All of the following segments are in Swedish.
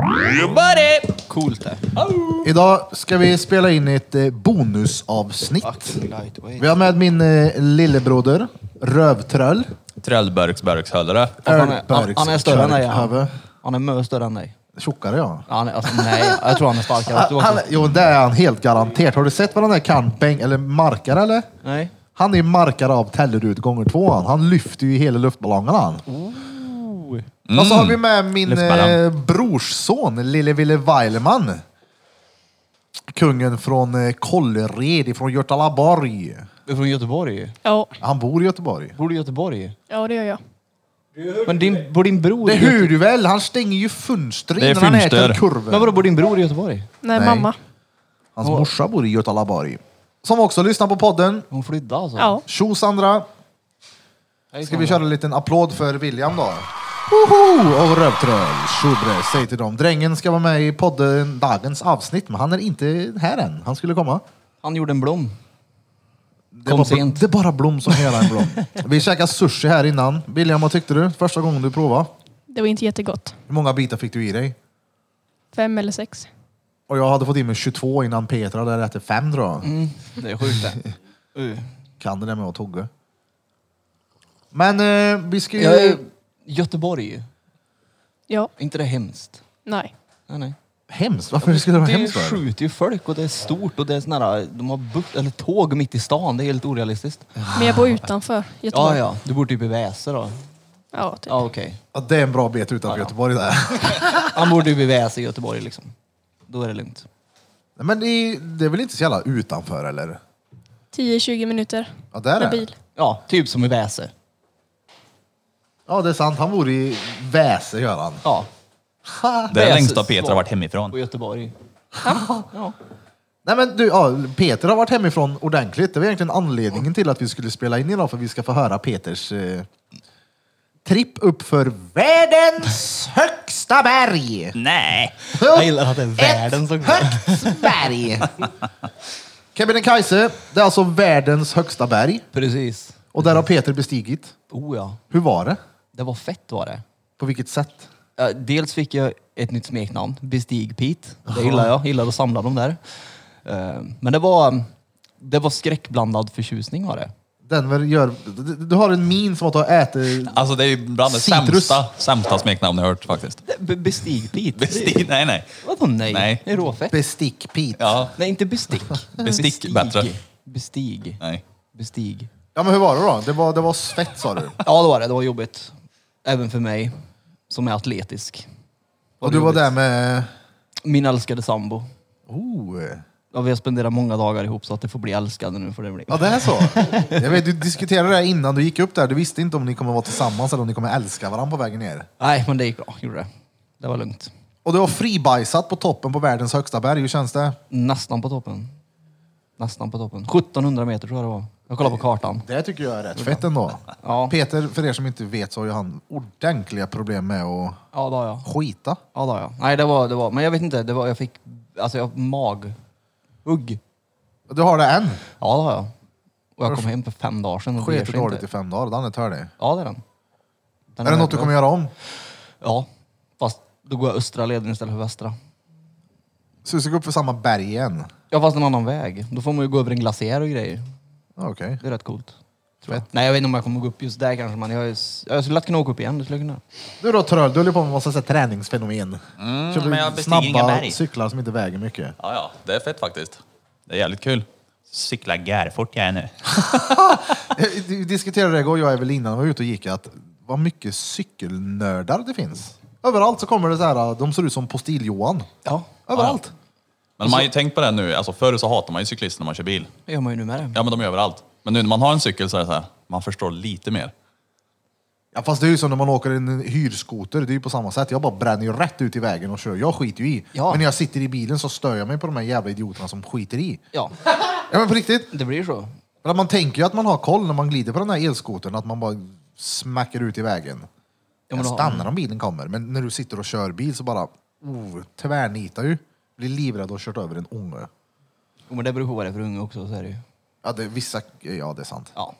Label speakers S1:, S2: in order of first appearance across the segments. S1: You buddy!
S2: Coolt det.
S3: Idag ska vi spela in ett eh, bonusavsnitt.
S2: Lightweight.
S3: Vi har med min eh, lillebroder, Rövtröll.
S1: Tröllbergsbergshöllare.
S2: Han är, han, han är större än dig. Han, han är mycket större än dig.
S3: Tjockare ja.
S2: Ja, Han är, alltså, nej, jag tror han är starkare. än du
S3: Han,
S2: också.
S3: han, jo, det är han helt garanterat. Har du sett vad den där kan bäng, eller markar eller?
S2: Nej.
S3: Han är markare av Tellerud gånger två. Han, han lyfter ju hela luftballongen han.
S1: Mm.
S3: Och så Alltså, har vi med min eh,
S1: Luftballong.
S3: brorsson, lille Wille Weileman. Kungen från eh, Kållered, från Götalaborg.
S2: Du är från Göteborg.
S4: Ja,
S3: Han bor i Göteborg.
S2: Bor du i Göteborg?
S4: ja det gör jag.
S2: Men din, bor din bror
S3: Det
S2: i Göteborg?
S3: hör du väl? Han stänger ju fönstret
S1: Det är
S3: innan han äter
S1: fönster.
S3: kurven.
S2: Men vadå, bor din bror i Göteborg?
S4: Nej,
S3: Nej.
S4: mamma.
S3: Hans morsa bor i Götalaborg. Som också lyssnar på podden.
S2: Hon flyttade alltså?
S4: Ja.
S3: Tjo Sandra!
S2: Hej,
S3: Ska vi köra en liten applåd för William då? Woho! Och Rövtröll, tjobre, säg till dem. Drängen ska vara med i podden dagens avsnitt, men han är inte här än. Han skulle komma.
S2: Han gjorde en blom.
S3: Det,
S2: Kom
S3: var,
S2: sent.
S3: det är bara Blom som hela en Blom. Vi käkade sushi här innan. William, vad tyckte du? Första gången du provade.
S4: Det var inte jättegott.
S3: Hur många bitar fick du i dig?
S4: Fem eller sex.
S3: Och jag hade fått i mig 22 innan Petra hade ätit fem tror jag.
S2: Mm, det är sjukt det. Uh.
S3: Kan det där med att tugga. Men eh, vi ska ju...
S2: Jag är Göteborg.
S4: Ja,
S2: Är inte det hemskt?
S4: nej.
S2: Nej, nej.
S3: Hemskt? Varför skulle det vara
S2: Det
S3: hemskt? för?
S2: skjuter ju folk och det är stort och det är sån här, de har bukt, eller tåg mitt i stan. Det är helt orealistiskt.
S4: Men jag bor utanför
S2: Ja,
S4: Göteborg.
S2: ja. Du bor typ i Väse då?
S4: ja typ.
S2: Ja, okej.
S3: Ja, det är en bra bit utanför
S2: Ja, ja.
S3: Göteborg där.
S2: Han bor typ i Väse i Göteborg liksom. Då är det lugnt.
S3: Nej, Men det är, det är väl inte så jävla utanför eller?
S4: 10-20 minuter
S3: Ja, där
S4: med
S3: är det.
S4: bil.
S2: Ja, typ som i Väse.
S3: Ja, det är sant. Han bor i Väse, gör han.
S2: Ja.
S3: Ha.
S1: Det är
S2: Väses
S1: längsta Peter har
S2: svar.
S1: varit
S2: Och
S1: hemifrån.
S2: Göteborg. Ja.
S3: Nej, men du, ja, Peter har varit hemifrån ordentligt. Det var egentligen anledningen till att vi skulle spela in idag, för vi ska få höra Peters eh, tripp upp för världens högsta berg.
S1: Nej!
S2: Jag gillar att det är världen som
S3: Ett högt berg. Kebnekaise, det är alltså världens högsta berg.
S2: Precis.
S3: Och där har Peter bestigit.
S2: Oh ja.
S3: Hur var det?
S2: Det var fett var det.
S3: På vilket sätt?
S2: Ja, Dels fick jag ett nytt smeknamn, Bestig Pete. Det gillar jag. Gillar att samla dem där. Eh, Men det var, det var skräckblandad förtjusning var det.
S3: Den väl gör... du- Du har en min som att du har ätit...
S1: Alltså det är ju bland det
S3: Citrus.
S1: sämsta, sämsta smeknamn jag har hört faktiskt.
S2: B- Bestig Pete?
S1: Besti- Nej, nej.
S2: Vadå nej?
S1: Nej.
S2: Det är råfett.
S3: Bestick Pete. Ja.
S1: Ja,
S2: nej, inte bestick.
S1: Bestick bättre.
S2: Bestig.
S1: nej.
S2: Bestig.
S3: men hur var det då? Det var, det var svett sa du.
S2: Ja, det var det. Det var jobbigt. Även för mig, som är atletisk.
S3: Och du var
S2: jobbigt.
S3: där med...
S2: Min älskade sambo.
S3: Oh.
S2: Ja, vi har spenderat många dagar ihop så att det får bli älskade nu. Får det bli.
S3: Ja, det är så. Jag vet, du diskuterade det här innan du gick upp där. Du visste inte om ni kommer vara tillsammans eller om ni kommer älska varandra på vägen ner.
S2: Nej, men det gick bra. Gjorde det. Det var lugnt.
S3: Och du har fribajsat på toppen på världens högsta berg. Hur känns det?
S2: Nästan på toppen. Nästan på toppen. 1700 meter tror jag det var. Jag kollar på kartan.
S3: Det tycker jag är rätt fett ändå.
S2: Ja,
S3: Peter, för er som inte vet så har ju han ordentliga problem med att
S2: ja det har jag.
S3: skita.
S2: Ja, det har jag. Nej, det var, det var. Men jag vet inte. Det var, jag fick alltså, jag, maghugg.
S3: Du har det än.
S2: Ja, det har jag. Och jag kom hem för fem dagar sedan. och beger
S3: Sket
S2: sig
S3: dåligt
S2: inte.
S3: i fem dagar. Den är tördig.
S2: Ja, det är den. den
S3: Är det något du kommer göra om?
S2: Ja, fast då går jag östra leden istället för västra.
S3: Så du ska gå upp för samma berg igen?
S2: Ja, fast en annan väg. Då får man ju gå över en glaciär och grejer.
S3: Okej.
S2: Det är rätt coolt. Tror jag. Nej, jag vet inte om jag kommer gå upp just där kanske, men jag, är, s- jag skulle lätt kunna åka upp igen. Det skulle jag kunna.
S3: Du då Tröll, du håller på med massa så här träningsfenomen.
S1: Mm,
S3: Kör
S1: men jag
S3: du
S1: bestiger inga
S3: snabba
S1: berg.
S3: cyklar som inte väger mycket.
S1: Ja, ja, det är fett faktiskt. Det är jävligt kul. Cykla gärfort jag är nu.
S3: Vi diskuterade det igår, jag och Evelina när vi var ute och gick, att vad mycket cykelnördar det finns. Överallt så kommer det så här, de ser ut som Postil-Johan.
S2: Ja,
S3: Överallt.
S1: Men man har ju tänkt på det nu, alltså förr så hatar man ju cyklister när man kör bil.
S2: det gör man ju nu med det.
S1: Ja men de är överallt. Men nu när man har en cykel så är det så här, man förstår lite mer.
S3: Ja, fast det är ju som när man åker en hyrskoter, det är ju på samma sätt. Jag bara bränner ju rätt ut i vägen och kör. Jag skiter ju i.
S2: Ja.
S3: Men när jag sitter i bilen så stör jag mig på de här jävla idioterna som skiter i.
S2: Ja,
S3: Ja men på riktigt.
S2: det blir så.
S3: För att man tänker ju att man har koll när man glider på den här elskotern, att man bara smackar ut i vägen.
S2: Ja,
S3: Den
S2: då-
S3: stannar om bilen kommer, men när du sitter och kör bil så bara oh, tvärnitar ju. Blir livrädd och har kört över en unge.
S2: Jo, men det beror på vad det är för unge också, så är det ju.
S3: Ja, det, vissa, ja, det är sant.
S2: Ja.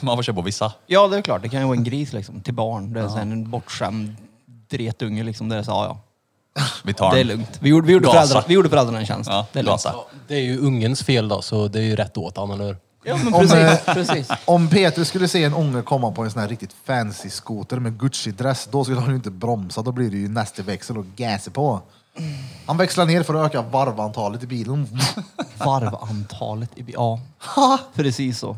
S1: Man får köpa på vissa.
S2: ja, det är klart. Det kan ju vara en gris liksom, till barn. Det är så här en bortskämd dretunge liksom. Det är så, ja, ja.
S1: Vi tar
S2: Det är
S1: den.
S2: lugnt. Vi gjorde, vi gjorde,
S1: Gasa.
S2: föräldrarna, vi gjorde föräldrarna en tjänst.
S1: Ja,
S2: det är lugnt.
S1: gasa.
S5: Ja, det är ju ungens fel då, så det är ju rätt åt han, eller hur?
S2: Ja, men
S3: Om,
S2: precis.
S3: eh,
S2: precis.
S3: Om Peter skulle se en unge komma på en sån här riktigt fancy skoter med Gucci-dress, då skulle han ju inte bromsa. Då blir det ju nästa växel och gasa på. Han växlar ner för att öka varvantalet i bilen.
S2: Varvantalet i bi- Ja,
S3: Ha!
S2: precis så.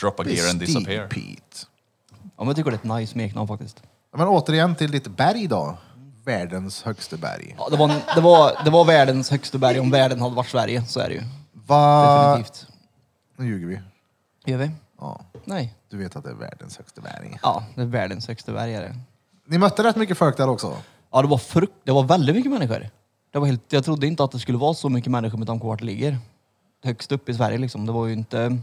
S1: Drop a gear and disappear.
S3: Pete.
S2: Ja, men jag tycker det är ett nice smeknamn faktiskt.
S3: Men återigen till ditt berg då. Världens högsta berg.
S2: Ja, det, var, det, var, det var världens högsta berg om världen hade varit Sverige, så är det ju.
S3: Va...
S2: Definitivt.
S3: Nu ljuger vi.
S2: Gör vi?
S3: Ja,
S2: Nej.
S3: du vet att det är världens högsta berg.
S2: Ja, det är världens högsta berg är det.
S3: Ni mötte rätt mycket folk där också.
S2: Ja, det var, frukt, det var väldigt mycket människor. Det var helt, jag trodde inte att det skulle vara så mycket människor med tanke på vart det ligger. Högst upp i Sverige liksom. Det var ju inte...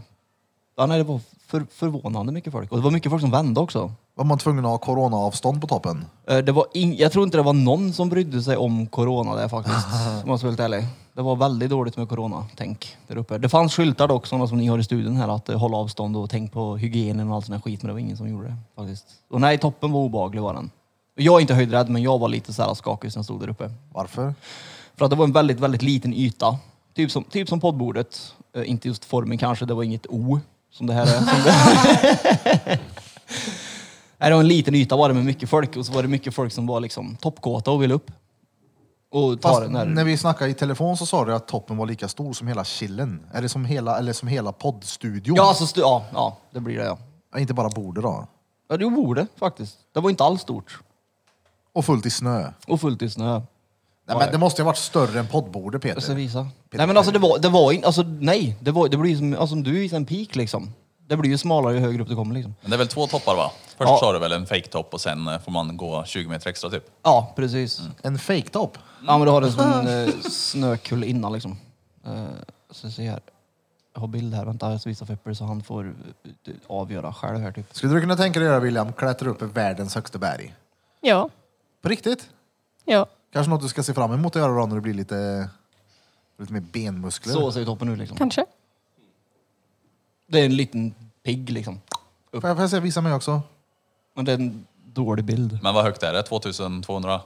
S2: Ja, nej, det var för, förvånande mycket folk. Och det var mycket folk som vände också.
S3: Var man tvungen att ha coronaavstånd på toppen?
S2: Eh, Det var ing, jag tror inte det var någon som brydde sig om corona där faktiskt. Om jag ska vara helt ärlig. Det var väldigt dåligt med corona, tänk där uppe. Det fanns skyltar dock, sådana som ni har i studion här, att eh, hålla avstånd och tänk på hygienen och allt sån här skit. Men det var ingen som gjorde det faktiskt. Och nej, toppen var obehaglig var den. Jag är inte höjdrädd, men jag var lite så här skakig när jag stod där uppe.
S3: Varför?
S2: För att det var en väldigt, väldigt liten yta. Typ som, typ som poddbordet. Eh, inte just formen kanske, det var inget O som det här är. Som det... Nej, det var en liten yta var det med mycket folk och så var det mycket folk som var liksom toppkåta och ville upp. Och ta
S3: Fast
S2: den här...
S3: när vi snackade i telefon så sa du att toppen var lika stor som hela chillen. Eller som hela, eller som hela poddstudion.
S2: Ja, alltså, stu- ja, ja, det blir det ja.
S3: Ja, Inte bara bordet då.
S2: Ja, det borde faktiskt. Det var inte alls stort.
S3: Och fullt i snö.
S2: Och fullt i snö.
S3: Nej, men det måste ju ha varit större än poddbordet Peter.
S2: Jag ska visa. Nej men alltså det var, det var inte, alltså nej. Det, var, det blir ju som, alltså, om du visar en peak liksom. Det blir ju smalare ju högre upp du kommer liksom.
S1: Men det är väl två toppar va? Först
S2: Ja.
S1: sa du väl en fake topp och sen eh, får man gå 20 meter extra typ.
S2: Ja, precis.
S3: En fejktopp.
S2: Ja men du har en sån eh, snökulle innan liksom. Eh, så se här. Jag har bild här, vänta jag ska visa Fepper så han får eh, avgöra själv här typ.
S3: Skulle du kunna tänka dig att göra William, klättra upp i världens högsta berg?
S4: Ja.
S3: På riktigt?
S4: Ja.
S3: Kanske något du ska se fram emot att göra då när du blir lite, lite mer benmuskler?
S2: Så ser ju toppen ut liksom.
S4: Kanske.
S2: Det är en liten pigg liksom.
S3: Får jag, får jag se, visa mig också?
S2: Men det är en dålig bild.
S1: Men vad högt är det? 2200?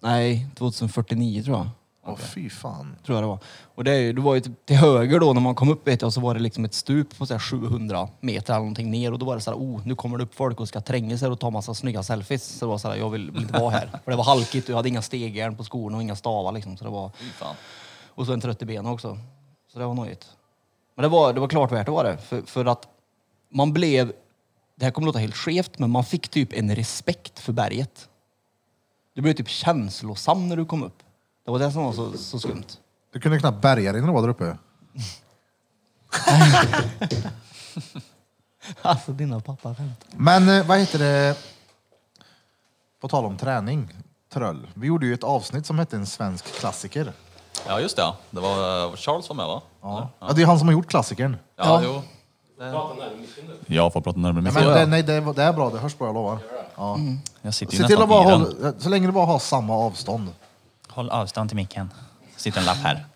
S2: Nej, 2049 tror jag.
S3: Åh fy fan.
S2: Tror jag det var. Och det, är ju- det var ju typ till höger då när man kom upp vet jag så var det liksom ett stup på så här 700 meter eller någonting ner och då var det så här, oh nu kommer det upp folk och ska tränga sig och ta massa snygga selfies. Så det var så här, jag vill, vill inte vara här. För det var halkigt och jag hade inga stegjärn på skorna och inga stavar liksom. Så det var,
S1: Fy fan.
S2: och så en trött i benen också. Så det var nojigt. Men det var, det var klart värt det var det. För, för att man blev, det här kommer låta helt skevt, men man fick typ en respekt för berget. Du blev typ känslosam när du kom upp. Det var det som var så, så skumt.
S3: Du kunde knappt bärga dig när du var där uppe.
S2: Alltså dina pappaskämt.
S3: Men eh, vad heter det? På tal om träning, tröll. Vi gjorde ju ett avsnitt som hette En svensk klassiker.
S1: Ja just det, ja. det var eh, Charles var med va?
S3: Ja. Ja, det är han som har gjort klassikern.
S1: Ja, jo. Jag får prata närmare
S3: Nej,
S1: micken
S3: men
S1: nu.
S3: det, nej, det, det är bra, det hörs bra, jag lovar. Ja.
S1: Jag sitter ju
S3: Se till
S1: nästan
S3: att bara
S1: i den.
S3: hålla, eh, så länge du bara har samma avstånd.
S1: Håll avstånd till micken. Det sitter en lapp här.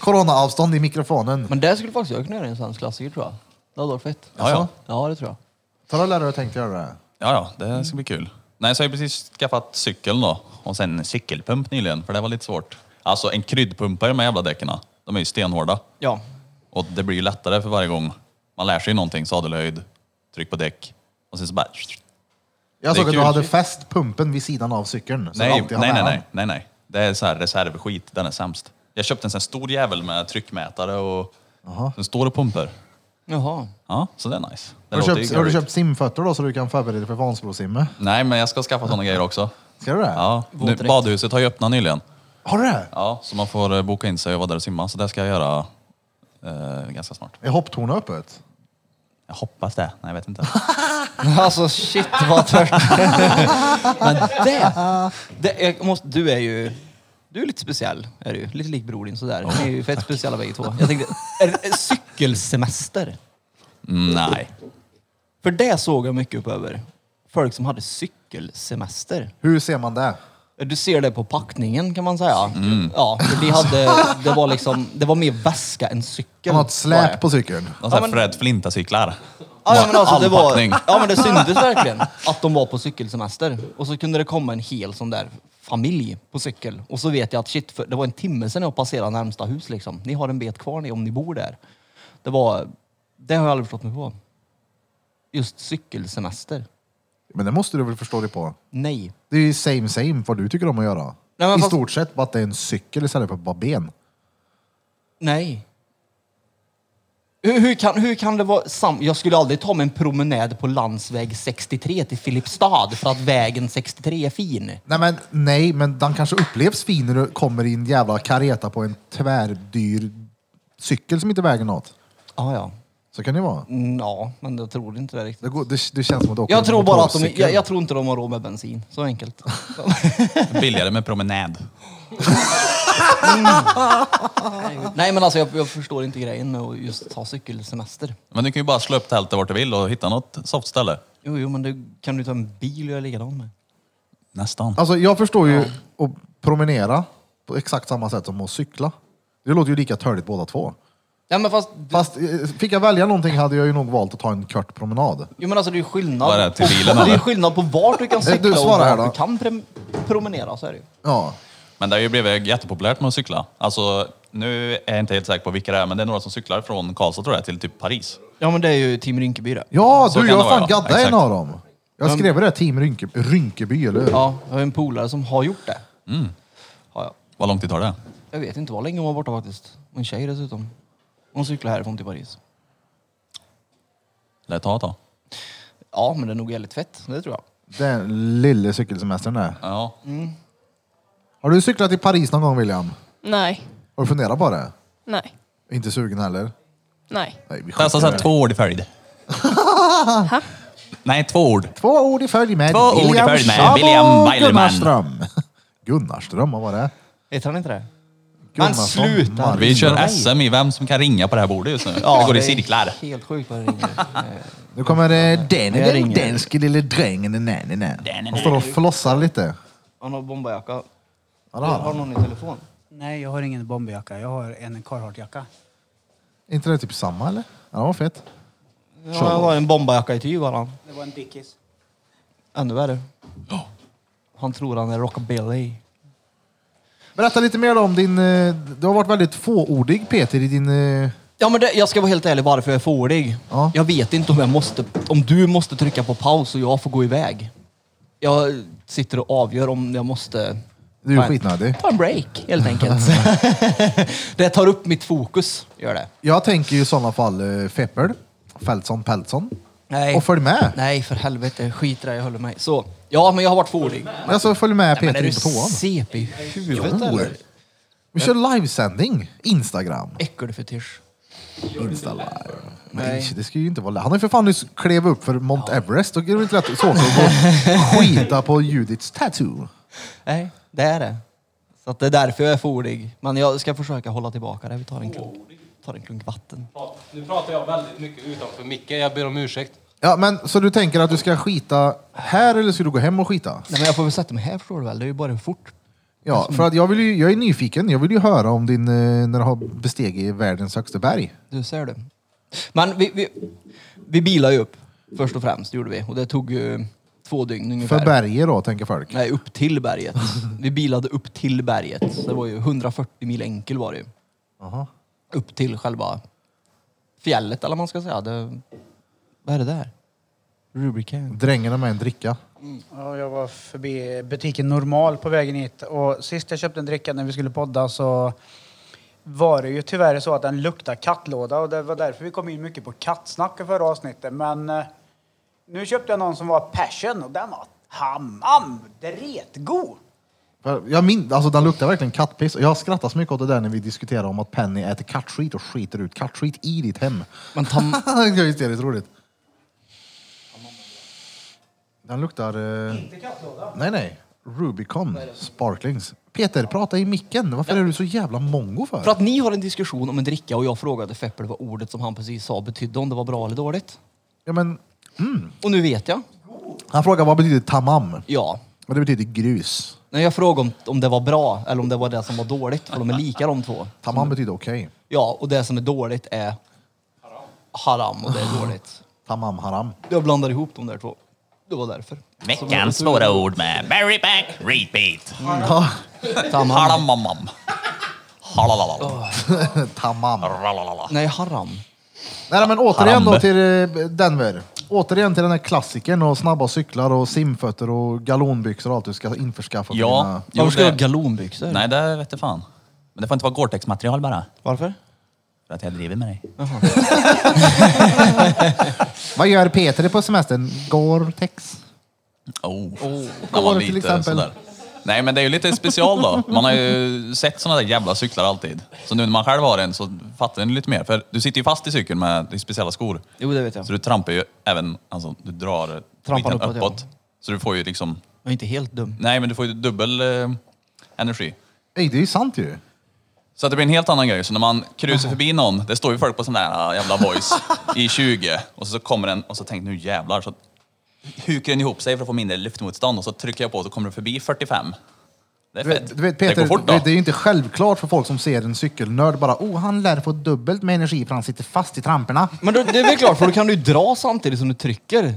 S3: Corona-avstånd i mikrofonen.
S2: Men det skulle faktiskt jag kunna göra i en svensk klassiker tror jag. Det hade varit fett.
S1: Ja, ja.
S2: Ja, det tror jag.
S3: Tröll är det jag tänkte göra det.
S1: Ja, ja, det ska bli kul. Nej, så har jag precis skaffat cykeln då. Och sen en cykelpump nyligen, för det var lite svårt. Alltså en kryddpumpare med jävla däcken. De är ju stenhårda.
S2: Ja.
S1: Och det blir ju lättare för varje gång man lär sig någonting. Sadelhöjd, tryck på däck. Och sen så bara...
S3: Jag
S1: Det är
S3: såg att du
S1: kul.
S3: hade fäst pumpen vid sidan av cykeln. Så
S1: Nej,
S3: alltid
S1: nej,
S3: har
S1: nej,
S3: med
S1: nej, nej, nej. Det är så här reservskit. Den är sämst. Jag köpte en sån här stor jävel med tryckmätare och... Den står och pumpar.
S2: Jaha.
S1: Ja, så det är nice. Det
S3: den. Har
S1: låter
S3: du, köpt,
S1: ju
S3: har du
S1: görigt.
S3: köpt simfötter då så du kan förbereda dig för Vansbrosimmet?
S1: Nej, men jag ska skaffa såna grejer också.
S3: Ska du det?
S1: Ja, nu,
S2: Våtdräkt.
S1: badhuset har ju öppnat nyligen.
S3: Har du det?
S1: Ja, så man får eh, boka in sig och vara där och simma. Så det ska jag göra eh, ganska snart.
S3: Är hopptornet öppet?
S1: Jag hoppas det. Nej, jag vet inte.
S2: Alltså shit vad tört. Men det, det jag måste, du är ju, du är lite speciell. Är du. ju. Lite lik bror din sådär. Ni är ju fett speciella bägge två. Jag tänkte, är det cykelsemester?
S1: Mm, Nej.
S2: För det såg jag mycket upp över. Folk som hade cykelsemester.
S3: Hur ser man det?
S2: Du ser det på packningen kan man säga. Ja, för de hade, det var liksom, det var mer väska än cykel.
S3: Kan man ha ett
S2: var det.
S3: släp på cykeln?
S1: De har
S2: Ja,
S1: ja,
S2: men-
S1: Fred Flinta-cyklar.
S2: Ja, ja, men alltså, det var,
S1: Allpackning.
S2: ja men det syntes verkligen att de var på cykelsemester. Och så kunde det komma en hel sån där familj på cykel. Och så vet jag att shit, för det var en timme sedan jag passerade närmsta hus liksom. Ni har en bet kvar ni om ni bor där. Det var, det har jag aldrig förstått mig på. Just cykelsemester.
S3: Men det måste du väl förstå dig på?
S2: Nej.
S3: Det är ju same same vad du tycker om att göra.
S2: Nej, men
S3: I
S2: fast-
S3: stort sett bara att det är en cykel istället för bara ben.
S2: Nej. Hur, hur, kan, hur kan det vara sam... Jag skulle aldrig ta mig en promenad på landsväg 63 till Filipstad för att vägen 63 är fin.
S3: Nej men, nej, men den kanske upplevs fin när du kommer i en jävla kareta på en tvärdyr cykel som inte väger något.
S2: Ah, ja,
S3: Så kan det vara.
S2: Mm, ja. men jag tror inte det riktigt.
S3: Det, går, det, det känns som att du åker
S2: Jag
S3: en
S2: tror bara att de,
S3: motorcykel.
S2: jag, jag tror inte de har råd med bensin. Så enkelt.
S1: Billigare med promenad.
S2: Nej men alltså jag, jag förstår inte grejen med att just ta cykelsemester.
S1: Men du kan ju bara slå upp tältet vart du vill och hitta något soft ställe.
S2: Jo, jo men det kan du ta en bil och göra likadant med.
S1: Nästan.
S3: Alltså jag förstår ju att promenera på exakt samma sätt som att cykla. Det låter ju lika törligt båda två.
S2: Ja men fast,
S3: Fast eh, fick jag välja någonting hade jag ju nog valt att ta en kort promenad.
S2: jo men alltså det är ju skillnad.
S1: Vad är det, till
S2: på-
S1: bilen,
S2: det är ju
S1: eller?
S2: skillnad på vart du kan
S3: Du,
S2: cykla och
S3: svara här
S2: vart
S3: då.
S2: du kan prem- promenera. Så är det ju.
S3: Ja.
S1: Men det har ju blivit jättepopulärt med att cykla. Alltså, nu är jag inte helt säker på vilka det är, men det är några som cyklar från Karlstad tror jag till typ Paris.
S2: Ja men det är ju Team Rinkeby det.
S3: Ja,
S1: Så
S3: du
S1: kan
S3: jag
S1: det
S3: fan
S1: vara, ja.
S3: gaddade en
S1: Exakt.
S3: av dem. Jag skrev det, Team Rynkeby, Rynkeby eller hur?
S2: Ja, jag har en polare som har gjort det.
S1: Mm.
S2: Har jag.
S1: Vad lång tid tar det?
S2: jag vet inte vad länge hon var borta faktiskt. Och en tjej dessutom. Hon cyklar härifrån till Paris.
S1: Det tar ett tag.
S2: Ja men det är nog jävligt fett, det tror jag.
S3: Den lille cykelsemestern där.
S1: Ja.
S3: Har du cyklat i Paris någon gång William?
S4: Nej.
S3: Har du funderat på det?
S4: Nej.
S3: Inte sugen heller?
S4: Nej.
S3: Nej, vi
S1: Testa
S3: skickar
S1: så här
S3: det.
S1: alltså, två ord i följd. Nej, två ord.
S3: två ord i följd med
S1: Två ord i
S3: William
S1: följd med
S3: Sabo
S1: William Weilerman.
S3: Gunnarström. Gunnarström, vad var det?
S2: Heter han inte det? Men
S3: Gunnarsson,
S2: sluta!
S3: Mark.
S1: Vi kör SM i vem som kan ringa på det här bordet just nu. det går i
S2: är
S1: cirklar.
S2: Helt sjukt vad det ringer. Eh,
S3: Nu kommer eh, den
S2: Jag
S3: den
S2: ringer.
S3: danske lille drängen. Nej, nej, nej. Han står och flossar lite.
S2: Han har bombajacka.
S3: Ja, det har
S2: Har
S3: han.
S2: någon i telefon?
S6: Nej, jag har ingen bomberjacka. Jag har en Carhartt-jacka.
S3: inte det typ samma eller? Ja, det var fett.
S2: Ja, han har en bombajacka i tyg har han.
S6: Det var en Dickies.
S2: Ännu värre. Han tror han är rockabilly.
S3: Berätta lite mer då om din... eh, Du har varit väldigt fåordig Peter i din... eh,
S2: Ja men det, jag ska vara helt ärlig varför jag är fåordig.
S3: Ja.
S2: Jag vet inte om jag måste, om du måste trycka på paus och jag får gå iväg. Jag sitter och avgör om jag måste
S3: Du är
S2: Nej.
S3: skitnödig.
S2: ta en break helt enkelt. det tar upp mitt fokus, gör det.
S3: Jag tänker ju i sådana fall eh, Feppel, Feltson, Peltson.
S2: Nej.
S3: Och följ med.
S2: Nej för helvete, skit i det jag håller mig. Så, ja men jag har varit fåordig.
S3: Alltså följ med
S2: Men
S3: Peter
S2: är du
S3: in på toan.
S2: CP i huvudet
S3: Jo.
S2: eller?
S3: Vi kör livesändning. Instagram.
S2: Äckelfetisch.
S3: Insta live.
S2: Nej.
S3: Nej. Det ska ju inte vara lätt. Han har ju för fan nyss klev upp för Mount Everest. Då är det inte lätt så att gå och skita på Judiths tattoo.
S2: Nej, det är det. Så att det är därför jag är fordig. Men jag ska försöka hålla tillbaka det. Vi tar en klunk, tar en klunk vatten.
S5: Nu pratar jag väldigt mycket utanför Micke. Jag ber om ursäkt.
S3: Ja, men så du tänker att du ska skita här eller ska du gå hem och skita?
S2: Nej, men jag får väl sätta mig här förstår du väl. Det är ju bara fort.
S3: Ja, för att jag, vill ju, jag är nyfiken. Jag vill ju höra om din, eh, när du har bestigit världens högsta berg.
S2: Du ser det. Men vi, vi, vi bilade ju upp först och främst gjorde vi. Och det tog ju två dygn ungefär.
S3: För berget då, tänker folk.
S2: Nej, upp till berget. Vi bilade upp till berget. Så det var ju 140 mil enkel var det ju.
S3: Aha.
S2: Upp till själva fjället eller vad man ska säga. Det, vad är det där? Rubicam.
S3: Drängarna med en dricka.
S6: Mm. Ja, jag var förbi butiken Normal på vägen hit och sist jag köpte en dricka när vi skulle podda så var det ju tyvärr så att den luktade kattlåda och det var därför vi kom in mycket på kattsnack i förra avsnittet. Men eh, nu köpte jag någon som var passion och den var hammam dretgod.
S3: För Jag min, alltså den luktar verkligen kattpiss. Jag har skrattat så mycket åt det där när vi diskuterar om att Penny äter kattskit och skiter ut kattskit i ditt hem.
S2: Men ta,
S3: det är hysteriskt roligt. Den luktar... Eh... Inte kattlåda? Nej, nej. Rubicon Sparklings. Peter, prata i micken. Varför är du så jävla mongo för?
S2: För att ni har en diskussion om en dricka och jag frågade Feppel vad ordet som han precis sa betydde, om det var bra eller dåligt.
S3: Ja, men,
S2: Och nu vet jag.
S3: han frågar vad betyder tamam?
S2: Ja.
S3: Och det betyder grus.
S2: När jag frågade om, om det var bra eller om det var det som var dåligt, för de är lika de två.
S3: Tamam betyder okej.
S2: Ja, och det som är dåligt är haram och det är dåligt.
S3: Tamam haram.
S2: Jag blandar ihop de där två. Det var därför.
S1: Veckans svåra ord med Barry Back Repeat.
S2: Tamam.
S1: Halamamam. Halalalala.
S3: Tamam.
S1: Ralalala.
S2: Nej, haram.
S3: Nej, nej, men återigen då
S1: Harambe.
S3: till eh, Denver. Återigen till den här klassikern och snabba cyklar och simfötter och galonbyxor och allt du ska införskaffa.
S1: Ja.
S2: Varför ska du ha
S1: gjorde-
S2: galonbyxor?
S1: Nej, det vet jag fan. Men det får inte vara Gore-Tex-material bara.
S2: Varför?
S1: För att jag driver med dig.
S3: dina- Vad gör Peter på semestern? Gore-Tex?
S1: Oh.
S3: Gore
S1: När man var
S3: till
S1: lite
S3: exempel.
S1: sådär. Nej, men det är ju lite special då. Man har ju sett sådana där jävla cyklar alltid. Så nu när man själv har en så fattar den lite mer. För du sitter ju fast i cykeln med i speciella skor.
S2: Jo, det vet jag.
S1: Så du trampar ju även, alltså du drar
S2: Trampar
S1: skiten
S2: uppåt, ja.
S1: Så du får ju liksom,
S2: Jag är inte helt dum.
S1: nej men du får ju dubbel eh, energi.
S3: Nej, det är ju sant ju.
S1: Så att det blir en helt annan grej. Så när man krusar förbi någon, det står ju folk på sån där ah, jävla voice i 20 och så kommer den och så tänker nu jävlar. Så hukar den ihop sig för att få mindre luftmotstånd och så trycker jag på och så kommer du förbi 45. Det är
S3: Du vet,
S1: fett.
S3: du vet
S1: det
S3: Peter,
S1: går fort
S3: det,
S1: då.
S3: det är ju inte självklart för folk som ser en cykelnörd bara oh, han lär få dubbelt med energi för han sitter fast i tramporna.
S2: Men då, det är väl klart, för då kan du ju dra samtidigt som du trycker.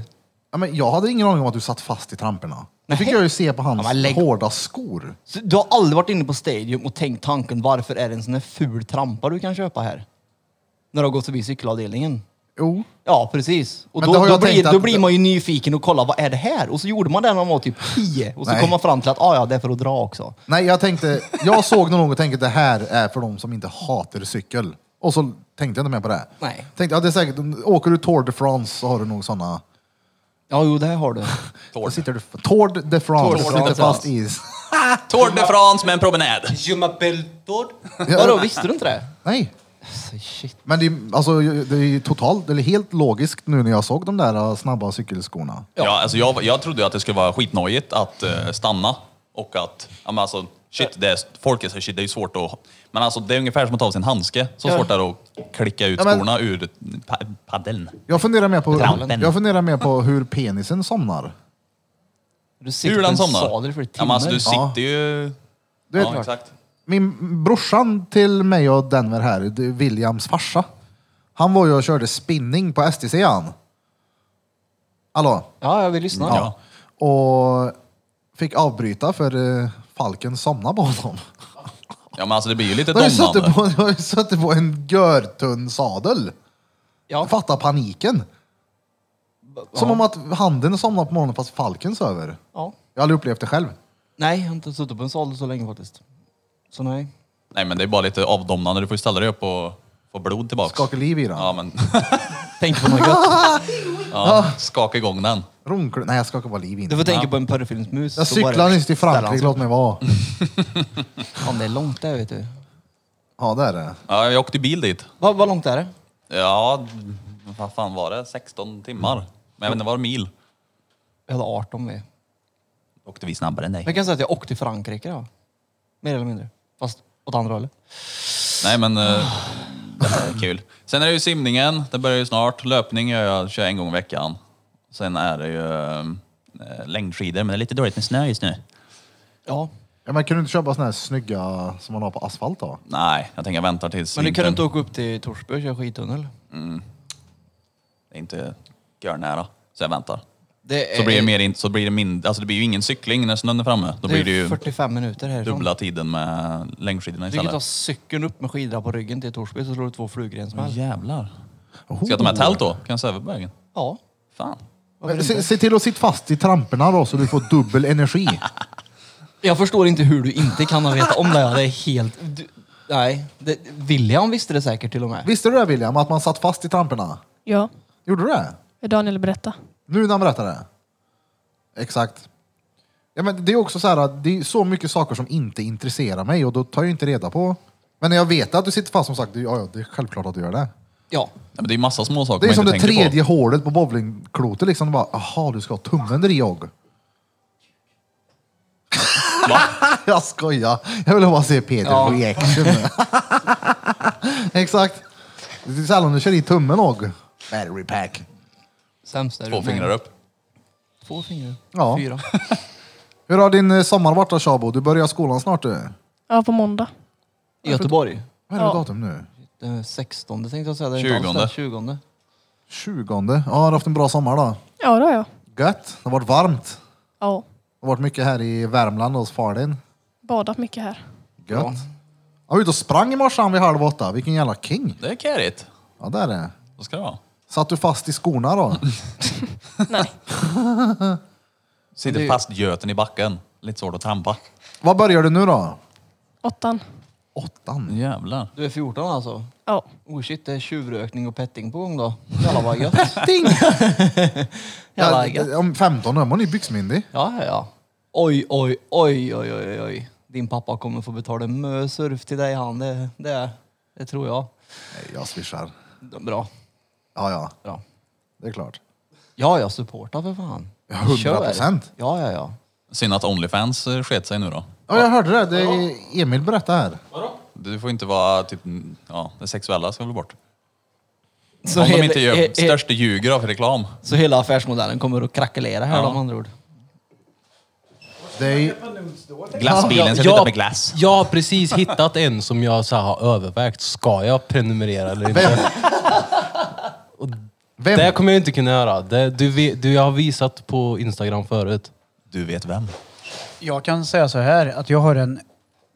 S3: Ja, men jag hade ingen aning om att du satt fast i tramporna. Det fick
S2: Nej.
S3: jag ju se på hans
S2: Ja, men lägg-
S3: hårda skor.
S2: Så du har aldrig varit inne på Stadium och tänkt tanken varför är det en sån här ful trampa du kan köpa här? När du har gått förbi cykelavdelningen.
S3: Jo.
S2: Ja, precis. Och
S3: Men
S2: då,
S3: det har
S2: då,
S3: jag
S2: blir,
S3: tänkt
S2: då
S3: att-
S2: blir man ju nyfiken och kollar vad är det här? Och så gjorde man det när man var typ 10 och så
S3: Nej.
S2: kom man fram till att ah, ja, det är för att dra också.
S3: Nej, jag tänkte, jag såg någon gång och tänkte det här är för de som inte hatar cykel. Och så tänkte jag inte mer på det.
S2: Nej.
S3: Tänkte, ja, det är säkert, åker du Tour de France så har du nog sådana.
S2: Ja, jo, det här har du.
S1: Tour.
S3: Sitter du, Tour de France,
S2: Tour de
S3: sitter
S2: France.
S3: fast i.
S1: Tour de France med en promenad.
S5: Je m'appelle Todd.
S3: Ja.
S2: Vadå, visste du inte det?
S3: Nej.
S2: Så Shit.
S3: Men det, är- alltså, det är ju totalt, eller helt logiskt nu när jag såg de där uh, snabba cykelskorna.
S1: Ja. alltså jag, jag trodde ju att det skulle vara skitnojigt att eh, stanna och att, ja, men alltså shit, det är, folk är så shit, det är ju svårt att... Men alltså det är ungefär som att ta av sig en handske. Så
S2: Ja.
S1: svårt det är att klicka ut
S3: Ja, men-
S1: skorna ur pa paddeln.
S3: Jag funderar mer på,
S1: Trampen.
S3: jag funderar mer på hur penisen somnar.
S2: Du sitter
S1: Hur
S2: på en
S1: den somnar.
S2: sadel för
S1: ja, men alltså du
S3: Ja.
S1: sitter ju...
S3: Det är
S1: ja,
S3: klart.
S1: exakt.
S3: Min brorsan till mig och Denver här, det är Williams farsa. Han var ju och körde spinning på STC han. Hallå?
S2: Ja, jag vill lyssna.
S3: Ja. Och fick avbryta för eh, Falken somnade på honom.
S1: Ja, men alltså det blir ju lite
S3: Jag har ju
S1: domnande.
S3: suttit på, jag har ju suttit på en görtunn sadel.
S2: Ja.
S3: Fatta paniken. Som om att handen somnar på morgonen fast Falken sover.
S2: Ja.
S3: Jag har aldrig upplevt det själv.
S2: Nej, jag har inte suttit på en sadel så länge faktiskt. Så nej.
S1: Nej, men det är bara lite avdomnande. Du får ju ställa dig upp och få blod tillbaka.
S3: Skakar liv i den.
S1: Ja, men
S2: Tänk på något gött.
S1: ja, skaka igång den.
S3: Runkle- Nej, jag skakar bara liv i
S2: Du
S3: den.
S2: får tänka på en porrfilmsmus.
S3: Jag
S2: så bara
S3: cyklade nyss till
S2: ställer han
S3: Frankrike,
S2: sig.
S3: låt mig vara.
S2: Fan, det är långt där vet du.
S3: Ja, det är det.
S1: Ja, jag åkte bil dit.
S2: Vad, vad långt är det?
S1: Ja, vad fan var det? 16 timmar? Men jag vet inte, var det mil?
S2: Jag hade 18 med.
S1: Åkte vi snabbare än dig?
S2: Jag kan säga att jag åkte till Frankrike då. Mer eller mindre. Fast åt andra hållet.
S1: Nej, men eh, det är kul. Sen är det ju simningen, det börjar ju snart. Löpning gör jag, kör jag en gång i veckan. Sen är det ju eh, längdskidor, men det är lite dåligt med snö just nu.
S2: Ja.
S3: Ja, men kan du inte köpa såna här snygga som man har på asfalt då?
S1: Nej, jag tänker vänta tills
S2: Men du kan du
S1: vintern.
S2: inte åka upp till Torsby och köra skidtunnel?
S1: Det är inte görnära. Så jag väntar.
S2: Det är,
S1: Så blir det, mer in, så blir det, mindre, alltså det blir ju ingen cykling när snön är framme. Då
S2: det
S1: blir
S2: är
S1: det ju
S2: 45 minuter härifrån.
S1: dubbla tiden med längdskidorna
S2: Du kan ta
S1: istället.
S2: cykeln upp med skidor på ryggen till Torsby så slår du två flugor i en
S1: Åh,
S2: smäll.
S1: Jävlar. Ska
S2: Oh.
S1: jag ta med tält då? Kan jag sova på vägen?
S2: Ja.
S1: Fan.
S2: varför
S3: Se,
S2: inte?
S3: se till att sitta fast i tramporna då så du får dubbel energi.
S2: Jag förstår inte hur du inte kan ha vetat om det. Ja. Det är helt... Du, nej. Det, William visste det säkert till och med.
S3: Visste du det William, att man satt fast i tramporna?
S4: Ja,
S3: Gjorde du det?
S4: Daniel berätta.
S3: Nu när han berättar det? Exakt. Ja, men det är också så här att det är så mycket saker som inte intresserar mig och då tar jag ju inte reda på. Men när jag vet att du sitter fast som sagt, det- ja, ja det är självklart att du gör det.
S2: Ja.
S1: Nej, men det är ju massa små saker
S3: Det är
S1: man
S3: som
S1: inte
S3: det
S1: tänker
S3: tredje
S1: på.
S3: hålet på bowlingklotet liksom. Bara, aha, du ska ha tummen där i jag.
S1: Va?
S3: jag skojar. Jag vill bara se Peter
S2: Ja.
S3: reaction. Exakt. Det är sällan du kör i tummen och. Battery pack.
S2: Sämst är
S1: Två
S2: du.
S1: fingrar upp.
S2: Två fingrar.
S3: Ja.
S2: Fyra.
S3: Hur har din eh, sommar varit då Shabo? Du börjar skolan snart du.
S4: Ja, på måndag.
S2: I Göteborg.
S3: Vad är det
S4: Ja.
S3: datum nu?
S2: Den 16 tänkte jag säga. Det är inte alls
S1: 20.
S2: den 20.
S3: 20. Ja, har du haft en bra sommar då?
S4: Ja, det har jag.
S3: Gött. Det har varit varmt.
S4: Ja.
S3: Det har varit mycket här i Värmland hos far din.
S4: Badat mycket här.
S3: Gött. Jag var ute och sprang i morse han vid halv åtta. Vilken jävla king.
S1: Det är kärigt.
S3: Ja, där är det.
S1: Så ska det vara.
S3: Satt du fast i skorna då?
S4: Nej.
S1: Sitter fast göten i backen. Lite svårt att trampa.
S3: Vad börjar du nu då?
S4: Åttan.
S3: Åttan.
S1: Jävlar.
S2: Du är 14 alltså?
S4: Ja.
S2: Oh shit, det är tjuvrökning och petting på gång då. Jävlar vad gött.
S3: Ding!
S2: Jävlar gött.
S3: Ja, om 15 är man ju byxmyndig.
S2: Ja, ja, ja. Oj, oj, oj, oj, oj, oj. Din pappa kommer få betala mö surf till dig han. Det, det, det tror jag.
S3: Nej, jag swishar.
S2: Bra.
S3: Ja, ja.
S2: Bra.
S3: Det är klart.
S2: Ja, jag supportar för fan.
S3: Ja, 100%.
S2: Kör. Ja, ja, ja.
S1: Synd att Onlyfans eh, sket sig nu då.
S3: Ja, jag hörde det. det är Emil berättade här.
S1: Du får inte vara typ, ja, det sexuella ska väl bort.
S2: Så,
S1: Om de
S2: hela-
S1: inte gör
S2: he- he-
S1: största ljuger av reklam.
S2: så hela affärsmodellen kommer att krackelera här
S1: Ja.
S2: om andra ord.
S3: Det är ju...
S1: Glassbilen ska
S5: Ja,
S1: byta med glass.
S5: Jag har precis hittat en som jag så här har övervägt. Ska jag prenumerera eller inte?
S3: Vem?
S5: Det kommer jag inte kunna göra. Det, du, vet- du, jag har visat på Instagram förut.
S1: Du vet vem.
S6: Jag kan säga så här att jag har en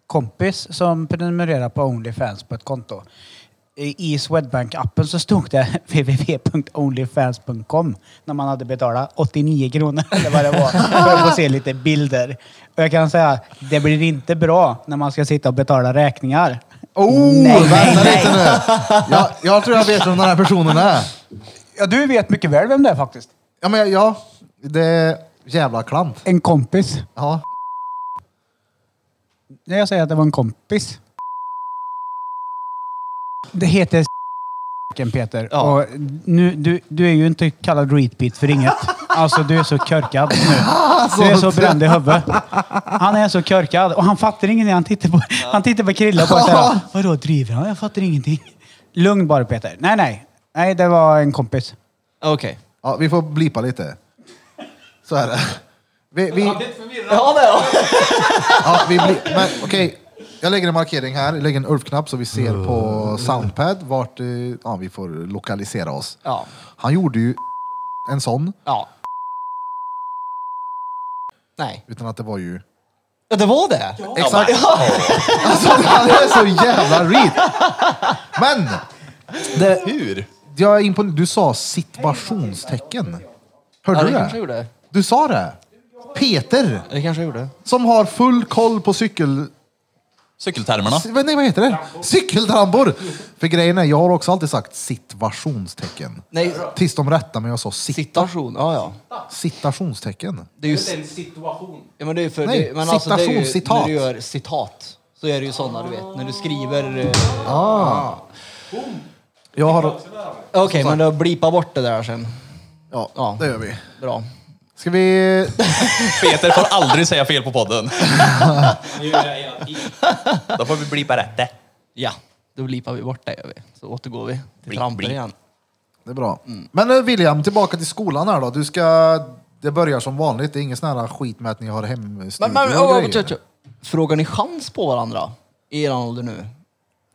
S6: kompis som prenumererar på Onlyfans på ett konto. I i Swedbank-appen så stod det www.onlyfans.com när man hade betalat 89 kronor eller vad det var för att få se lite bilder. Och jag kan säga, det blir inte bra när man ska sitta och betala räkningar.
S3: Oh,
S6: Nej,
S3: vänta lite nu. Jag, jag tror jag vet vem den här personen är.
S6: Ja, du vet mycket väl vem det är faktiskt.
S3: Ja, men jag- ja. Det är jävla klant.
S6: En kompis.
S3: Ja.
S6: När jag säger att det var en kompis. Det heter Peter.
S2: Ja.
S6: Och nu, du, du är ju inte kallad reatbeat för inget. Alltså du är så körkad nu. Du är så bränd i huvudet. Han är så körkad och han fattar ingenting. Han tittar på, han tittar på Krille och bara säger Vadå driver han? Jag fattar ingenting. Lugn bara Peter. Nej, nej. Nej, det var en kompis.
S2: Okej.
S3: ja, vi får blipa lite. Så är det. Vi, vi,
S2: Ja, det ja.
S3: ja, vi bli, men, okej. Jag lägger en markering här. Jag lägger en Ulf-knapp så vi ser på Soundpad vart eh, ja, vi får lokalisera oss.
S2: Ja.
S3: Han gjorde ju en sån,
S2: ja. Nej.
S3: utan att det var ju...
S2: Ja, det var det?
S3: Exakt. Alltså, han är så jävla reed. Men! Det,
S1: Hur?
S3: jag är impon- du sa situationstecken. Hörde
S2: Ja,
S3: du
S2: det kanske jag
S3: det?
S2: gjorde.
S3: Du sa det. Peter,
S2: Det kanske jag gjorde.
S3: som har full koll på cykel...
S1: Cykeltermerna.
S3: Vad- Nej, vad heter det? Cykeltrampor! För grejen är, jag har också alltid sagt situationstecken.
S2: Nej,
S3: Tills de rättade mig och sa sit-
S2: situation. Ja, ja.
S3: citationstecken.
S2: Det är ju
S5: en situation.
S2: Ja, men det är ju för,
S3: Nej,
S2: det, men alltså, det är ju,
S3: citationscitat.
S2: När du gör citat så är det ju sådana du vet, när du skriver... eh,
S3: Jag har...
S2: Okej, men då blipa bort det där sen.
S3: Ja,
S2: Ja.
S3: det gör vi.
S2: Bra.
S3: Ska vi...
S1: Peter får aldrig säga fel på podden. Då får vi blipa rätt det.
S2: Ja, då blipar vi bort det gör vi. Så återgår vi till
S1: Blip,
S2: trampor
S1: blip.
S2: igen.
S3: Det är bra.
S2: Mm.
S3: Men eh, William, tillbaka till skolan här då. Du ska... Det börjar som vanligt. Det är ingen sån här skit med att ni har hemstudio
S2: Men, men,
S3: och
S2: oh,
S3: grejer.
S2: tjö, tjö. Frågar ni chans på varandra i er ålder nu?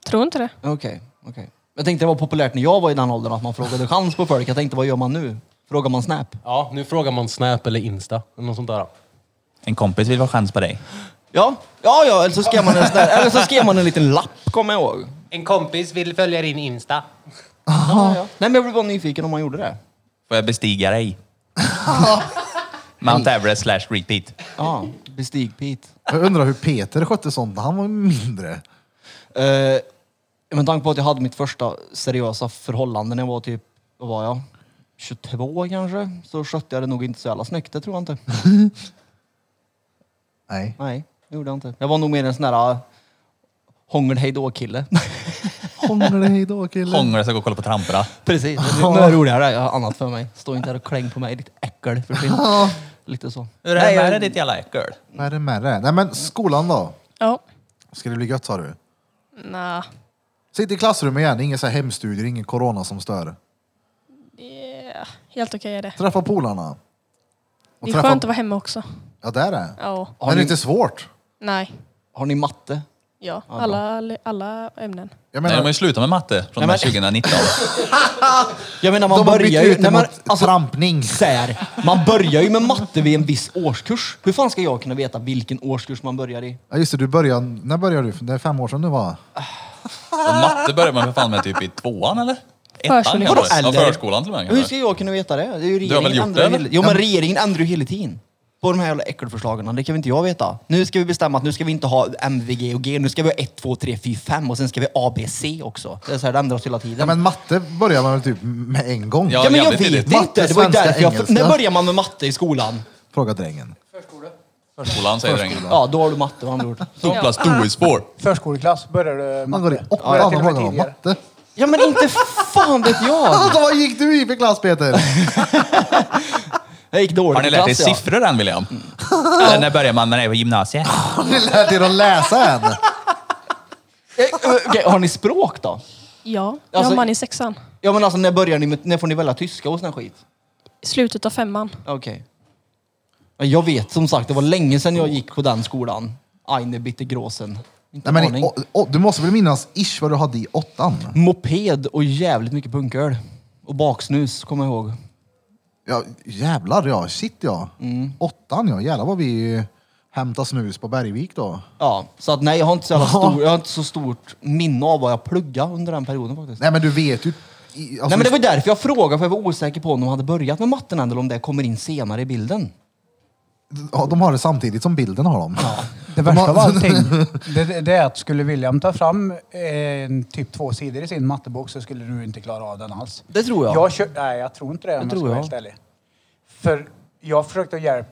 S4: Tror inte det.
S2: Okej, okej. Jag tänkte det var populärt när jag var i den åldern att man frågade chans på folk. Jag tänkte vad gör man nu? Frågar man Snap?
S5: Ja, nu frågar man Snap eller Insta. Eller något sånt där.
S1: En kompis vill ha chans på dig.
S2: Ja, ja, ja eller, så skrev man en sån där, eller så skrev man en liten lapp kommer jag ihåg.
S5: En kompis vill följa din Insta.
S2: Ja, ja. Nej men jag blev bara nyfiken om man gjorde det.
S1: Får jag bestiga dig? Mount Everest slash repeat.
S2: Ja, bestig Pete.
S3: Jag undrar hur Peter skötte sånt när han var mindre.
S2: Eh, med tanke på att jag hade mitt första seriösa förhållande när jag var typ, vad var jag? 22 kanske? Så skötte jag det nog inte så jävla snyggt, det tror jag inte.
S3: Nej.
S2: Nej, det gjorde jag inte. Jag var nog mer en sån där uh, hångel hej då kille.
S3: Hångla dig idag kille.
S1: Hångla ska gå och kolla på tramporna.
S2: Precis, nu är det roligare. Jag har annat för mig. Stå inte här och kläng på mig, ditt äckel. Försvinn. Lite så.
S1: Hur är det med dig ditt jävla äckel?
S3: Vad är det med det? Nej men skolan då?
S4: Ja.
S3: Ska det bli gött sa du?
S4: Nja.
S3: Sitt i klassrummet igen. Inga så här hemstudier, ingen corona som stör.
S4: Yeah. Helt okej är det.
S3: Träffa polarna.
S4: Det är
S3: träffa-
S4: skönt att vara hemma också.
S3: Ja, det är det.
S4: Ja.
S3: Men det är inte svårt.
S4: Nej.
S2: Har ni matte?
S4: Ja, alla, alla ämnen.
S3: Jag
S1: Nej, de har
S3: menar,
S1: ju slutat med matte från och
S2: men-
S1: med 2019.
S2: Jag menar man
S3: de har bytt
S2: börjar ju...
S3: ut det
S2: Nej, men,
S3: mot
S2: alltså,
S3: trampning.
S2: så här, man börjar ju med matte vid en viss årskurs. Hur fan ska jag kunna veta vilken årskurs man börjar i?
S3: Ja, just det, du började, när började du? Det är fem år sedan du var.
S1: Och matte börjar man för fan med typ i tvåan eller? Ettan
S4: Förskolan.
S1: kanske? Ja,
S2: Eller-
S1: förskolan till och med
S2: Hur
S1: kanske.
S2: ska jag kunna veta det? det är ju regeringen
S1: har väl gjort
S2: ändrar
S1: det,
S2: ju
S1: eller?
S2: hela- Jo men regeringen ändrar ju hela tiden. På de här jävla äckelförslagen. Det kan väl inte jag veta. Nu ska vi bestämma att nu ska vi inte ha MVG och G. Nu ska vi ha 1, 2, 3, 4, 5 och sen ska vi ha ABC också. Det är så här, det ändras hela tiden.
S3: Ja, men matte börjar man väl typ med en gång.
S1: Ja.
S2: Ja, men jag
S1: jävligt
S2: vet
S1: tidigt.
S2: inte. Det var ju
S3: Matte,
S2: därför jag...
S3: svenska,
S2: När
S3: engelska.
S2: börjar man med matte i skolan?
S3: Fråga drängen.
S1: Förskolan säger drängen.
S2: Ja, då har du matte med andra ord.
S1: Douglas Doespår.
S6: Förskoleklass börjar du...
S3: Han går i
S6: Börjar
S3: åttan
S6: till
S3: och
S6: och med
S3: frågar om
S6: tidigare.
S3: matte.
S2: Ja men inte fan vet jag!
S3: Alltså vad gick du i för klass Peter?
S2: Jag gick dåligt
S1: Har ni
S2: i
S1: lärt er
S2: klass, ja.
S1: siffror än William? Eller när börjar man när ni är på gymnasiet?
S3: Har ni lärt er att läsa än?
S2: Eh, eh, okej, har ni språk då?
S4: Ja, jag
S2: Alltså-
S4: har man i sexan.
S2: Ja men alltså när börjar ni med, när får ni välja tyska och sån här skit?
S4: Slutet av femman.
S2: Okej. Men Jag vet som sagt, det var länge sedan jag gick på den skolan. Eine bitte großen. Inte
S3: Nej, men,
S2: aning.
S3: i- å- å- du måste väl minnas ish vad du hade i åttan?
S2: Moped och jävligt mycket punköl. Och baksnus, kommer jag ihåg.
S3: Ja, jävlar ja, shit ja.
S2: Mm.
S3: Åttan ja, jävlar vad vi hämtade snus på Bergvik då.
S2: Ja, så att nej, jag har inte så, jävla stor, jag har inte så stort minne av vad jag pluggade under den perioden faktiskt.
S3: Nej men du vet ju. i- Alltså,
S2: nej men det var ju därför jag frågade, för jag var osäker på om de hade börjat med matten än, eller om det kommer in senare i bilden.
S3: ja, de har det samtidigt som bilden har dem.
S6: Det värsta av allting, det, det är att skulle William ta fram en, typ två sidor i sin mattebok så skulle du inte klara av den alls.
S2: Det tror jag.
S6: Jag kör, nej, jag tror inte det om jag
S2: tror
S6: ska vara
S2: jag.
S6: helt ärlig. För jag försökte hjälpa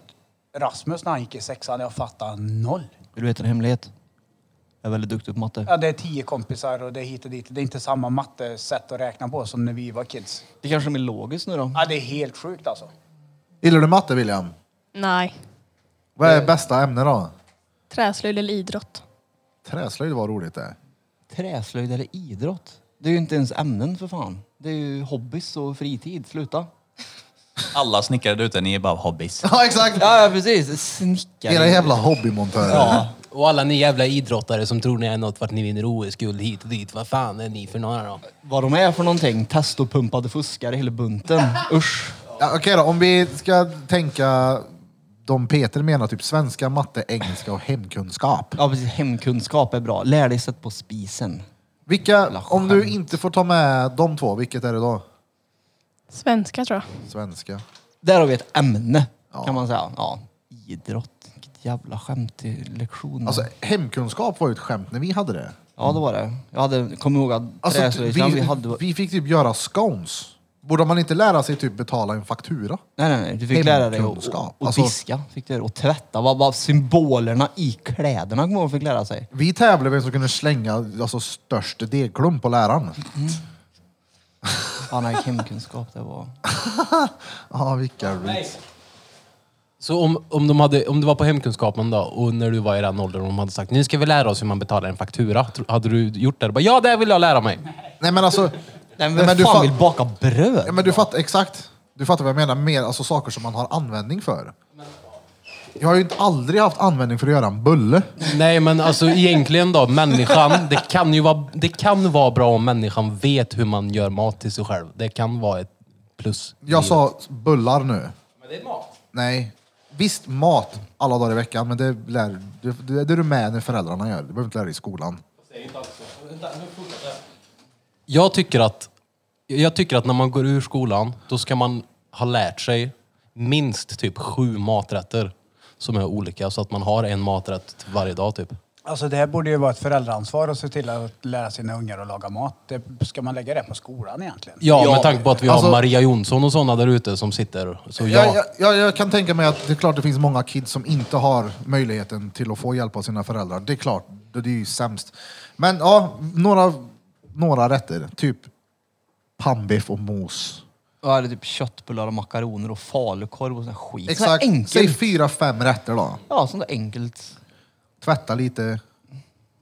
S6: Rasmus när han gick i sexan. Jag fattade noll.
S2: Vill du veta en hemlighet? Jag är väldigt duktig på matte.
S6: Ja, det är tio kompisar och det är hit och dit. Det är inte samma mattesätt att räkna på som när vi var kids.
S2: Det kanske är mer logiskt nu då?
S6: Ja, det är helt sjukt alltså.
S3: Gillar du matte William?
S4: Nej.
S3: Vad
S2: Eh.
S3: är bästa ämne då?
S4: Träslöjd eller idrott.
S3: Träslöjd var roligt det.
S2: Träslöjd eller idrott? Det är ju inte ens ämnen för fan. Det är ju hobbys och fritid. Sluta.
S1: Alla snickare där ute, ni är bara hobbies.
S3: Ja exakt!
S2: Ja, ja precis. Snickare.
S3: Era jävla hobbymontörer.
S5: Ja. Och alla ni jävla idrottare som tror ni är något vart ni vinner OS-guld hit och dit. Vad fan är ni för några då?
S2: Vad de är för någonting. Testopumpade fuskare hela bunten. Usch.
S3: Ja, Okej då, om vi ska tänka de Peter menar, typ svenska, matte, engelska och hemkunskap.
S2: Ja precis. Hemkunskap är bra. Lär dig sätt på spisen.
S3: Vilka, om du inte får ta med de två, vilket är det då?
S4: Svenska tror jag.
S3: Svenska.
S2: Där har vi ett ämne
S3: Ja.
S2: kan man säga. Ja. Idrott. Vilket jävla skämt i lektionen.
S3: Alltså hemkunskap var ju ett skämt när vi hade det.
S2: ja det var det. Jag hade, kommer ihåg att
S3: Alltså, t-
S2: träslöjdsland vi,
S3: vi,
S2: hade...
S3: vi fick typ göra scones. Borde man inte lära sig typ betala en faktura?
S2: Nej, nej, nej. Du fick lära dig att
S3: Hemkunskap.
S2: och, och
S3: Alltså-
S2: diska. Fick du, göra. och tvätta. Vad var symbolerna i kläderna kommer jag ihåg fick lära sig.
S3: Vi tävlade vem som kunde slänga alltså, störst degklump på läraren.
S2: Fan, nej, hemkunskap det var...
S3: Ja, vilka reads.
S5: Så om, om, de hade, om det var på hemkunskapen då och när du var i den åldern och de hade sagt nu ska vi lära oss hur man betalar en faktura. Tro- Hade du gjort det? Du Bara, ja, det vill jag lära mig.
S3: Nej men alltså,
S2: Nej, men,
S3: Nej, men
S2: vem
S3: du
S2: fan
S3: fa-
S2: vill baka bröd?
S3: ja, men du fattar exakt. Du fattar vad jag menar. Mer alltså, saker som man har användning för. Jag har ju inte aldrig haft användning för att göra en bulle.
S5: Nej, men alltså egentligen då, människan. Det kan ju vara, det kan vara bra om människan vet hur man gör mat till sig själv. Det kan vara ett plus.
S3: Jag sa bullar nu.
S5: Men det är mat.
S3: Nej. Visst, mat alla dagar i veckan, men det, lär, det, det är du med när föräldrarna gör. Du behöver inte lära dig i skolan.
S5: Jag tycker att, jag tycker att när man går ur skolan, då ska man ha lärt sig minst typ sju maträtter som är olika. Så att man har en maträtt till varje dag typ.
S6: Alltså det här borde ju vara ett föräldraansvar att se till att lära sina ungar att laga mat. Det, ska man lägga det på skolan egentligen?
S5: Ja, med tanke på att vi
S3: Alltså-
S5: har Maria Jonsson och sådana där ute som sitter. Så ja,
S3: Jag, jag, jag, jag kan tänka mig att det är klart det finns många kids som inte har möjligheten till att få hjälp av sina föräldrar. Det är klart, det det är ju sämst. Men ja, några, några rätter. Typ pannbiff och mos.
S2: Jag hade typ köttbullar och makaroner och falukorv och sån här skit. Sån
S3: Exakt.
S2: här
S3: Säg
S2: enkelt.
S3: fyra, fem rätter då.
S2: Ja, sånt där enkelt.
S3: Tvätta lite.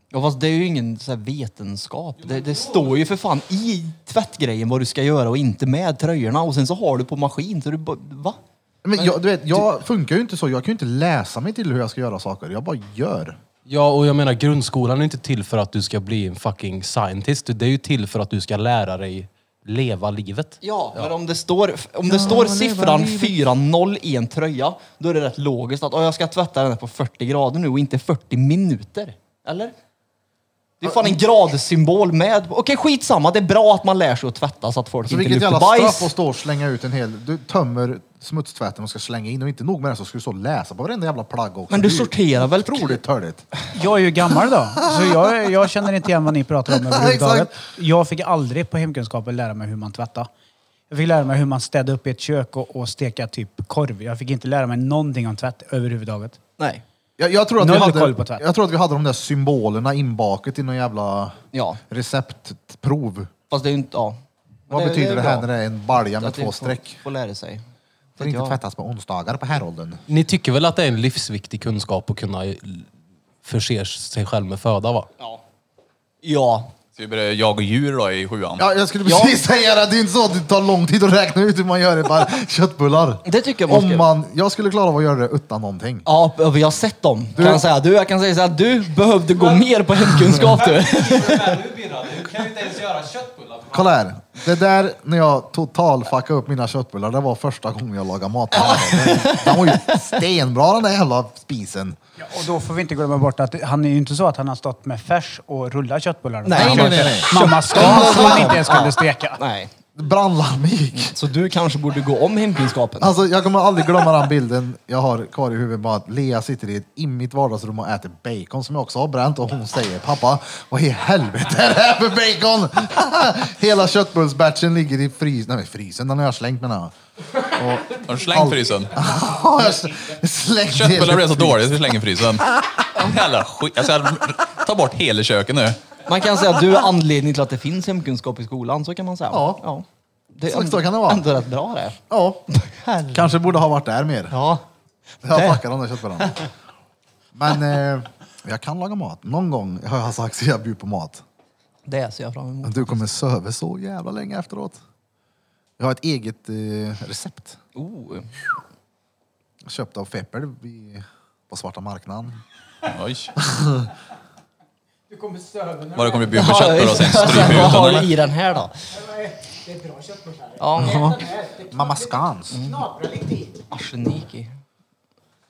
S2: Ja, fast det är ju ingen så här vetenskap. Det, det står ju för fan i tvättgrejen vad du ska göra och inte med tröjorna. Och sen så har du på maskin så du bara... Va?
S3: Men, jag, du vet, jag funkar ju inte så. Jag kan ju inte läsa mig till hur jag ska göra saker. Jag bara gör.
S5: Ja, och jag menar grundskolan är inte till för att du ska bli en fucking scientist. Det är ju till för att du ska lära dig leva livet.
S2: Ja, men om det står, om det står siffran 4-0 i en tröja, då är det rätt logiskt att "Åh, jag ska tvätta den här på 40 grader nu och inte 40 minuter. Eller? Det är fan en gradsymbol med. Okej, skitsamma. Det är bra att man lär sig att tvätta så att folk
S3: Så Alltså,
S2: inte
S3: vilket
S2: luktar
S3: jävla straff att
S2: bajs.
S3: stå och slänga ut en hel... Du tömmer smutstvätten och ska slänga in och inte nog med det så ska du stå och läsa på varenda jävla plagg också.
S2: Men du
S3: Det är ju
S2: sorterar väl
S3: Otroligt törligt.
S6: Jag är ju gammal då, så jag, jag känner inte igen vad ni pratar om överhuvudtaget. Jag fick aldrig på hemkunskapen lära mig hur man tvättar. Jag fick lära mig hur man städar upp i ett kök och, och steka typ korv. Jag fick inte lära mig någonting om tvätt överhuvudtaget.
S2: Nej.
S3: Jag, jag, tror att
S6: Noll
S3: vi hade,
S6: koll på tvätt.
S3: jag tror att vi hade de där symbolerna inbakat i någon jävla
S2: Ja,
S3: receptprov.
S2: fast det är ju inte... Ja.
S3: Vad
S2: Det-
S3: betyder det,
S2: är
S3: här
S2: bra.
S3: när det är en balja med
S2: Att vi
S3: två
S2: får-
S3: streck?
S2: Får lära sig.
S3: Får inte
S2: Ja.
S3: tvättas på onsdagar på häråldern.
S5: Ni tycker väl att det är en livsviktig kunskap att kunna l- förse sig själv med föda va?
S2: Ja.
S1: Ska vi börja jaga djur då i sjuan?
S3: Ja, jag skulle precis säga det. Det är inte så att det tar lång tid att räkna ut hur man gör det. Bara köttbullar.
S2: Det tycker jag man
S3: Om
S2: ska-
S3: man, jag skulle klara av att göra det utan någonting.
S2: Ja, vi har sett dem. Kan jag, säga. Du, jag kan säga så här, du behövde gå mer på hemkunskap du.
S5: Du kan ju inte ens göra köttbullar.
S3: Kolla här. Det där när jag total fuckade upp mina köttbullar, det var första gången jag lagade mat. Den var ju stenbra den där jävla spisen.
S6: Ja, och då får vi inte glömma bort att han är ju inte så att han har stått med färs och rullat köttbullarna.
S2: Nej,
S6: Han
S3: nej,
S6: var-
S3: nej, nej.
S6: Mamma ska så han inte ens kunde steka.
S2: Nej.
S3: Brandlarmet gick.
S2: Så du kanske borde gå om hemkunskapen?
S3: Alltså jag kommer aldrig glömma den bilden jag har kvar i huvudet bara att Lea sitter i, ett, i mitt vardagsrum och äter bacon som jag också har bränt och hon säger pappa vad i helvete är det här för bacon? Hela köttbullsbatchen ligger i frysen, nej men frysen den har jag slängt menar jag.
S1: Har du slängt frysen?
S3: Ja, jag sl- slängt hela
S1: Köttbullar blev så
S3: frysen.
S1: dåligt, vi slänger i frysen. Jävla skit. Jag ska ta bort hela köket nu.
S2: Man kan säga att du är anledningen till att det finns hemkunskap i skolan, så kan man säga.
S3: Ja.
S2: Det är
S3: Så-
S2: ändå,
S3: så kan det vara.
S2: ändå rätt bra det.
S3: Ja, kanske borde ha varit där mer.
S2: Ja.
S3: Jag
S2: Det.
S3: fuckar de där köttbullarna. Men eh, jag kan laga mat. Någon gång har jag sagt att jag bjuder på mat.
S2: Det ser jag fram emot.
S3: Men du kommer söva så jävla länge efteråt. Jag har ett eget eh, recept.
S2: Oh.
S3: Köpt av Feppel i- på svarta marknaden.
S1: Oj.
S6: Du kommer stöva
S1: Vad det kommer bli bjud på köttbullar och sen strypa
S2: Vad
S1: ut den
S2: har du
S1: eller?
S2: i den här då?
S6: Det är bra köttbullar.
S2: Ja,
S3: Mamma Scans.
S6: Knapra lite i.
S2: arsenik i.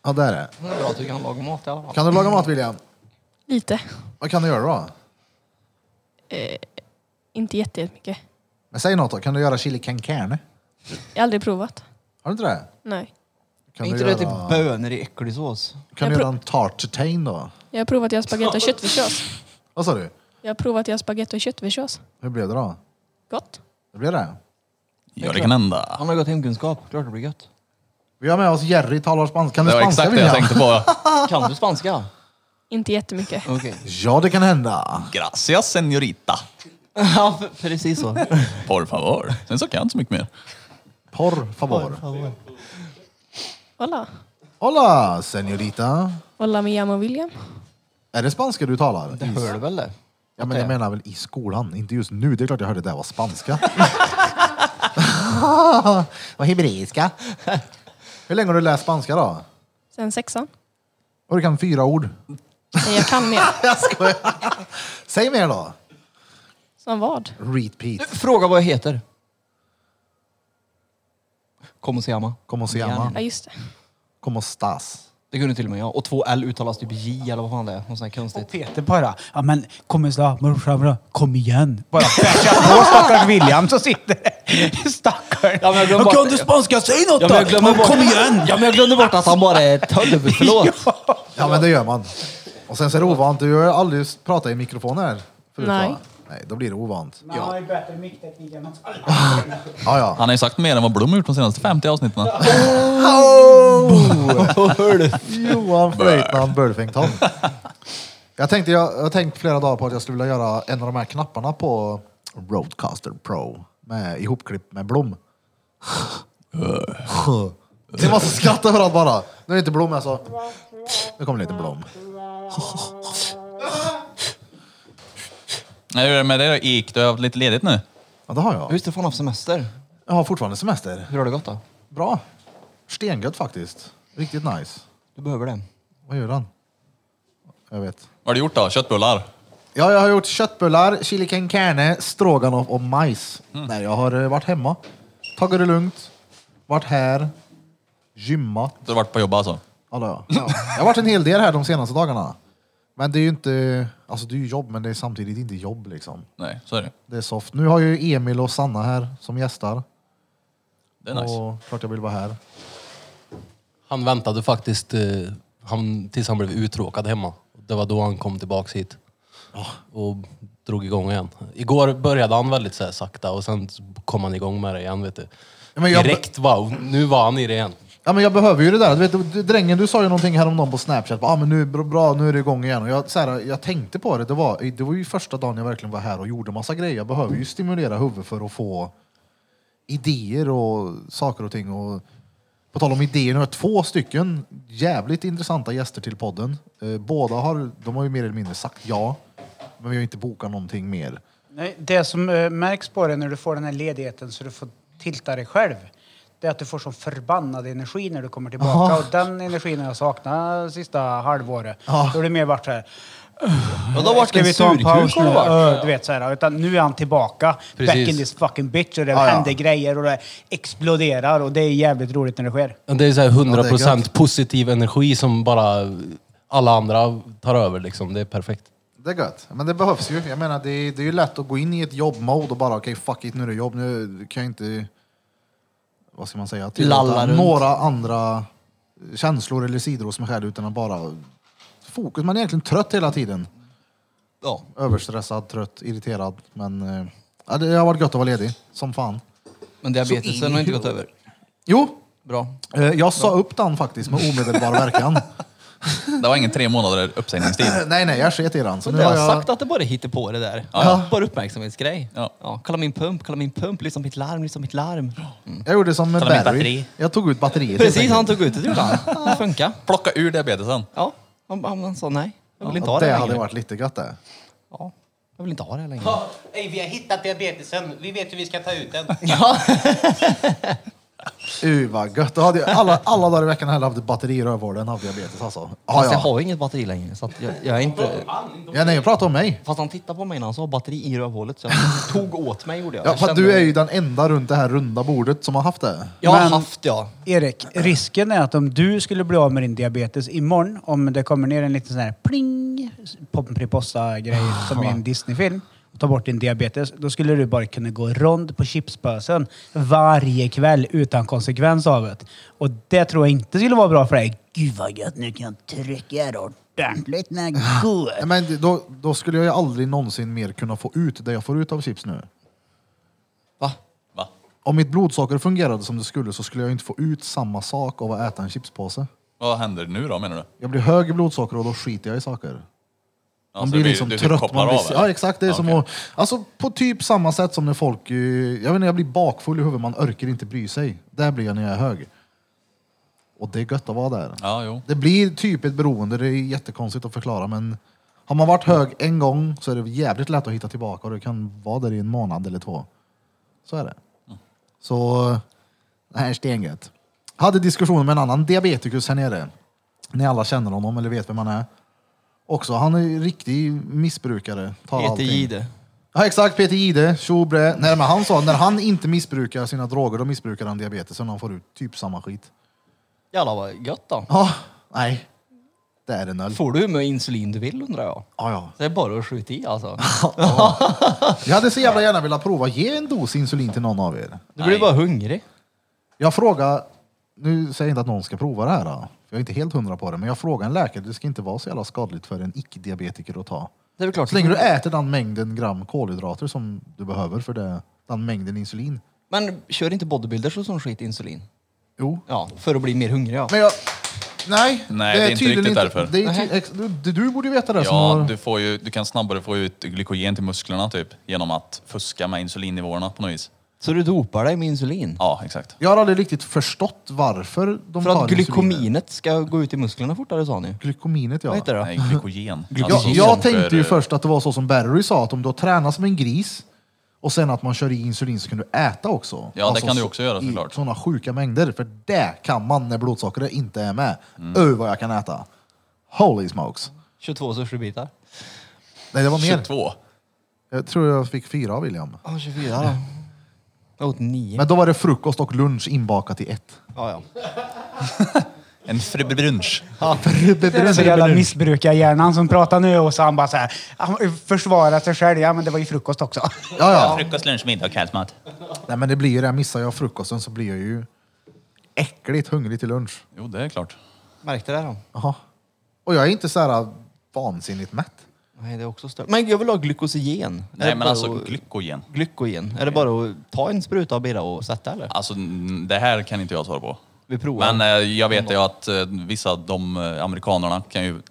S3: Ja, det är det.
S2: Det är bra att du kan laga mat i alla fall.
S3: Kan du laga mat William?
S4: Lite.
S3: Vad kan du göra då?
S4: Inte jätte- jättemycket.
S3: Men säg något då. Kan du göra chili con carne?
S4: Jag har aldrig provat.
S3: Har du inte det?
S4: Nej.
S3: Kan
S2: är
S3: du
S2: inte det
S3: göra-
S2: typ bönor i äcklig sås?
S3: Kan du
S4: Jag
S3: göra en tartatain då?
S4: Jag har provat att göra spagetti och köttfärssås.
S3: Vad sa du?
S4: Jag har provat att göra spagetti och köttfärssås.
S3: Hur blev det då?
S4: Gott.
S3: Det blev det.
S1: Ja, det kan hända.
S2: Han har gått hemkunskap, klart det blir gött.
S3: Vi har med oss Jerry, talar spanska. Kan du
S1: Det var
S3: spanska
S1: exakt det jag
S3: William?
S1: tänkte på.
S2: Kan du spanska?
S4: Inte jättemycket.
S2: Okej.
S3: Ja, det kan hända.
S1: Gracias señorita.
S2: Ja, f- precis så.
S1: Por favor. Sen så kan jag inte så mycket mer.
S3: Por favor.
S4: Hola.
S3: Hola, señorita.
S4: Hola, mi amo William.
S3: Är det spanska du talar?
S2: Det hör du väl det?
S3: Ja, men jag menar väl i skolan, inte just nu. Det är klart jag hörde det där var spanska. Vad hebreiska. Hur länge har du läst spanska då?
S4: Sen sexan.
S3: Och du kan fyra ord.
S4: Nej, jag kan mer.
S3: Jag skojar. Säg mer då.
S4: Som vad?
S3: Repeat.
S2: Fråga vad jag heter. Kom och se Amma.
S3: Como se llama?
S4: Ja, just det.
S3: Como stas?
S2: Det kunde till och med jag. Och två L uttalas typ J eller vad fan det är. Något sånt här konstigt.
S6: Peter bara, ja men kom igen, morsan, bra. kom igen. Bara flasha på stackars William som sitter där. Stackarn.
S2: Ja, men jag glömmer bort-
S6: spanska? Säg något
S2: Ja, men jag glömmer bort, Ja, men jag glömde bort att han bara är tolv. Förlåt.
S3: Ja, men det gör man. Och sen så är det ovant. Du har ju aldrig pratat i mikrofon här förut
S4: Nej.
S3: Va? Nej, då blir det ovant.
S6: Man har ju bättre mickteknik än hans
S3: Ja, ja.
S1: Han har ju sagt mer än vad Blom har gjort de senaste 50 avsnitten.
S3: Johan Flöjtnant Burfington. Jag tänkte, jag, jag har tänkt flera dagar på att jag skulle vilja göra en av de här knapparna på Roadcaster Pro med ihopklipp med Blom. Ni måste skratta överallt bara. Nu är det inte Blom alltså. Nu kommer en liten Blom.
S1: Nej, hur är det med det gick Du har haft lite ledigt nu.
S3: Ja, det har jag.
S2: Just det, fan haft semester.
S3: Jag har fortfarande semester.
S2: Hur har det gått då?
S3: Bra. Stengött faktiskt. Riktigt nice.
S2: Du behöver det.
S3: Vad gör han? Jag vet.
S1: Vad har du gjort då? Köttbullar?
S3: Ja, jag har gjort köttbullar, chili con carne, stroganoff och majs.
S1: Mm.
S3: Nej, jag har eh, varit hemma, tagit det lugnt, varit här, gymmat.
S1: Du har varit på jobb alltså?
S3: Alla ja. Ja. Jag har varit en hel del här de senaste dagarna. Men det är ju inte, alltså det är ju jobb, men det är samtidigt inte jobb liksom.
S1: Nej, så är det.
S3: Det är soft. Nu har ju Emil och Sanna här som gästar.
S1: Det är nice.
S3: Och klart jag vill vara här.
S5: Han väntade faktiskt eh, han, tills han blev uttråkad hemma. Det var då han kom tillbaks hit. Och drog igång igen. Igår började han väldigt så här, sakta och sen kom han igång med det igen. Vet du.
S3: Ja, men jag-
S5: Direkt wow, nu var han i det igen.
S3: Ja, men jag behöver ju det där. Du vet, du- drängen, du sa ju någonting häromdagen på Snapchat. Ah, men nu, är det bra, nu är det igång igen. Och jag, så här, jag tänkte på det. Det var, det var ju första dagen jag verkligen var här och gjorde massa grejer. Jag behöver ju stimulera huvudet för att få idéer och saker och ting. Och på tal om idéer, nu har jag två stycken jävligt intressanta gäster till podden. Eh, båda har, de har ju mer eller mindre sagt ja, men vi har inte bokat någonting mer.
S6: Nej, det som eh, märks på dig när du får den här ledigheten så du får tilta dig själv det är att du får sån förbannad energi när du kommer tillbaka.
S3: Ja.
S6: Och den energin har jag saknat sista halvåret.
S3: Ja.
S6: Då har det mer varit så här...
S1: Ja, då vart
S6: ska
S1: det
S6: vi
S1: en
S6: ta en
S1: surkuk
S6: paus
S1: har
S6: nu?
S1: det varit.
S6: Ö, Du vet, så här, utan nu är han tillbaka.
S5: Precis.
S6: Back in this fucking bitch. Och det
S3: Ja, ja.
S6: händer grejer och det exploderar. Och det är jävligt roligt när det sker.
S5: Men Det är så här 100
S3: Ja, det är gött.
S5: positiv energi som bara alla andra tar över liksom. Det är perfekt.
S3: Det är gött, men det behövs ju. Jag menar, det är, det är ju lätt att gå in i ett jobbmode och bara okej, fuck it, nu är det jobb, nu kan jag inte, vad ska man säga, Typ
S2: Lalla runt.
S3: några andra känslor eller sidor hos mig själv utan att bara fokus. Man är egentligen trött hela tiden.
S1: Ja.
S3: Överstressad, trött, irriterad, men eh, ja, det har varit gött att vara ledig, som fan.
S2: Men diabetesen har inte gått över.
S3: Jo,
S2: Bra.
S3: eh, jag sa upp den faktiskt med omedelbar verkan.
S1: Det var ingen tre månader uppsägningstid.
S3: nej, nej, jag sket i den. Så
S2: Men
S3: nu
S2: det har
S3: har
S2: jag
S3: jag...
S2: sagt att det bara hittar på det där.
S1: Ja.
S2: Bara uppmärksamhetsgrej.
S1: Ja.
S2: Kolla min pump, kolla min pump, lyssna på mitt larm, lyssna på mitt larm.
S3: Jag gjorde som med
S1: Ta mitt
S3: Barry.
S1: batteri.
S3: Jag tog ut batteriet. helt
S2: Precis,
S3: enkelt.
S2: han tog ut det gjorde han. Det funkar.
S1: Plocka ur diabetesen.
S2: Ja, han, han, han sa nej. Jag vill inte
S3: Ja,
S2: ha det,
S3: det
S2: längre.
S3: hade varit lite gött det.
S2: Ja, jag vill inte ha det längre.
S7: Ey, vi har hittat diabetesen. Vi vet hur vi ska ta ut den.
S3: Uh, vad gött. Då hade jag alla, alla dagar i veckan hade jag haft ett batteri i rövhålen av diabetes alltså. Ah,
S2: Fast jag
S3: ja.
S2: har ju inget batteri längre så att jag, jag är inte...
S3: ja, nej, jag pratar om mig.
S2: Fast han tittade på mig när han sa batteri i rövhålet så jag tog åt mig gjorde jag.
S3: Ja,
S2: Jag
S3: för
S2: kände-
S3: du är ju den enda runt det här runda bordet som har haft det.
S2: Jag har
S6: Men-
S2: haft ja.
S6: Erik, risken är att om du skulle bli av med din diabetes imorgon, om det kommer ner en liten sån här pling, Pomperipossa-grej som i en Disney-film, och tar bort din diabetes, då skulle du bara kunna gå rond på chipspösen varje kväll utan konsekvens av det. Och det tror jag inte skulle vara bra för dig. Gud vad gött, nu kan jag trycka det ordentligt när jag går.
S3: Nej, Men då, då skulle jag ju aldrig någonsin mer kunna få ut det jag får ut av chips nu.
S2: Va?
S1: Va?
S3: Om mitt blodsocker fungerade som det skulle så skulle jag ju inte få ut samma sak av att äta en chipspåse.
S1: Vad händer nu då menar du?
S3: Jag blir hög i blodsocker och då skiter jag i saker. Man
S1: Alltså,
S3: blir
S1: det
S3: liksom
S1: du typ
S3: trött.
S1: kopplar
S3: Man blir,
S1: av, eller?
S3: ja, exakt. Det är
S1: Ja,
S3: som
S1: okej.
S3: att, alltså, på typ samma sätt som när folk... eh, Jag vet inte, jag blir bakfull i huvudet. Man orkar inte bry sig. Där blir jag när jag är hög. Och det är gött att vara där.
S1: Ja, jo.
S3: Det blir typ ett beroende. Det är jättekonstigt att förklara, men har man varit hög en gång så är det jävligt lätt att hitta tillbaka och det kan vara där i en månad eller två. Så är det. Så det här är stengött. Hade diskussioner med en annan diabetikus här nere. Ni alla känner honom eller vet vem han är. Också, han är ju riktig missbrukare. Tar
S2: Peter
S3: allting.
S2: Jihde.
S3: Ja exakt, Peter Jihde, tjo bre. Nej men han sa när han inte missbrukar sina droger då missbrukar han diabetesen och han får ut typ samma skit.
S2: Jävlar vad gött då.
S3: Ja, nej. Det är en öl.
S2: Får du hur mycket insulin du vill undrar jag.
S3: Ja, ja.
S2: Så det är bara att skjuta i alltså.
S3: Jag hade så jävla gärna velat prova ge en dos insulin till någon av er.
S2: Du blir bara hungrig.
S3: Jag frågar, nu säger jag inte att någon ska prova det här då. Jag är inte helt hundra på det, men jag frågar en läkare, det ska inte vara så jävla skadligt för en icke-diabetiker att ta.
S2: Det är väl klart.
S3: Så länge du äter den mängden gram kolhydrater som du behöver för det, den mängden insulin.
S2: Men kör inte bodybuilders och sån skit insulin.
S3: Jo.
S2: Ja, för att bli mer hungrig ja.
S3: Men jag... Nej,
S1: Nej, det är inte
S3: tydligen
S1: riktigt därför.
S3: Det är ty- ex- du, du borde ju veta det som
S1: Ja,
S3: har...
S1: du, får ju, du kan snabbare få ut glykogen till musklerna typ genom att fuska med insulinnivåerna på något vis.
S2: Så du dopar dig med insulin?
S1: Ja, exakt.
S3: Jag har aldrig riktigt förstått varför de
S2: För
S3: tar
S2: att
S3: insuliner.
S2: glykominet ska gå ut i musklerna fortare sa ni.
S3: Glykominet, ja.
S2: Vad heter det?
S1: Nej, glykogen.
S3: Jag,
S1: Alltså,
S3: jag
S1: som
S3: tänkte ju
S1: för-
S3: först att det var så som Barry sa, att om du har tränat som en gris och sen att man kör i insulin så kan du äta också. Alltså
S1: Ja, det kan du också göra,
S3: i
S1: såklart.
S3: sådana sjuka mängder, för
S1: Mm.
S3: det kan man när blodsockret inte är med. Öh vad jag kan äta! Holy smokes!
S2: 22 sushibitar.
S3: Nej, det var mer.
S1: 22.
S3: Jag tror jag fick fyra av William.
S2: Ja, 24 då. Jag åt 9.
S3: Men då var det frukost och lunch inbakat i ett.
S2: Ja, ja.
S1: En fribrunch.
S6: Det är den så jävla missbrukarhjärnan som pratar nu och så han bara så här, han försvarar sig själv. Ja, men det var ju frukost också.
S3: Ja, ja.
S1: Frukost, lunch, middag och kvällsmat.
S3: Nej, men det blir ju det. Missar jag frukosten så blir jag ju äckligt hungrig till lunch.
S1: Jo, det är klart.
S2: Märkte det då?
S3: Jaha. Och jag är inte så här vansinnigt mätt.
S2: Nej, det är också stört. Men jag vill ha glykosygen. Är det
S1: Nej, men
S2: bara
S1: alltså
S2: att-
S1: glykogen.
S2: glykogen. Är det bara att ta en spruta av Birra och sätta eller?
S1: Alltså, n- det här kan inte jag svara på.
S2: Vi provar.
S1: Men eh, jag vet ju att eh, vissa av de eh, amerikanerna kan ju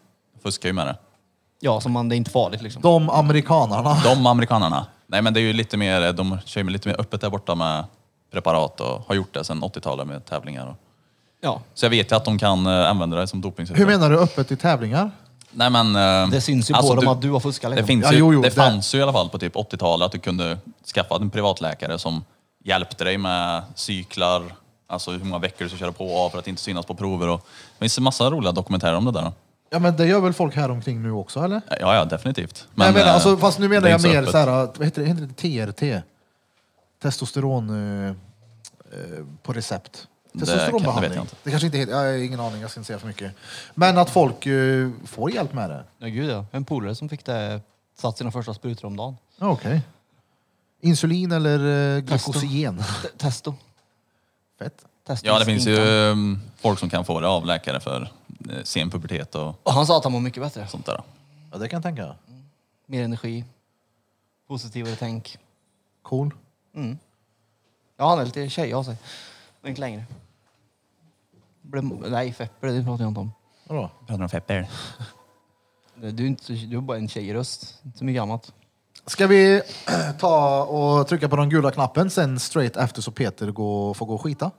S1: fuska ju med det.
S2: Ja, som man, det är inte farligt liksom.
S3: De amerikanarna.
S1: De amerikanerna. Nej, men det är ju lite mer, eh, de kör ju lite mer öppet där borta med preparat och har gjort det sedan 80-talet med tävlingar. Och.
S2: Ja.
S1: Så jag vet ju att de kan eh, använda det som dopingsätt.
S3: Hur menar du öppet i tävlingar?
S1: Nej, men, eh,
S2: Det syns ju
S1: alltså,
S2: på dem att du har fuskat
S1: Det,
S2: liksom.
S1: finns
S3: Ja,
S1: ju,
S3: jo, jo,
S1: det
S3: det-
S1: fanns ju i alla fall på typ 80-talet att du kunde skaffa en privatläkare som hjälpte dig med cyklar, alltså hur många veckor du ska köra på och av för att inte synas på prover. Och, det finns en massa roliga dokumentärer om det där.
S3: Ja, men det gör väl folk här omkring nu också, eller?
S1: Ja, ja, definitivt.
S3: Nej, men,
S1: eh,
S3: alltså, fast nu menar
S1: det är
S3: jag
S1: inte
S3: mer
S1: öppet.
S3: så här, vad heter det, heter det TRT? Testosteron eh, eh, på recept.
S1: Det kan- det vet
S3: Testosteronbehandling.
S1: jag
S3: Det,
S1: inte.
S3: kanske inte heter, jag har ingen aning, jag ska inte säga för mycket. Men att folk eh, får hjälp med det.
S2: Ja, gud ja. En polare som fick det, satt sina första sprutor om dagen.
S3: Ja, Okej. Insulin eller eh, glykosygen?
S2: T- Testo.
S3: Fett.
S2: Testo.
S1: Ja, det finns ju
S2: Stinkan.
S3: Mm.
S1: eh, folk som kan få det av läkare för eh, sen pubertet och
S2: Och han sa att han mår mycket bättre.
S1: sånt där.
S3: Ja, det kan jag tänka.
S2: Mer energi. Positivare tänk.
S3: Cool.
S2: Ja, han är lite tjej av sig. Men inte längre. Blev, nej, feppre, det pratar jag inte om.
S3: Vadå?
S1: Pratar om feppel.
S2: Du är, inte, så- du är bara en tjejröst. Inte så mycket annat.
S3: Ska vi eh, ta och trycka på den gula knappen sen straight efter så Peter gå, får gå och skita?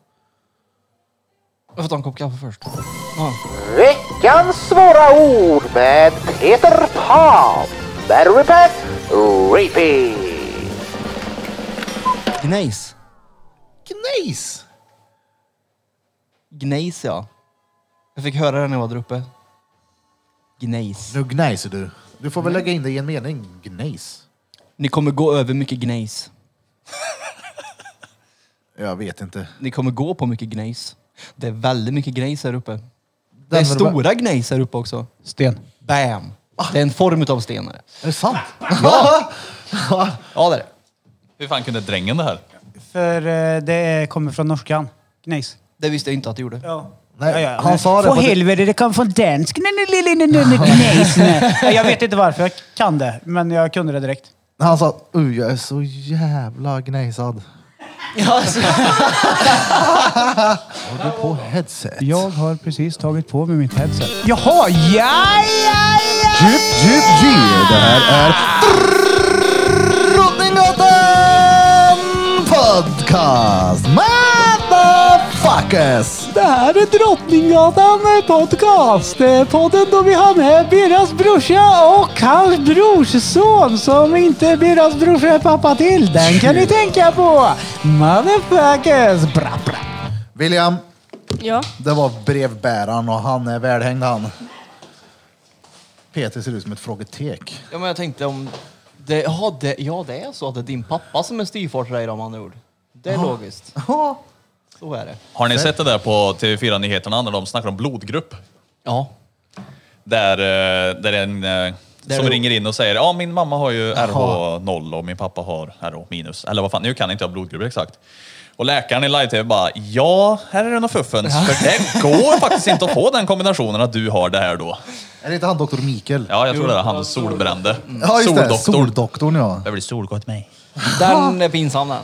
S2: Jag får ta en kopp kaffe först. Ja.
S8: Veckans svåra ord med Peter Pan. Battle repeat, repeat.
S2: Gnejs.
S3: Gnejs!
S2: Gnejs, ja. Jag fick höra det när jag var där uppe. Gnejs.
S3: Nu gnejser du. Du får väl lägga in det i en mening. Gnejs.
S2: Ni kommer gå över mycket gnejs.
S3: Jag vet inte.
S2: Ni kommer gå på mycket gnejs. Det är väldigt mycket gnejs här uppe. Det
S3: Den
S2: är
S3: var det
S2: stora gnejs här uppe också.
S6: Sten.
S2: Bam! Det är en form utav stenare.
S3: Är det sant?
S2: Ja, det är det.
S1: Hur fan kunde drängen det här?
S6: För eh, det kommer från norskan. Gnejs.
S2: Det visste jag inte att det gjorde.
S6: Ja.
S3: Nej, han sa det
S6: Få
S3: på-
S6: helvete, det kom från dansk. Nej, nej, nej, nej, nej, nej, gnejs. nej. Nej, Jag vet inte varför jag kan det, men jag kunde det direkt.
S3: Han sa "Uh, jag är så jävla gnejsad. alltså. Har du på headset?
S6: har precis tagit på mig mitt headset. Jaha, ja, ja, ja!
S3: Djup, djup, djup. Det här är Drottninggatan Podcast. Motherfuckers!
S6: Det här är Drottninggatan podcast. Podden då vi har med Birras brorsa och hans brorsson som inte Birras brorsa är pappa till. Den kan ni tänka på. Motherfuckers! Bra, bra.
S3: William,
S4: Ja,
S3: det var brevbäraren och han är välhängd han. Peter ser ut som ett frågetek.
S2: Ja, men jag tänkte om... Det, ja, det, ja, det är så att det är din pappa som är styvfar till dig då, om han ord. Det är logiskt.
S3: Ja.
S2: Så är det.
S1: Har ni sett det där på TV4-nyheterna när de snackar om blodgrupp?
S2: Ja.
S1: Där, eh, där en eh,
S2: Där
S1: som
S2: är-
S1: ringer in och säger ja min mamma har ju
S3: Jaha.
S1: RH0 och min pappa har RH minus. Eller vad fan, nu kan inte jag blodgrupper exakt. Och läkaren i live-tv bara ja, här är det nog fuffens. För det går faktiskt inte att få den kombinationen att du har det här då.
S3: Är det inte han doktor Mikael?
S1: Ja, jag tror det är han solbrände.
S3: Ja, just det.
S1: Soldoktor.
S3: Soldoktorn ja.
S1: Det blir solgott mig.
S2: Den är pinsam den.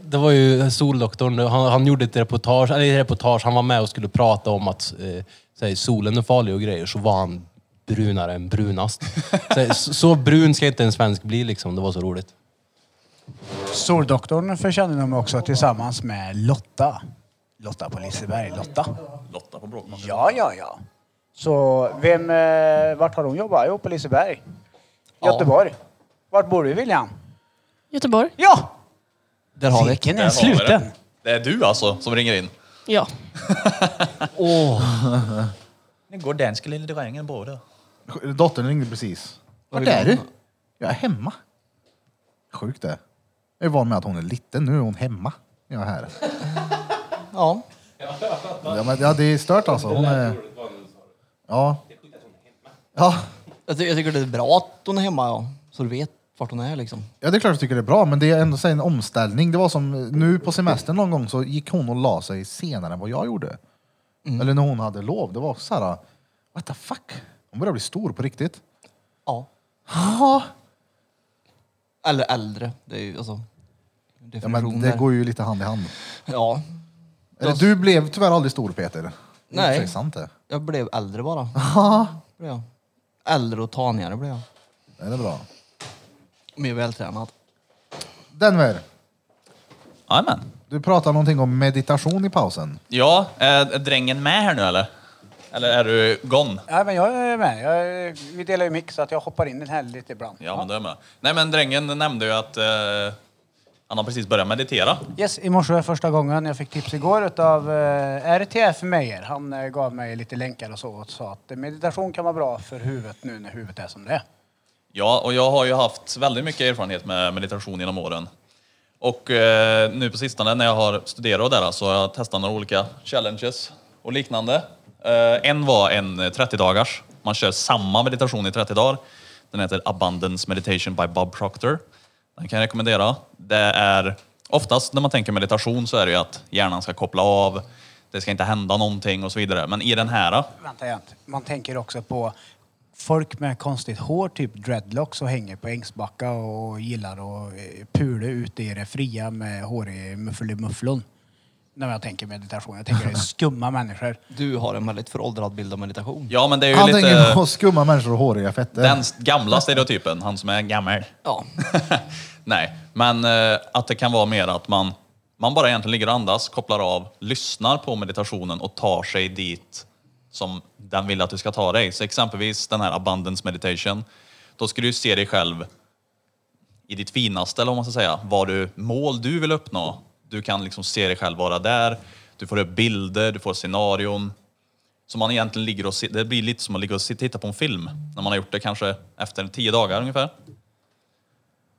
S5: Det var ju Soldoktorn, han, han gjorde ett reportage, eller ett reportage, han var med och skulle prata om att eh, så här, solen är farlig och grejer, så var han brunare än brunast. Så, här, så, så brun ska inte en svensk bli liksom, det var så roligt.
S6: Soldoktorn förtjänar de också tillsammans med Lotta. Lotta på Liseberg. Lotta.
S1: Lotta på Bråkman.
S6: Ja, ja, ja. Så vem, eh, vart har hon jobbat? Jo, på Liseberg.
S2: Ja.
S6: Göteborg. Vart bor du William?
S4: Göteborg.
S6: Ja!
S2: Där har vi.
S6: Vilken
S1: Där
S6: är
S1: har vi det.
S6: sluten?
S1: Det är du alltså som ringer in.
S4: Ja.
S1: Nu går danske lille drängen båda.
S3: Dottern ringde precis. Vart är du? Jag är hemma. Sjukt det. Jag är van med att hon är liten. Nu är hon hemma. Jag är här.
S2: Ja.
S3: Ja, men, ja det är stört alltså. Hon är... Ja. Ja.
S2: Jag, ty- jag tycker det är bra att hon är hemma ja. Så du vet vart hon är liksom.
S3: Ja, det är klart jag tycker det är bra, men det är ändå så här en omställning. Det var som eh, nu på semestern någon gång så gick hon och la sig senare än vad jag gjorde. Eller när hon hade lov. Det var så här, what the fuck? Hon börjar bli stor på riktigt.
S2: Ja.
S3: Ja,
S2: Eller äldre. Det är ju alltså...
S3: men
S2: Definition
S3: det
S2: där.
S3: går ju lite hand i hand.
S2: Ja.
S3: Eller du blev tyvärr aldrig stor Peter. Det är
S2: Nej.
S3: i och för sig sant det.
S2: Jag blev äldre bara.
S3: Ja,
S2: Blev jag. Äldre och tanigare blev jag.
S3: det är bra.
S2: Mer vältränad.
S3: Denver,
S1: Jajamän.
S3: du pratade någonting om meditation i pausen.
S1: Ja, eh, är är drängen med här nu eller? Eller är du gone?
S6: Nej, men jag är med. Jag är, vi delar ju mick så att jag hoppar in i den här lite ibland.
S1: Ja, men då är jag med. Nej, men drängen nämnde ju att eh, han har precis börjat meditera.
S6: Yes, i morse var första gången. Jag fick tips igår eh, av RTF Meyer. Han eh, gav mig lite länkar och så och sa att eh, meditation kan vara bra för huvudet nu när huvudet är som det är.
S1: Ja, och jag har ju haft väldigt mycket erfarenhet med meditation genom åren. Och eh, nu på sistone när jag har studerat och där så har jag testat några olika challenges och liknande. Eh, en var en eh, 30-dagars. Man kör samma meditation i 30 dagar. Den heter Abundance Meditation by Bob Proctor. Den kan jag rekommendera. Det är oftast när man tänker meditation så är det ju att hjärnan ska koppla av, det ska inte hända någonting och så vidare. Men i den här
S6: Vänta Jent. Man tänker också på folk med konstigt hår, typ dreadlocks och hänger på Ängsbacka och gillar att eh, pula ute i det fria med hårig muffelmufflon. När jag tänker meditation. Jag tänker det är skumma människor.
S2: Du har en väldigt föråldrad bild av meditation.
S1: Ja, men det är ju
S3: Han
S1: lite...
S3: tänker på skumma människor och håriga fetter.
S1: Den gamla stereotypen, han som är gammal.
S2: Ja.
S1: Nej, men eh, att det kan vara mer att man, man bara egentligen ligger och andas, kopplar av, lyssnar på meditationen och tar sig dit som den vill att du ska ta dig. Så exempelvis den här abundance meditation, då ska du se dig själv i ditt finaste, eller vad man ska säga, vad du, mål du vill uppnå. Du kan liksom se dig själv vara där, du får upp bilder, du får scenarion. Så man egentligen ligger och, se- det blir lite som att ligga och se- titta på en film, när man har gjort det kanske efter tio dagar ungefär.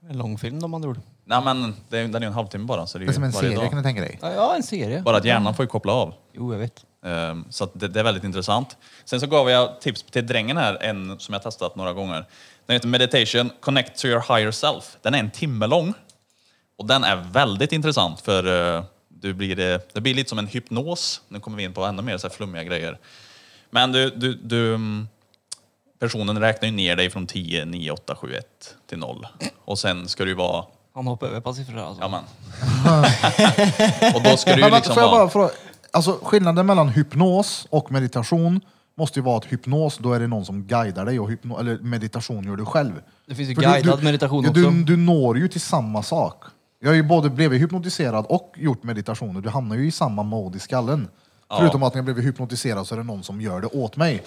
S2: En långfilm om man tror.
S1: Nej men det, är- den är ju en halvtimme bara. Så det är,
S3: Det är som
S1: ju
S3: en
S1: varje
S3: serie
S1: dag.
S3: kan du tänka dig.
S2: Ja, Ja, en serie.
S1: Bara att hjärnan får ju koppla av.
S2: Jo, jag vet.
S1: Ehm, Så att det, det är väldigt intressant. Sen så gav jag tips till drängen här, en som jag testat några gånger. Den heter Meditation Connect to your higher self. Den är en timme lång. Och den är väldigt intressant för eh, du blir, eh, det blir lite som en hypnos. Nu kommer vi in på ännu mer så här flummiga grejer. Men du, du, du, mm, personen räknar ju ner dig från 10, 9, 8, 7, 1 till 0. Och sen ska du ju vara,
S2: Han hoppar över ett par siffror här, alltså.
S1: ja men. och då ska du ju
S3: Men vänta,
S1: liksom
S3: får jag
S1: vara...
S3: bara fråga, alltså, skillnaden mellan hypnos och meditation måste ju vara att hypnos, då är det någon som guidar dig och hypno, eller meditation gör du själv.
S2: Det finns ju
S3: För
S2: guidad meditation
S3: ja,
S2: också.
S3: Du, du når ju till samma sak. Jag har ju både blivit hypnotiserad och gjort meditationer. Du hamnar ju i samma mode i skallen. Förutom att när jag blev hypnotiserad så är det någon som gör det åt mig.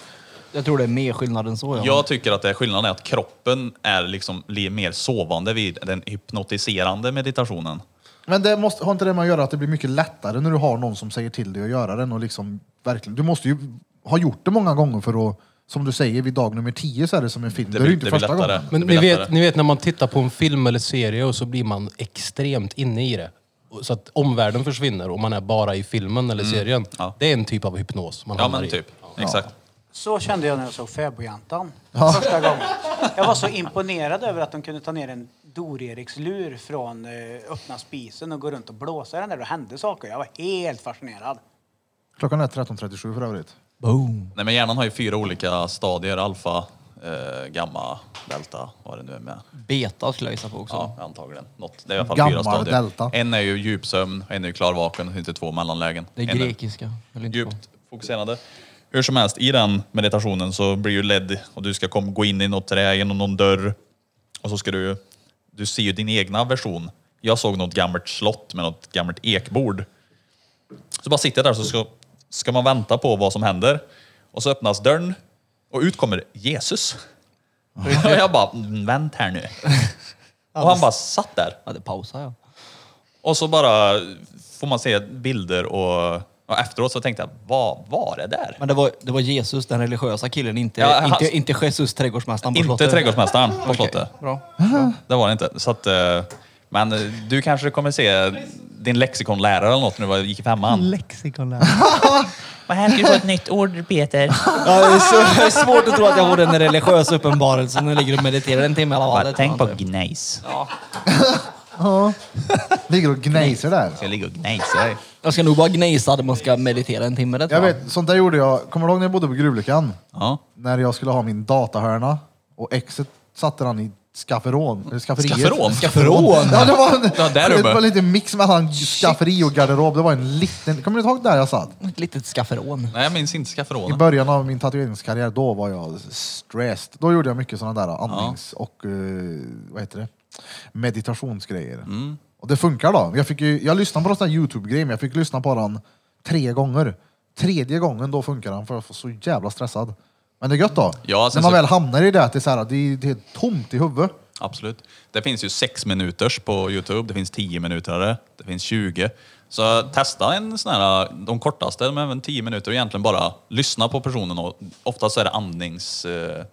S2: Jag tror det är mer skillnad än så. Ja.
S1: Jag tycker att det är skillnaden är att kroppen är liksom blir mer sovande vid den hypnotiserande meditationen.
S3: Men det måste, har inte det med att göra att det blir mycket lättare när du har någon som säger till dig att göra den och liksom verkligen, du måste ju ha gjort det många gånger för att, som du säger, vid dag nummer 10 så är det som en film. Det, är ju inte första gången.
S1: Det
S5: Men ni
S1: blir
S5: vet,
S1: lättare.
S5: ni vet när man tittar på en film eller serie och så blir man extremt inne i det. Och Så att omvärlden försvinner och man är bara i filmen eller serien.
S1: Mm. Ja.
S5: Det är en typ av hypnos man
S1: Ja
S5: hamnar
S1: men typ.
S5: i.
S1: Exakt.
S6: Så kände jag när jag såg Fäbodjäntan första gången. Jag var så imponerad över att de kunde ta ner en Dor-Eriks-lur från eh, öppna spisen och gå runt och blåsa i den där och hände saker. Jag var helt fascinerad.
S3: Klockan är 13.37 för övrigt.
S2: Boom.
S1: Nej, men hjärnan har ju fyra olika stadier. Alfa, eh, gamma, delta, vad det nu är med.
S2: Beta skulle jag gissa på också.
S1: Ja, antagligen. Något. Det är i alla fall
S3: Gamma
S1: fyra stadier.
S3: delta.
S1: En är ju djupsömn, en är ju klarvaken, det finns ju två mellanlägen.
S2: Det är
S1: En
S2: grekiska. Eller inte
S1: djupt fokuserande. Hur som helst, i den meditationen så blir du ledd och du ska kom, gå in i något trä genom någon dörr. Och så ska du, du ser ju din egna version. Jag såg något gammalt slott med något gammalt ekbord. Så bara sitter jag där så ska, ska man vänta på vad som händer. Och så öppnas dörren och ut kommer Jesus. Och jag bara, "Mm, vänt här nu. Och han bara satt där.
S2: Ja, det pausar jag.
S1: Och så bara får man se bilder och Och efteråt så tänkte jag, vad var det där?
S2: Men det var, det var Jesus, den religiösa killen, inte,
S1: Ja, han-
S2: inte, inte Jesus, trädgårdsmästaren på
S1: Inte
S2: slottet.
S1: trädgårdsmästaren på
S2: Okej,
S1: slottet.
S2: Bra.
S1: Det var det inte. Så att, eh, men eh, du kanske kommer se din lexikonlärare eller något när du var- gick i femman.
S9: Lexikonlärare.
S10: Och här ska du få ett nytt ord, Peter.
S2: Ja, det, är så, det är svårt att tro att jag vore en religiös uppenbarelse när jag ligger och mediterar en timme i alla
S10: Bara
S2: fall. Det
S10: tänk
S2: tror
S10: på
S2: jag inte.
S10: gnejs.
S3: Ligger och gnejser där.
S10: Jag ligger och gnejsar. dig.
S2: Jag ska nog bara gnejsa när man ska meditera en timme. Det
S3: Jag
S2: tror jag.
S3: vet, sånt där gjorde jag. Kommer du ihåg när jag bodde på Gruvlyckan?
S1: Ja.
S3: När jag skulle ha min datahörna och exet satte han i skafferån. Eller skafferiet.
S1: Skafferån?
S2: Skafferån?
S3: Ja, det var, en,
S1: Ja, där
S3: det
S1: uppe.
S3: var lite mix mellan skafferi och garderob. Det var en liten... Kommer du ihåg där jag satt?
S2: Ett litet skafferån.
S1: Nej, jag minns inte
S3: I
S1: skafferånen.
S3: början av min tatueringskarriär, då var jag stressed. Då gjorde jag mycket sådana där andnings och eh, vad heter det? meditationsgrejer.
S2: Mm.
S3: Och det funkar då. Jag, fick ju, jag lyssnade på sådana Youtube-grejer, men jag fick lyssna på den tre gånger. Tredje gången då funkar den, för jag var så jävla stressad. Men det är gött då.
S1: Ja, sen
S2: alltså
S3: När man
S1: så-
S3: väl hamnar i det, att det är, så här, det är, det är tomt i huvudet.
S1: Absolut. Det finns ju sex minuters på Youtube, det finns 10 minuter, det finns 20. Så testa en sån här, de kortaste, men även 10 minuter och egentligen bara lyssna på personen och oftast så är det andnings... eh,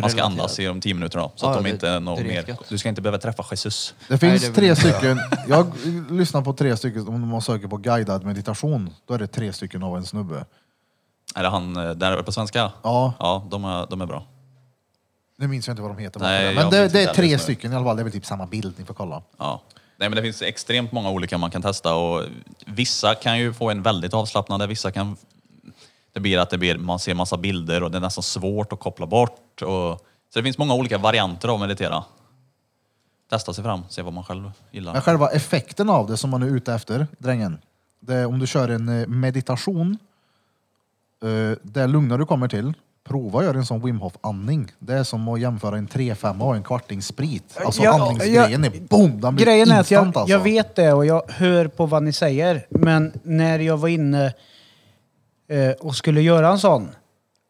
S1: Man ska
S2: Relaterat.
S1: andas i de 10 minuterna då, så
S2: Ja,
S1: att de
S2: det-
S1: inte är något
S2: det är
S1: mer...
S2: gött.
S1: Du ska inte behöva träffa Jesus.
S3: Det finns
S2: det vill
S3: tre
S2: jag inte
S3: stycken. Jag lyssnar på tre stycken, om man söker på guidad meditation, då är det tre stycken av en snubbe.
S1: Är det han eh, där på svenska?
S3: Ja.
S1: Ja, de är, de är bra.
S3: Nu minns jag inte vad de heter.
S1: Nej,
S3: men
S1: jag
S3: det,
S1: minns
S3: det
S1: inte
S3: är tre
S1: heller.
S3: stycken i alla fall. Det är väl typ samma bild. Ni får kolla.
S1: Ja. Nej, men det finns extremt många olika man kan testa och vissa kan ju få en väldigt avslappnande, vissa kan... Det blir att det blir, man ser massa bilder och det är nästan svårt att koppla bort. Och, så det finns många olika varianter av att meditera. Testa sig fram, se vad man själv
S3: Men
S1: gillar.
S3: själva effekten av det som man är ute efter, drängen. Det är om du kör en eh, meditation, eh, det lugna du kommer till, prova att göra en sån Wim Hof andning. Det är som att jämföra en 3-5 och en kvarting sprit. Alltså
S6: Jag-
S3: andningsgrejen
S6: jag-
S3: är boom, den blir
S6: Grejen är att jag,
S3: instant alltså.
S6: jag vet det och jag hör på vad ni säger. Men när jag var inne eh, och skulle göra en sån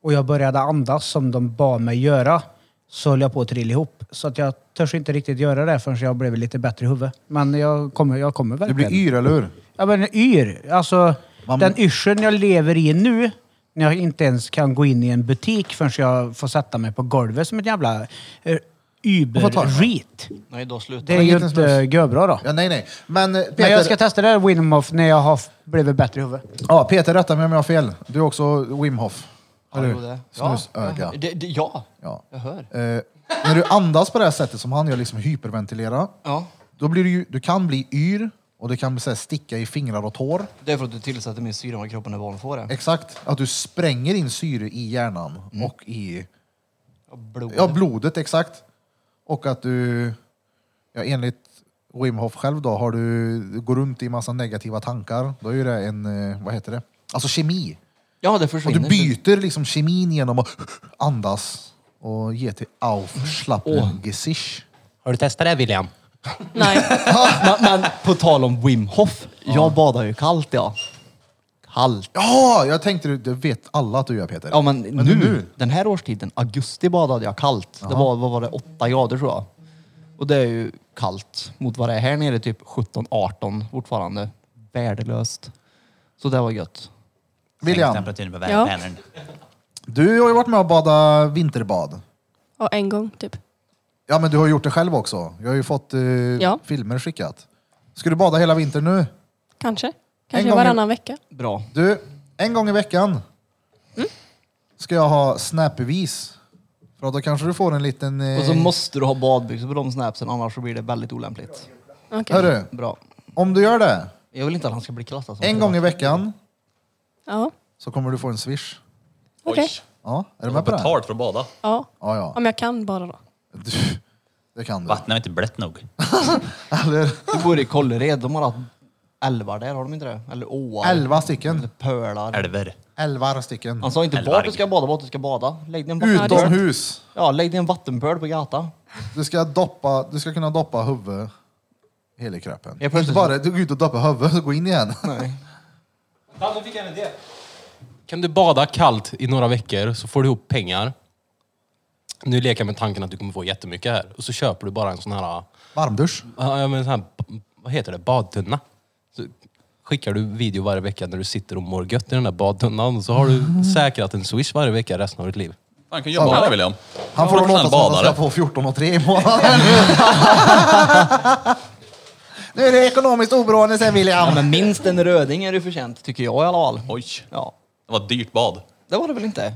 S6: och jag började andas som de bad mig göra så höll jag på att trilla ihop. Så att jag törs inte riktigt göra det förrän jag blev lite bättre i huvudet. Men jag kommer, jag kommer
S3: Du blir
S6: verkligen.
S3: yr, eller hur?
S6: Ja men yr. Alltså
S3: Man-
S6: den yrseln jag lever i nu när jag inte ens kan gå in i en butik förrän jag får sätta mig på golvet som ett jävla eh,
S3: Vad tar du?
S6: Uber-rit.
S2: Nej, då slutar
S6: Det är
S3: Men
S6: ju
S3: liten
S6: inte
S3: snus.
S6: görbra då.
S3: Ja, nej, nej. Men eh, Peter,
S6: Men jag ska testa det här Wim Hof när jag har f- blivit bättre i huvudet.
S3: ja, Peter rätta mig om jag har fel. Du är också Wim Hof. Eller
S2: jo,
S3: hur?
S2: det. Ja,
S3: Snusöga.
S2: Det, det, ja,
S3: Ja.
S2: jag hör.
S3: Eh, när du andas på det här sättet som han gör, liksom hyperventilera,
S2: Ja.
S3: då blir du, ju- du kan bli yr och det kan så här, sticka i fingrar och tår.
S2: Det är för att du tillsätter mer syre än vad kroppen är van att få det.
S3: Exakt, att du spränger in syre i hjärnan och i
S2: Blod.
S3: ja, blodet. Exakt. Och att du, ja, enligt Wim Hof själv då, har du, du går runt i massa negativa tankar. Då är ju det en, eh, vad heter det? Alltså kemi.
S2: ja, det
S3: Och du
S2: försvinner.
S3: byter liksom kemin genom att andas och ge till Aufschlappengesicht.
S5: Har du testat det William?
S4: Nej.
S2: men, men på tal om Wim Hof. Jag badar ju kallt ja. Kallt.
S3: Ja, jag tänkte du- det vet alla att du gör Peter.
S2: Ja men,
S3: det
S2: nu,
S3: är nu.
S2: den här årstiden, augusti badade jag kallt. Det var, vad var det, 8 grader tror jag. Och det är ju kallt mot vad det är här nere, typ 17-18 fortfarande. Värdelöst. Så det var gött.
S10: Sänk
S3: William,
S10: temperaturen på
S4: Ja.
S10: värmen.
S3: du har ju varit med och badat vinterbad.
S4: Ja, en gång typ.
S3: Ja, men du har ju gjort det själv också. Jag har ju fått eh,
S4: Ja.
S3: filmer skickat. Ska du bada hela vintern nu?
S4: Kanske.
S3: En
S4: Kanske
S3: gång i-
S4: varannan vecka.
S2: Bra.
S3: Du, en gång i veckan
S2: Mm.
S3: ska jag ha snapbevis. För då kanske du får en liten... Eh,
S2: Och så måste du ha badbyxor på de snapsen annars så blir det väldigt olämpligt.
S4: Okej.
S3: hörru,
S2: Bra.
S3: om du gör det
S2: Jag vill inte att han ska bli klassad som
S3: en gång i veckan
S4: Ja.
S3: så kommer du få en swish.
S4: Okej.
S3: Ja, är du
S1: Oj,
S3: med på det? Ja,
S1: betalt för att bada.
S4: Ja.
S3: ja.
S4: Om jag kan bara då.
S3: Du, det kan du.
S10: Vattnet var inte blött nog.
S3: Eller,
S2: Du bor i Kållered, de har haft älvar där, har de inte det? Eller åar?
S3: elva stycken.
S2: Eller pölar.
S10: Älver.
S3: Elva stycken.
S2: Han sa inte
S10: Älvar.
S2: vart du ska bada, vart du ska bada. Lägg dig i en vattenpöl.
S3: Utomhus.
S2: Ja, lägg dig i en vattenpöl på gata.
S3: Du ska, doppa, du ska kunna doppa huvudet hela kroppen.
S2: Ja, precis.
S3: Inte bara du går ut och doppar huvudet och går in igen.
S5: Kan du bada kallt i några veckor så får du ihop pengar. Nu leker jag med tanken att du kommer få jättemycket här. Och så köper du bara en sån här, ah,
S3: Varmdusch.
S5: ja, men sån här vad heter det, badtunna. Så skickar du video varje vecka när du sitter och mår gött i den där badtunnan. Så har du säkrat en swish varje vecka resten av ditt liv.
S1: Han kan jobba med det William.
S3: Han får det låta
S1: Professionell
S3: som att
S1: badare.
S3: han ska få 14 och 3 i månaden. nu är det ekonomiskt oberoende sen William.
S2: Ja, men minst en röding är det förtjänt, tycker jag i alla fall.
S1: Oj,
S2: Ja,
S1: det var ett dyrt bad.
S2: det var det väl inte?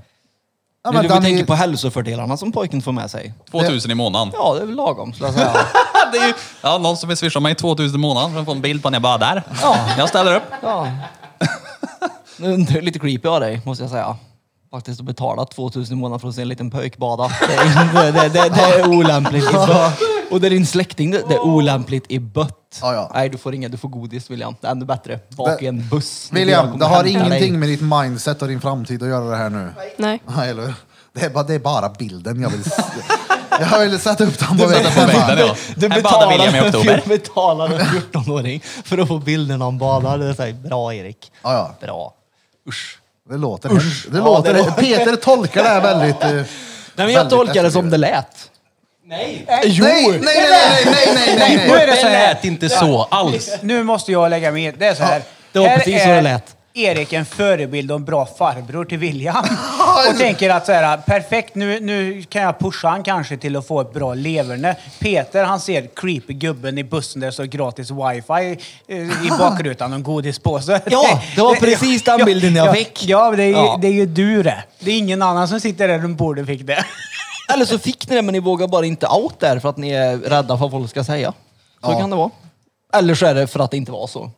S3: Ja,
S2: men
S3: men
S2: du får
S3: den är
S2: tänka
S3: ju-
S2: på hälsofördelarna som pojken får med sig.
S1: 2000 i månaden.
S2: Ja, det är väl lagom skulle jag säga.
S1: Det är ju, ja, någon som vill swisha mig 2000 i månaden för att få en bild på när jag badar.
S2: Ja.
S1: Jag ställer upp.
S2: Ja. Nu är det lite creepy av dig, måste jag säga. Faktiskt att betala 2000 i månaden för att se en liten pöjk bada. Det är, inte- det, det, det är olämpligt i bött. Och det är din släkting, det, det är olämpligt i bött.
S3: Ja, ja.
S2: Nej, du får inga, du får godis William. Det är ännu bättre. Bak i en buss. Jag
S3: William, det
S2: kommer
S3: har
S2: hämta
S3: ingenting
S2: dig.
S3: med ditt mindset och din framtid att göra det här nu.
S4: Nej.
S3: Nej, Eller hur? det, är bara, det är bara bilden jag vill... s- jag vill sätta upp den på
S1: Sätter på
S3: väggen.
S1: bilden ja.
S2: Du
S1: Här badar William i
S2: betalar,
S1: oktober.
S2: du betalar en 14-åring för att få bilderna om badar. Det är så här, bra Erik.
S3: Ja, ja.
S2: Bra.
S3: Det låter... Det låter
S2: det låter-
S3: Peter tolkar det här väldigt... eh,
S2: Nej, men jag
S3: väldigt
S2: tolkar det som
S3: efterblivet.
S2: det lät. Nej! Jo!
S3: Nej, nej, nej, nej, nej, nej, nej,
S6: Nu
S3: nej.
S6: är det så
S5: Det
S6: här.
S5: lät inte så alls.
S6: Nu måste jag lägga mig i. Det är så här.
S2: det var
S6: här
S2: precis så det
S6: är
S2: lät.
S6: Erik en förebild och en bra farbror till William. Och tänker att så här, perfekt, nu, nu kan jag pusha han kanske till att få ett bra leverne. Peter, han ser creepy gubben i bussen där det står gratis wifi eh, i bakrutan och en godispåse.
S2: Ja, det var precis den bilden jag
S6: ja,
S2: fick.
S6: Ja, men det är, ju-
S2: Ja.
S6: det är ju du det. Det är ingen annan som sitter där runt bordet fick det.
S2: Eller så fick ni det men ni vågar bara inte out där för att ni är rädda för vad folk ska säga. Så kan det vara. Eller så är det för att det inte var så.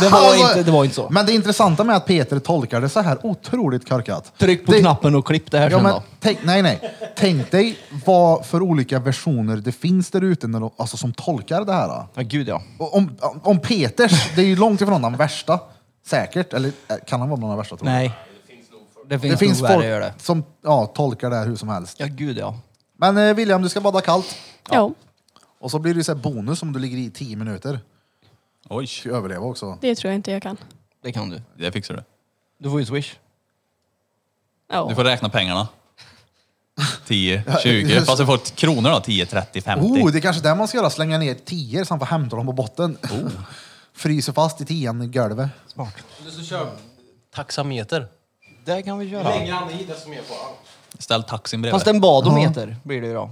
S2: Det var,
S3: Alltså,
S2: inte, det var inte så.
S3: Men det intressanta med att Peter tolkar det så här otroligt korkat.
S2: Tryck på
S3: det,
S2: knappen och klipp det här
S3: Ja,
S2: sen
S3: men,
S2: då.
S3: tänk, nej, nej. tänk dig vad för olika versioner det finns där ute när de- alltså, som tolkar det här. då.
S2: Ja, gud ja.
S3: Och Om, om Peters, det är ju långt ifrån den värsta. Säkert. Eller eh, kan han vara bland de värsta? Tror jag.
S2: Nej. Det finns,
S3: Det finns
S2: nog
S3: folk
S2: värre gör det.
S3: som ja, tolkar det här hur som helst.
S2: Ja, gud ja.
S3: Men eh, William, du ska bada kallt.
S4: Ja,
S3: Och så blir det ju så här bonus om du ligger i 10 minuter.
S1: Oj,
S3: Du överleva också.
S4: det tror jag inte jag kan.
S2: Det kan du.
S1: det fixar du.
S2: Du får ju swish.
S4: Ja.
S1: Du får räkna pengarna. 10, 20, fast du får ett kronor då. 10, 30, 50.
S3: Oh, det är kanske det man ska göra. Slänga ner 10 så han får hämta dem på botten. Fryser fast i tian i golvet.
S2: Smart.
S5: Du så kör taxameter.
S2: Det kan vi göra.
S1: Ställ taxin bredvid.
S2: Fast en badometer blir det ju då.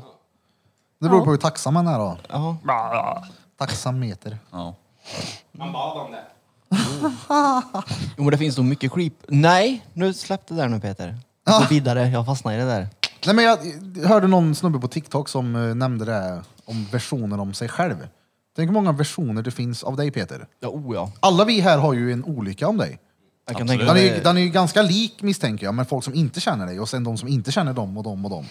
S3: Det beror på hur tacksam man är då.
S2: Jaha.
S3: Tacksamheter.
S1: Ja.
S2: Jo men det finns nog mycket creep. Nej, nu släpp det där nu Peter. Gå vidare, jag fastnar i det där.
S3: Nej, men jag jag hörde någon snubbe på TikTok som eh, nämnde det här om versioner om sig själv. Tänk hur många versioner det finns av dig Peter.
S2: Ja, oh ja.
S3: Alla vi här har ju en olika om dig.
S2: Jag kan tänka
S3: Den är,
S2: mig
S3: ju, den är ju ganska lik misstänker jag, men folk som inte känner dig och sen de som inte känner dem och dem och dem.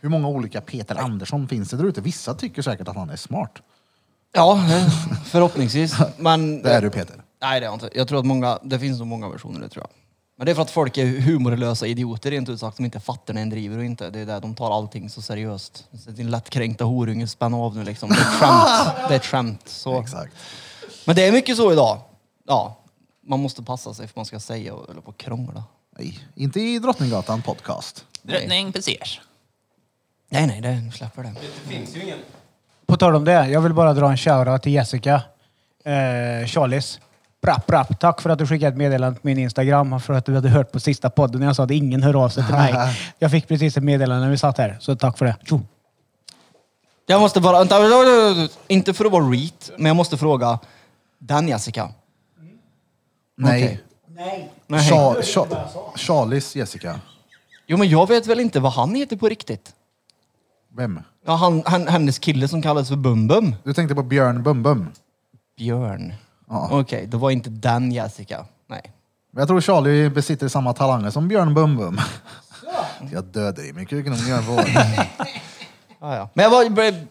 S3: Hur många olika Peter Andersson finns det där ute? Vissa tycker säkert att han är smart.
S2: Ja, förhoppningsvis. Men,
S3: Det är du Peter.
S2: Nej, det är jag inte. Jag tror att många, det finns nog många versioner, det tror jag. Men det är för att folk är humorlösa idioter rent ut sagt, som inte fattar när en driver och inte. Det är där de tar allting så seriöst. Så Din lättkränkta horunge, spänn av nu liksom. Det är ett skämt. Det är ett skämt. Så.
S3: Exakt.
S2: Men det är mycket så idag. Ja, man måste passa sig för man ska säga och eller på och krångla.
S3: Nej, inte i Drottninggatan podcast.
S10: Drottning passerar.
S2: Nej, nej, det släpper det.
S6: På tal om det, jag vill bara dra en shoutout till Jessica. Eh, Charlies. Brapp, brapp. Tack för att du skickade ett meddelande på min Instagram och för att du hade hört på sista podden när jag sa att ingen hör av sig till mig. Jag fick precis ett meddelande när vi satt här, så tack för det. Tjo.
S2: Jag måste bara, vänta, inte för att vara reet, men jag måste fråga den Jessica.
S3: Nej.
S2: Okej. Nej.
S3: Cha- Cha- Charlies Jessica.
S2: Jo, men jag vet väl inte vad han heter på riktigt.
S3: Vem?
S2: Ja, han, han, hennes kille som kallas för Bumbum.
S3: Du tänkte på Björn Bum Bum.
S2: Björn.
S3: Ja.
S2: Okej, det var inte den Jessica. Nej.
S3: Men Jag tror Charlie besitter samma talanger som Björn Bum Bum. Jag dödar i min kuken om ni gör vad.
S2: Ja, ja. Men jag var... blev-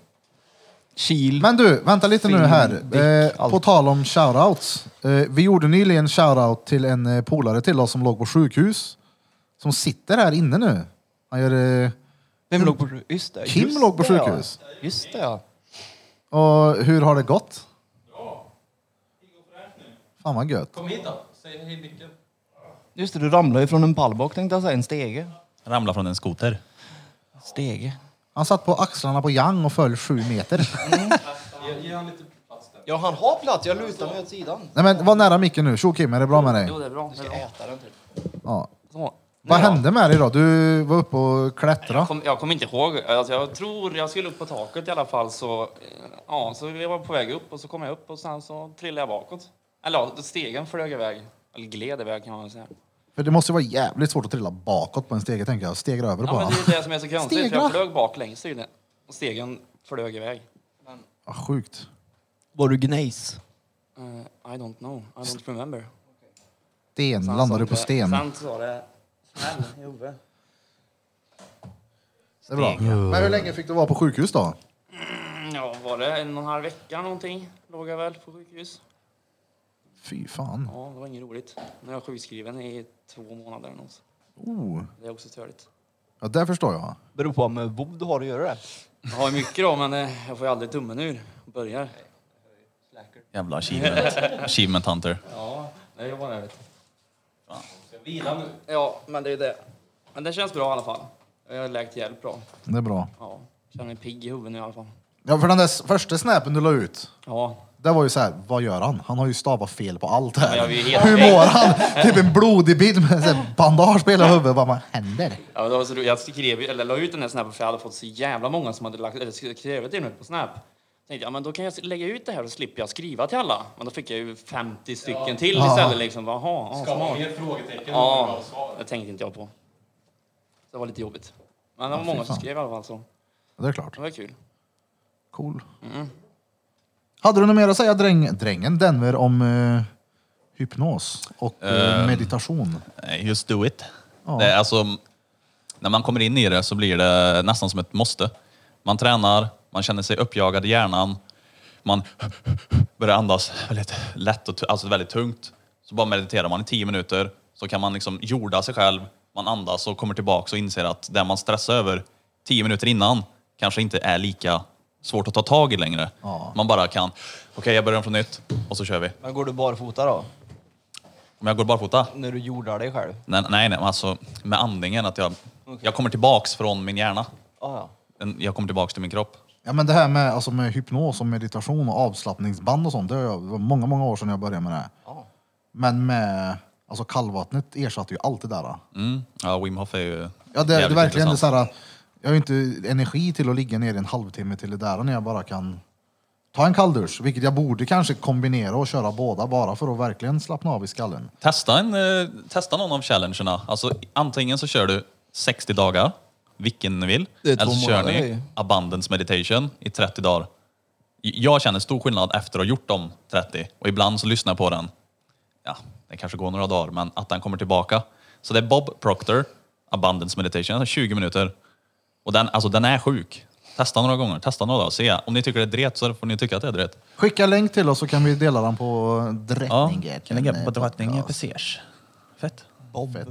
S2: Kil.
S3: Men du, vänta lite nu här.
S2: dick,
S3: Eh,
S2: allt.
S3: på tal om shoutouts. Eh, vi gjorde nyligen shoutout till en eh, polare till oss som låg på sjukhus. Som sitter här inne nu. Han gör, eh,
S2: Vem låg på sjukhus? Just det.
S3: Kim
S2: just
S3: låg på
S2: det,
S3: sjukhus.
S2: Ja. Just det, ja.
S3: och hur har det gått? Fan vad gött.
S2: Just det, du ramlade ju från en pall bak tänkte jag säga. En stege.
S1: Ramla från en skoter.
S2: Stege.
S3: Han satt på axlarna på Yang och föll sju meter.
S2: Ja, han har plats. Jag lutar mig åt sidan.
S3: Nej men var nära micken nu. Tjo Kim, är det bra med dig?
S9: Jo, det är bra. Du ska äta den typ.
S3: Ja.
S9: Så.
S3: Vad
S9: Nu då?
S3: hände med dig då? Du var uppe och klättrade.
S9: Jag kom- Jag kommer inte ihåg. Alltså, jag tror jag skulle upp på taket i alla fall. Så, eh, ja, så jag var på väg upp och så kom jag upp och sen så trillade jag bakåt. Eller ja, stegen flög iväg. Eller gled iväg kan man väl säga.
S3: För det måste ju vara jävligt svårt att trilla bakåt på en stege tänker jag. Stegra över
S9: Ja,
S3: bara.
S9: men det är det som är så konstigt. För
S3: Stegra.
S9: jag flög bak längs tydligen. Och stegen flög iväg.
S3: Ja, sjukt.
S2: Var du gnejs?
S9: Eh, I don't know. I don't remember.
S3: Sten,
S9: Sen
S3: landade
S9: så-
S3: du på sten.
S9: Sen så var det smäll i huvudet.
S3: Det är bra. Men hur länge fick du vara på sjukhus då?
S9: Ja, var det en och en halv vecka någonting? Låg jag väl på sjukhus.
S3: Fy fan.
S9: Ja, det var inget roligt. Nu är jag sjukskriven i två månader eller något.
S3: Oh.
S9: Det är också törligt.
S3: Ja, det förstår jag.
S2: Beror på med vod du har att göra det.
S9: Jag har ju mycket då, men eh, jag får ju aldrig tummen ur och börjar.
S1: Jävla achievement. achievement hunter.
S9: Ja, jag jobbar med det. Ska vila nu? Ja, men det är det. Men det känns bra i alla fall. Jag har läkt hjälp bra.
S3: Det är bra.
S9: Ja, känner mig pigg i huvudet nu i alla fall.
S3: Ja, för den där s- första snapen du la ut.
S9: Ja,
S3: Det var ju så här, vad gör han? Han har ju stavat fel på allt
S9: men
S3: här.
S9: jag är ju
S3: Hur
S9: helt väck.
S3: mår han? Typ en blodig bild med så här bandage på hela huvudet. Vad händer?
S9: Ja, men det var så roligt. jag skrev, ju- eller la ut den här snappen för jag hade fått så jävla många som hade lagt, eller skrivit till mig på Snap. Tänkte jag, men då kan jag lägga ut det här och slipper jag skriva till alla. Men då fick jag ju 50 stycken till istället liksom. Jaha, ja, smart.
S7: frågetecken.
S9: Ja, det tänkte inte jag på. Så det var lite jobbigt. Men det var många som skrev i alla fall så.
S3: Ja, Det är klart.
S9: Det var kul.
S3: Cool.
S1: Mm.
S3: Hade du något mer att säga dräng, drängen Denver om eh, hypnos och eh,
S1: Ehm.
S3: meditation?
S1: Nej, Eh, Just do it. Det är alltså, när man kommer in i det så blir det nästan som ett måste. Man tränar, man känner sig uppjagad i hjärnan. Man börjar andas väldigt lätt och tu- alltså väldigt tungt. Så bara mediterar man i tio minuter. Så kan man liksom jorda sig själv. Man andas och kommer tillbaka och inser att det man stressar över tio minuter innan kanske inte är lika svårt att ta tag i längre. Man bara kan, okej jag börjar från nytt och så kör vi.
S2: Men går du barfota då?
S1: Om jag går barfota,
S2: När du jordar dig själv?
S1: Nej, nej, nej alltså med andningen. Att jag, jag kommer tillbaks från min hjärna.
S2: Ah, ja.
S1: En- Jag kommer tillbaks till min kropp.
S3: Ja, men det här med, alltså, med hypnos och meditation och avslappningsband och sånt. Det har jag- det var många, många år sedan jag började med det. Men med alltså, kallvattnet ersatte ju allt det där. då.
S1: Mm. Ja, Wim Hof är ju
S3: Ja, det, det är
S1: jävligt
S3: verkligen det
S1: intressant.
S3: såhär, jag har ju inte energi till att ligga ner i en halvtimme till det där när jag bara kan ta en kalldusch, vilket jag borde kanske kombinera och köra båda bara för att verkligen slappna av i skallen.
S1: Testa, en, eh, testa någon av challengerna. Alltså, antingen så kör du 60 dagar, vilken ni vill.
S2: Det är två
S1: Eller så kör
S2: månader, det är
S1: ni
S2: ju.
S1: abundance meditation i 30 dagar. Jag känner stor skillnad efter att ha gjort de 30 och ibland så lyssnar jag på den. Ja, det kanske går några dagar, men att den kommer tillbaka. Så det är Bob Proctor, abundance meditation, alltså 20 minuter. Och den, alltså, den är sjuk. Testa några gånger, testa några dagar, se. Om ni tycker det är dret så får ni tycka att det är dret.
S3: Skicka länk till oss så kan vi dela den på Drottninggatan.
S10: Kan lägga på drottningen
S3: Podcast.
S10: precis. Fett.
S3: Fett.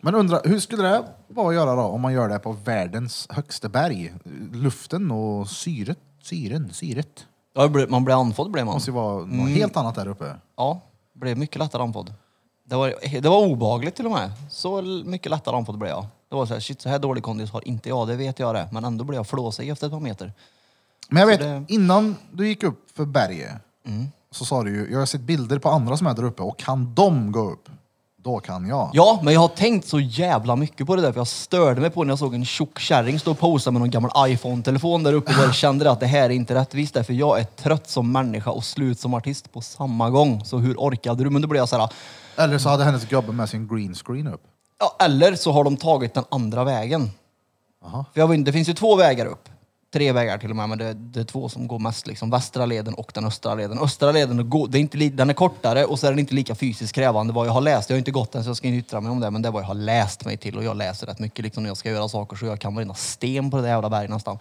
S3: Men undra, hur skulle det vara att göra då om man gör det på världens högsta berg? Luften och syret, syren, syret.
S2: Ja, jag blev- man blir andfådd blev
S3: Det
S2: man.
S3: måste ju vara
S2: Mm.
S3: något helt annat där uppe.
S2: Ja, blev mycket lättare andfådd. Det var, det var obehagligt till och med. Så l- mycket lättare andfådd blev jag. Det var så här, shit så här dålig kondis har inte jag, det vet jag det. Men ändå blev jag flåsig efter ett par meter.
S3: Men jag vet,
S2: Så det- Mm.
S3: innan du gick upp för berget så sa du ju, jag har sett bilder på andra som är där uppe och kan de gå upp, då kan jag.
S2: Ja, men jag har tänkt så jävla mycket på det där för jag störde mig på när jag såg en tjock kärring stå och posa med någon gammal iPhone-telefon där uppe och jag kände att det här är inte rättvist därför jag är trött som människa och slut som artist på samma gång. Så hur orkade du? Men då blev jag så här,
S3: Eller så hade hennes gubbe med sin green screen upp.
S2: Ja, eller så har de tagit den andra vägen. För jag vet inte, det finns ju två vägar upp. Tre vägar till och med, men det, det är två som går mest. Liksom. Västra leden och den östra leden. Östra leden går, det är inte, li- den är kortare och så är den inte lika fysiskt krävande vad jag har läst. Jag har inte gått den så jag ska inte yttra mig om det, men det är vad jag har läst mig till. Och jag läser rätt mycket liksom, när jag ska göra saker så jag kan varenda sten på det där jävla berget nästan.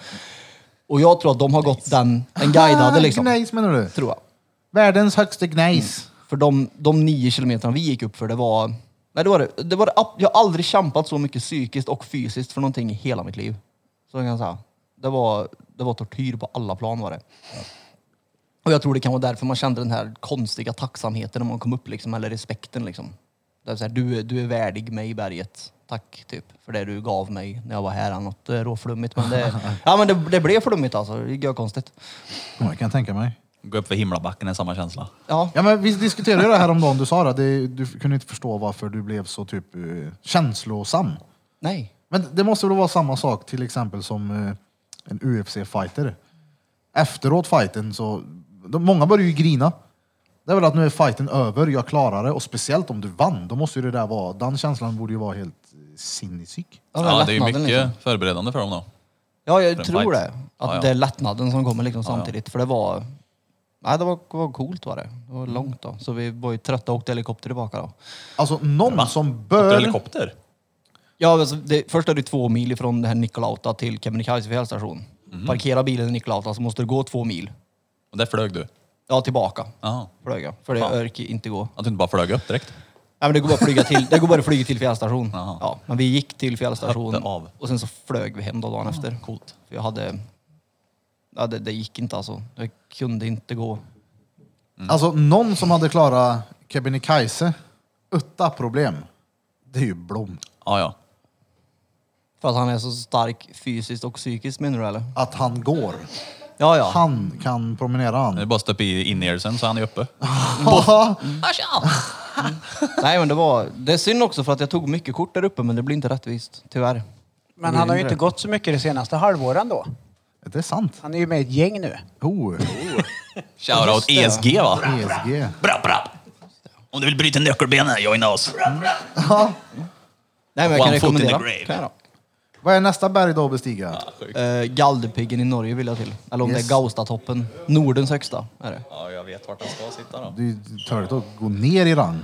S2: Och jag tror att de har gått den, den guidade liksom.
S3: Ah, Gnejs menar du?
S2: Tror jag.
S3: Världens högsta gnejs.
S2: För de, de nio kilometerna vi gick upp för, det var... Nej, det var det. det, var det ab- jag har aldrig kämpat så mycket psykiskt och fysiskt för någonting i hela mitt liv. Så kan jag säga. Det var, det var tortyr på alla plan var det. Och jag tror det kan vara därför man kände den här konstiga tacksamheten när man kom upp liksom, eller respekten liksom. Det är så här, du, är- du är värdig mig i berget. Tack, typ, för det du gav mig när jag var här. Något eh, råflummigt, men det, ja, men det, det blev flummigt alltså. Det är konstigt.
S3: Ja, jag kan tänka mig.
S1: Gå upp för himlabacken är samma känsla.
S2: Ja.
S3: ja men vi diskuterade ju det här om dagen du sa det. det. Du kunde inte förstå varför du blev så typ eh, känslosam.
S2: Nej.
S3: Men det måste väl vara samma sak till exempel som eh, en UFC-fighter. Efteråt fighten så, de, många börjar ju grina. Det är väl att nu är fighten över, jag klarar det. Och speciellt om du vann, då måste ju det där vara, den känslan borde ju vara helt eh, sinnessjuk.
S2: Ja, den
S1: Ja, det är ju
S2: lättnaden
S1: mycket
S2: liksom.
S1: förberedande för dem då.
S2: Ja, jag
S1: för en
S2: tror
S1: fight.
S2: det. Att
S1: Ja, ja.
S2: det är lättnaden som kommer liksom samtidigt. För det var... Nej, det var, var coolt var det. Det
S1: Mm.
S2: var långt då. Så vi var ju trötta och åkte helikopter tillbaka då.
S3: Alltså någon som
S1: Åkte
S3: bör...
S1: helikopter?
S2: Ja, alltså, det, först är det två mil ifrån det här Nikolauta till Kebnekaise fjällstation.
S1: Mhm.
S2: Parkera bilen i Nikolauta så måste du gå två mil.
S1: Och där flög du?
S2: Ja, tillbaka.
S1: Ja.
S2: Flög jag. För det
S1: Fan.
S2: örk inte gå.
S1: Att du inte bara flög upp direkt?
S2: Nej, men det går bara att flyga till, det går bara att flyga till fjällstation.
S1: Jaha.
S2: Ja, men vi gick till fjällstation
S1: Hoppade av.
S2: och sen så flög vi hem då dagen efter. Coolt. För jag hade... Ja, det, det gick inte alltså. Jag kunde inte gå.
S3: Alltså någon som hade klarat Kebnekaise utan problem, det är ju Blom.
S1: Ja, ja.
S2: För att han är så stark fysiskt och psykiskt menar du eller?
S3: Att han går.
S2: Ja, Eh. ja.
S3: Han kan promenera
S1: Det är
S3: han.
S1: bara att stoppa i in-earsen så han är uppe. Ah,
S2: Nej men det var... Det är synd också för att jag tog mycket kort där uppe men det blir inte rättvist. Tyvärr.
S6: Men han har ju inte gått så mycket det senaste halvåren då.
S3: Det är sant.
S6: Han är ju med i ett gäng nu.
S3: Oh,
S1: Shoutout ESG E va?
S3: ESG.
S1: Bra, bra. Om du vill bryta nyckelbenet, joina oss.
S2: Nej men jag kan
S1: One foot in the
S2: rekommendera.
S1: grave.
S2: Kan jag
S3: Vad är nästa berg då att bestiga?
S2: då. Eh, Galdhöpiggen i Norge vill jag till. Eller om
S3: Yes.
S2: det är Gaustatoppen. Nordens högsta är det.
S1: Ja, jag vet vart han ska sitta då.
S3: Det är ju törligt att gå ner i rang.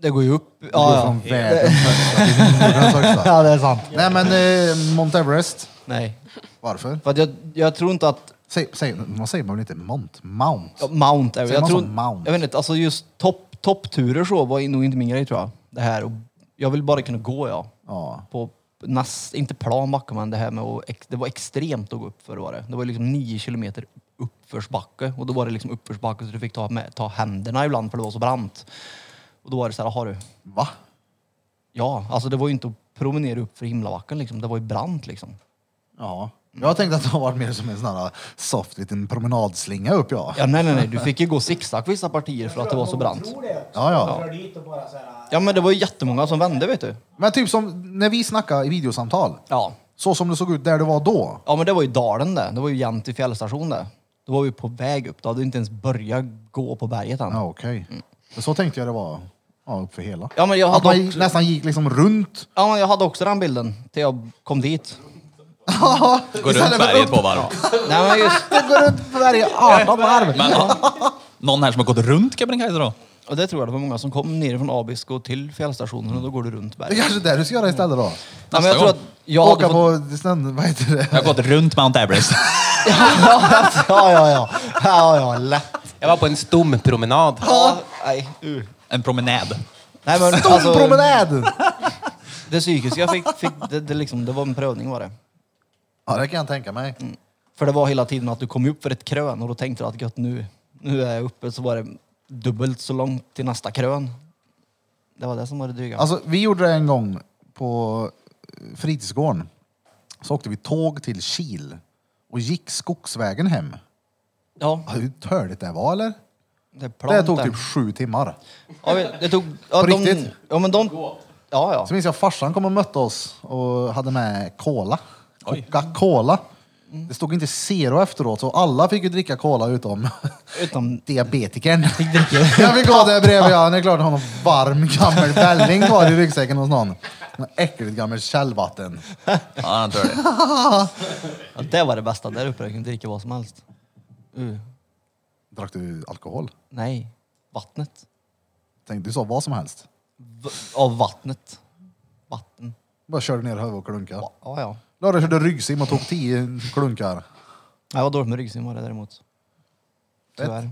S2: Det går ju upp.
S3: Gå
S2: Ja, ja. Eh.
S3: från världens högsta till Nordens högsta.
S2: ja det är sant.
S3: Nej men eh, Mount Everest,
S2: Nej.
S3: varför?
S2: För att jag, jag tror inte att
S3: Säg, säg, man säger man väl inte Mount? Mount?
S2: ja, Mount är...
S3: Säger
S2: Jag,
S3: man
S2: tror,
S3: så, Mount?
S2: jag vet inte, alltså just topp- toppturer så var nog inte min grej tror jag. Det här. Och jag vill bara kunna gå ja.
S3: Ja.
S2: på näst, inte plan backe, men det här med att, ex- det var extremt att gå upp för var det. Det var liksom nio kilometer uppförsbacke och då var det liksom uppförsbacke så du fick ta, med, ta händerna ibland för det var så brant. Och då var det så här, har du?
S3: Va?
S2: Ja, alltså det var ju inte att promenera upp för himlabacken liksom. Det var ju brant liksom.
S3: Ja. Jag tänkte att det har varit mer som en sån här soft liten promenadslinga upp ja.
S2: Ja, nej, nej, nej, du fick ju gå zigzag vissa partier för att det var så brant.
S3: Ja, ja.
S2: Ja, men det var ju jättemånga som vände vet du.
S3: Men typ som när vi snackade i videosamtal.
S2: Ja,
S3: Så som det såg ut där du var då.
S2: ja men det var ju dalen det. Det var ju jämt i fjällstation det. Då var vi på väg upp. Då hade vi inte ens börjat gå på berget än.
S3: Ja okej. Så tänkte jag det var. Ja, upp för hela.
S2: Mm. Ja, men jag
S3: Att
S2: hade
S3: man
S2: också-
S3: nästan gick liksom runt.
S2: Ja, men jag hade också den bilden till jag kom dit.
S1: Går runt berget två varv.
S2: Nej, men just,
S3: Du går runt på berget 18 varv.
S1: Men, ja. Någon här som har gått runt Kebnekaise då?
S2: och det tror jag det var många som kom ner från Abisko till fjällstationen och då går du runt
S3: Det är
S2: berget.
S3: kanske det du ska göra istället då.
S2: Nej, men jag tror att jag hade
S3: Åka
S2: fått...
S3: på snön, vad heter det?
S1: Jag har gått runt Mount Everest.
S2: ja, ja, ja. Ja, ja, lätt.
S5: Jag var på en stompromenad.
S2: Ja, nej. uh.
S1: En promenad.
S2: nej men, alltså,
S3: Stompromenad!
S2: det psykiska jag fick, fick det, det, liksom, det var en prövning var det.
S3: Ja det kan jag tänka mig.
S2: Mm. För det var hela tiden att du kom ju upp för ett krön och då tänkte du att gött nu, nu är jag uppe. Så var det dubbelt så långt till nästa krön. Det var det som var det dryga.
S3: Alltså vi gjorde det en gång på eh, fritidsgården. Så åkte vi tåg till Kil och gick skogsvägen hem.
S2: ja,
S3: Ja, Hur törligt det var eller?
S2: det är plant
S3: Det tog
S2: där.
S3: typ sju timmar.
S2: Ja, vi- det tog... Ja,
S3: På
S2: de,
S3: riktigt?
S2: Ja, men de... Ja, ja.
S3: Så minns jag farsan kom och mötte oss och hade med cola. Coca-Cola. Det stod inte zero efteråt så alla fick ju dricka cola utom
S2: Utom...
S3: diabetikern. Jag fick gå där bredvid ja, det är klart han har någon varm gammal välling kvar i ryggsäcken hos någon. Någon äckligt gammel källvatten.
S1: Ja, han tror det.
S2: Ja, det var det bästa där uppe. Jag kunde dricka vad som helst. Uh.
S3: Drack du alkohol?
S2: Nej. Vattnet.
S3: Tänkte du sa vad som helst?
S2: V- av vattnet. Vatten.
S3: Bara körde ner huvudet och klunkade.
S2: Ja, ja.
S3: Lördag körde ryggsim och tog tio klunkar.
S2: Jag var dåligt med ryggsim var det däremot. Tyvärr.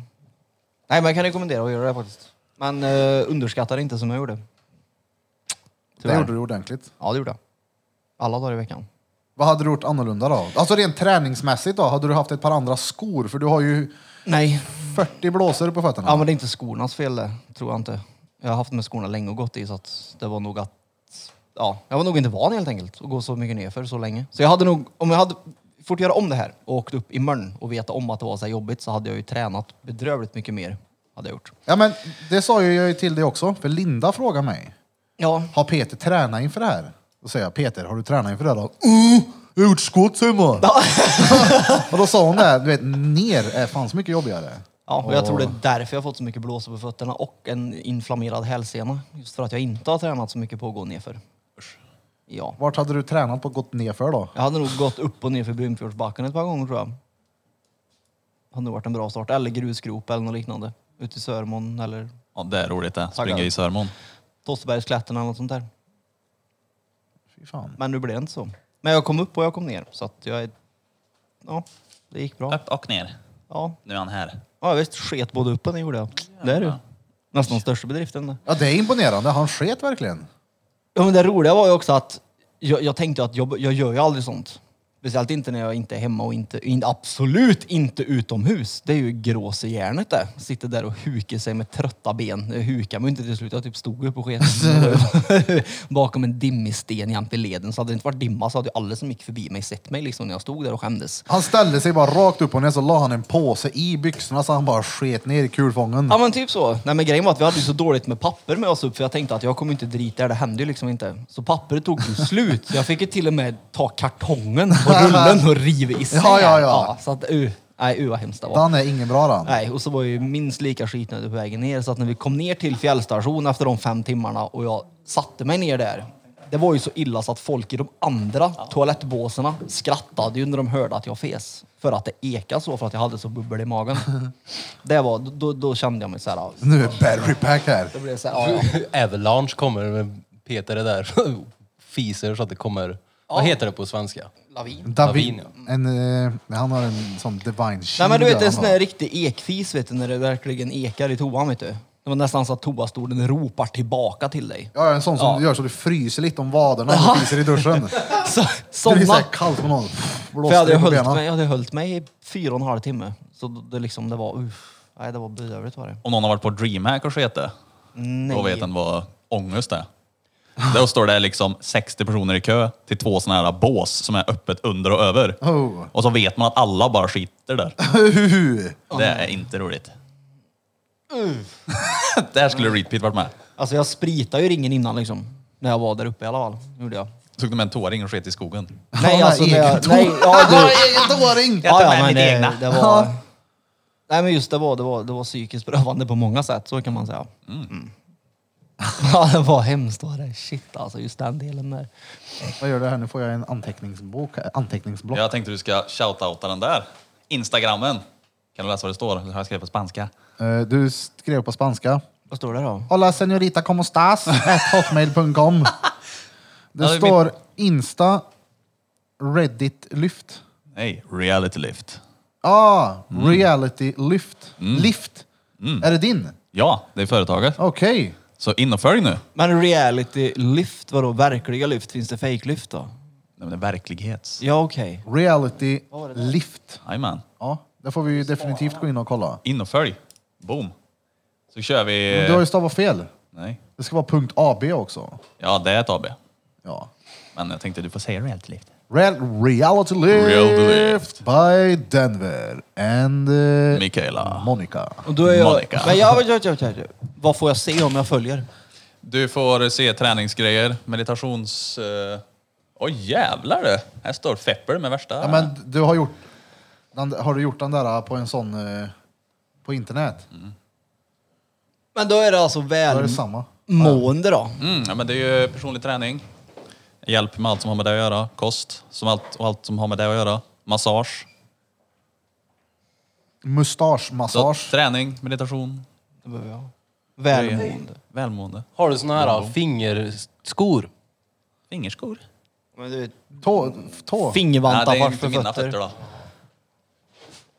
S2: Nej, men jag kan rekommendera att göra det faktiskt. Men eh, underskatta det inte som jag gjorde.
S3: Det gjorde du ordentligt.
S2: Ja, det gjorde jag. Alla dagar i veckan.
S3: Vad hade du gjort annorlunda då? Alltså rent träningsmässigt då? Hade du haft ett par andra skor? För du har ju
S2: Nej.
S3: 40 blåsor på fötterna.
S2: Ja, men det är inte skornas fel det, tror jag inte. Jag har haft med skorna länge och gått i så att det var nog att... Ja, jag var nog inte van helt enkelt att gå så mycket nerför så länge. Så jag hade nog, om jag hade fort göra om det här och åkt upp i Mörn och veta om att det var så här jobbigt så hade jag ju tränat bedrövligt mycket mer. Hade jag gjort.
S3: Ja, men det sa ju jag ju till dig också, för Linda frågade mig.
S2: Ja.
S3: Har Peter tränat inför det här? Då säger jag, Peter, har du tränat inför det här? Då, "Mm, jag har gjort squats hemma. och då sa hon det, här, du vet, ner är fan så mycket jobbigare.
S2: Ja, och jag tror det är därför jag har fått så mycket blåsor på fötterna och en inflammerad hälsena. Just för att jag inte har tränat så mycket på att gå nerför. Ja.
S3: Vart hade du tränat på att gått nerför då?
S2: Jag hade nog gått upp och nerför Brunfjordsbacken ett par gånger tror jag. Hade nog varit en bra start. Eller grusgrop eller något liknande. Ute i Sörmån eller
S1: Ja, det är roligt det. Springa
S2: Tackar.
S1: i Sörmån.
S2: Tossebergsklätterna eller något sånt där.
S3: Fy fan.
S2: Men nu blev det inte så. Men jag kom upp och jag kom ner. Så att jag är... Ja, det gick bra.
S1: Upp och ner.
S2: Ja,
S1: Nu är han här.
S2: ja visst. Sket både upp och ner gjorde jag. Det är du. Nästan den största bedriften. det.
S3: Ja, det är imponerande. Han sket verkligen.
S2: Ja, men det roliga var ju också att jag, jag tänkte att jag, jag gör ju aldrig sånt. Speciellt inte när jag inte är hemma och inte, in, absolut inte utomhus. Det är ju grås i hjärnet det. Sitter där och hukar sig med trötta ben. Jag hukar mig inte till slut. Jag typ stod upp och sket. Bakom en dimmig sten jämte leden. Så hade det inte varit dimma så hade ju alla som gick förbi mig sett mig liksom när jag stod där och skämdes.
S3: Han ställde sig bara rakt upp och ner så la han en påse i byxorna så han bara sket ner i kulfången.
S2: Ja men typ så. Nej men grejen var att vi hade ju så dåligt med papper med oss upp för jag tänkte att jag kommer inte dit där, det hände ju liksom inte. Så pappret tog ju slut. Så jag fick ju till och med ta kartongen och rullen och riva isär.
S3: Ja, ja, ja.
S2: så att uh, nej uh vad hemskt det var.
S3: Han är ingen bra han.
S2: Nej, och så var jag ju minst lika skitnödig på vägen ner. Så att när vi kom ner till fjällstation efter de fem timmarna och jag satte mig ner där. Det var ju så illa så att folk i de andra toalettbåsarna skrattade ju när de hörde att jag fes. För att det ekade så, för att jag hade så bubbel i magen. Det var, då, då kände jag mig så här.
S3: Nu är Barry Pack här.
S2: Det blev så här ja, ja.
S5: Avalanche kommer med Peter är där. Fiser så att det kommer... Vad heter det på svenska?
S2: Lavin.
S3: David,
S5: Lavin,
S3: en, eh, han har en sån divine
S2: Nej
S3: shield
S2: men du vet
S3: där
S2: en
S3: han
S2: sån
S3: har.
S2: där riktig ekfis vet du, när det verkligen ekar i toan vet du. Det var nästan så att toastolen ropar tillbaka till dig.
S3: Ja, en sån som
S2: Ja.
S3: gör så du fryser lite om vaderna när du fryser i duschen.
S2: Så,
S3: Det blir
S2: såna.
S3: såhär kallt på någon.
S2: För jag
S3: Blåser
S2: hade ju
S3: på
S2: höllt
S3: benen.
S2: mig, jag hade höllt mig i fyra och en halv timme. Så då- det liksom, det var uff. Nej det var bedrövligt var det.
S1: Om någon har varit på DreamHack och sket det,
S2: Nej.
S1: då vet en vad ångest är. Där står det liksom 60 personer i kö till två sådana här bås som är öppet under och över.
S3: Oh.
S1: Och så vet man att alla bara skiter där.
S3: Uhuhu.
S1: Det är inte roligt. där skulle Repeat varit med.
S2: Alltså jag spritade ju ringen innan liksom. När jag var där uppe i alla fall. Gjorde jag.
S1: Så tog de en tåring och sket i skogen.
S2: Nej
S3: Ja,
S2: alltså, när
S3: egen
S2: jag, nej, ja,
S3: Bara
S2: du,
S3: egen dåring!
S1: Jag tar med mitt
S2: det,
S1: egna.
S2: Det var, nej men just det var, det, var, det var psykiskt prövande på många sätt, så kan man säga. Mm. ja det var hemskt var det. Shit alltså, just den delen där.
S3: Vad gör du här? Nu får jag en anteckningsbok. här. Anteckningsblock.
S1: Jag tänkte du ska shoutouta den där. Instagrammen. Kan du läsa vad det står? Eller har jag skrivit på spanska?
S3: Eh, Du skrev på spanska.
S2: Vad står det då?
S3: Hola senorita como estas? At hotmail.com. Det
S1: Ja, det är
S3: står Insta Reddit lyft.
S1: Nej, reality lift.
S3: Ah, reality lyft. Lyft. Är det din?
S1: Ja, det är företaget.
S3: Okej.
S1: Så in och följ nu. Nej,
S2: Men reality lyft, vadå verkliga lyft? Finns det fake lyft då?
S1: men det är verklighets.
S2: Ja okej.
S3: Reality lyft.
S1: Jajamän.
S3: Ja, det får vi ju definitivt gå in och kolla.
S1: In och följ. Boom. Så kör vi...
S3: Men Du har ju stavat fel.
S1: Nej.
S3: Det ska vara punkt .ab också.
S1: Ja, det är ett AB.
S3: Ja.
S1: Men jag tänkte du får säga reality lift.
S3: Real, reality lift,
S1: Reality Lift.
S3: by Denver and eh,
S1: Mikaela.
S3: Monica.
S2: Och då är jag...
S1: Monica.
S2: Men jag, jag, jag, jag, jag, vad får jag se om jag följer?
S1: Du får se träningsgrejer, meditations... eh, Oj jävlar du! Här står Fepper med värsta...
S3: Ja, men du har gjort den, har du gjort den där på en sån eh, på internet?
S2: Men då är det alltså
S3: Då är det samma.
S2: välmående då?
S1: Mm, ja, men det är ju personlig träning. Hjälp med allt som har med det att göra. Kost som allt, och allt som har med det att göra. Massage. Så,
S3: Mustaschmassage.
S1: träning, meditation,
S2: Det behöver jag. Välmående.
S1: välmående.
S5: Har du såna här fingerskor?
S1: Fingerskor.
S2: Men du vet,
S3: Tå, tå.
S1: Nej,
S2: fingervantar
S1: det är
S2: varför
S1: inte mina fötter då. Men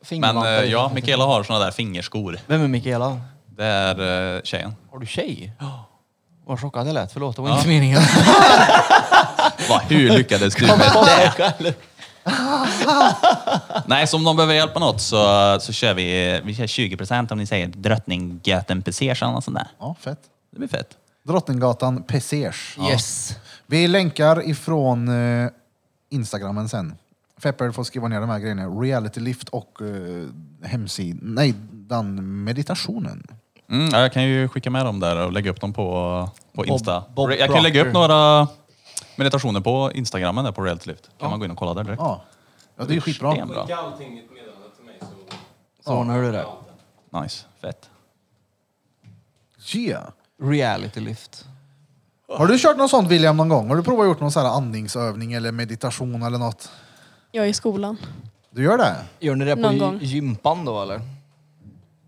S2: Fingervantar
S1: eh,
S2: i
S1: ja,
S2: fötter.
S1: Mikaela har såna där fingerskor.
S2: Vem är Mikaela?
S1: Det är eh, tjejen.
S2: Har du tjej? Vad chockad jag lät. Förlåt, det var inte meningen.
S1: Va, hur lyckades du med det? Nej, så om de behöver hjälp med något så, så kör vi, vi kör 20 procent om ni säger Drottninggatan Pesers eller något sånt där.
S3: Ja, fett.
S1: Det blir fett.
S3: Drottninggatan Pesers.
S2: Yes.
S3: Vi länkar ifrån eh, Instagrammen sen. Fepper får skriva ner de här grejerna. Reality lift och uh, hemsid... Nej, den meditationen.
S1: Mm, ja, jag kan ju skicka med dem där och lägga upp dem på, på
S3: Bob-
S1: Insta.
S3: Bob
S1: jag kan ju lägga upp
S3: Proctor.
S1: några meditationer på Instagrammen där på Reality Lift. Kan man gå in och kolla där direkt.
S3: Ja, ja det är ju skitbra.
S1: Stenbra.
S11: Skicka allting i ett meddelande till mig så...
S2: Så ordnar du det.
S1: Nice, fett.
S3: Yeah.
S2: Reality lift.
S3: Har du kört något sånt William någon gång? Har du provat att gjort någon sån här andningsövning eller meditation eller något?
S4: Jag är i skolan.
S3: Du gör det?
S2: Gör ni det på
S4: Någon
S2: gy-
S4: gång.
S2: gympan då eller?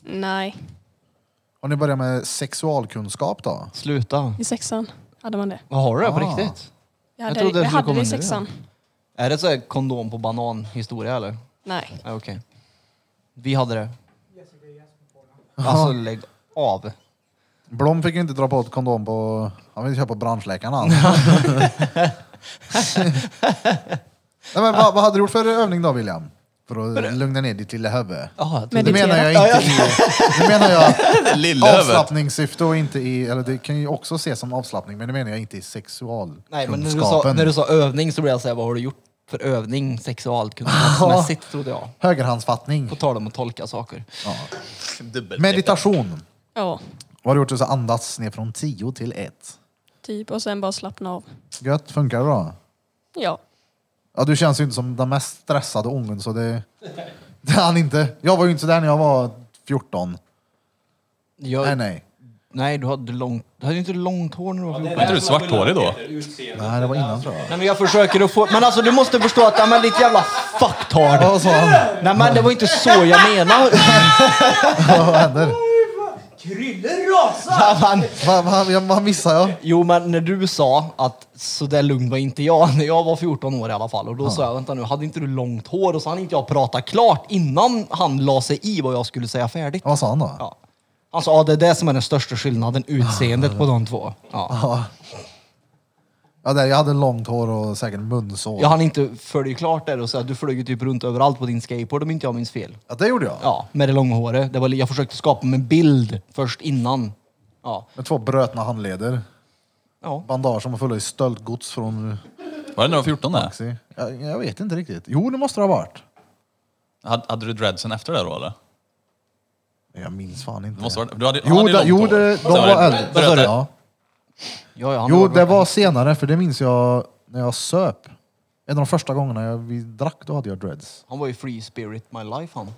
S4: Nej,
S3: Har ni börjat med sexualkunskap då?
S2: Sluta.
S4: i sexan hade man det.
S2: Vad har du det på
S3: Ah.
S2: riktigt? Jag
S4: Jag hade,
S2: trodde
S4: jag
S2: det skulle
S4: hade
S2: komma
S4: det i
S2: nu, ja.
S4: sexan.
S2: Är det så här kondom på banan historia eller?
S4: Nej.
S3: Ah,
S2: Ja, Okej. Vi hade det. Alltså lägg av.
S3: Blom fick ju inte dra på ett kondom på... Han vill köpa branschläkaren han. Nej, men vad, vad hade du gjort för övning då William? För att lugna ner ditt lilla huvud.
S2: Ah,
S3: Men det menar jag inte i... Det menar jag
S1: Det lilla huvudet.
S3: avslappningssyfte och inte i... Eller det kan ju också ses som avslappning men det menar jag inte i sexualkunskapen.
S2: Nej, men när du, sa, när du sa övning så blev jag såhär, vad har du gjort för övning sexualkunskapsmässigt trodde jag.
S3: Högerhandsfattning.
S2: På tal om att tolka saker.
S3: Meditation.
S4: Ja,
S3: Vad har du gjort? Du sa andas ner från 10 till 1.
S4: typ. Och sen bara slappna av.
S3: Gött, funkar det då?
S4: Ja.
S3: Ja, du känns ju inte som den mest stressade ungen så det... Det är han inte. Jag var ju inte sådär när jag var 14.
S2: Jag,
S3: Nej, nej.
S2: Nej, du hade långt, du hade ju inte långt hår när du var 14.
S1: Jag trodde svarthårig då.
S3: Nej, det var innan tror jag.
S2: Nej men jag försöker att få, men alltså du måste förstå att, ja men ditt jävla fucktard.
S3: Vad sa han?
S2: Nej men det var inte så jag menade.
S3: Vad händer?
S6: Krylle rasar!
S2: Ja, men-
S3: Vad va, ja, vad missar jag?
S2: Jo men när du sa att så där lugn var inte jag när jag var 14 år i alla fall och då sa jag vänta nu, hade inte du långt hår? Och så hann inte jag prata klart innan han la sig i vad jag skulle säga färdigt.
S3: Vad sa han då?
S2: Ja. Han sa ja, det är det som är den största skillnaden, utseendet på de två. Ja.
S3: Ja. Ja, där, jag hade långt hår och säkert munsår.
S2: Jag hann inte följa klart där och säga att du flög ju typ runt överallt på din skateboard om inte jag minns fel.
S3: Ja, det gjorde jag.
S2: Ja, med det långa håret. Det var, li- jag försökte skapa mig en bild först innan. Ja.
S3: Med två brötna handleder.
S2: Ja.
S3: Bandage som var fulla i stöldgods från
S1: Var det när du var 14 där?
S3: taxi. Jag, jag vet inte riktigt. Jo, det måste det ha varit.
S1: Hade, hade du dreadsen efter det då eller?
S3: Jag minns fan
S1: Det
S3: inte.
S1: måste vara, du hade,
S3: Jo,
S1: hade
S3: det, jo det, de var äldre. Vad sa du?
S1: äldre.
S3: Ja.
S2: Ja, ja, han
S3: Jo,
S2: har-
S3: det var senare, för det minns jag när jag söp. En av de första gångerna jag, vi drack, då hade jag dreads.
S2: Han var ju free spirit my life han.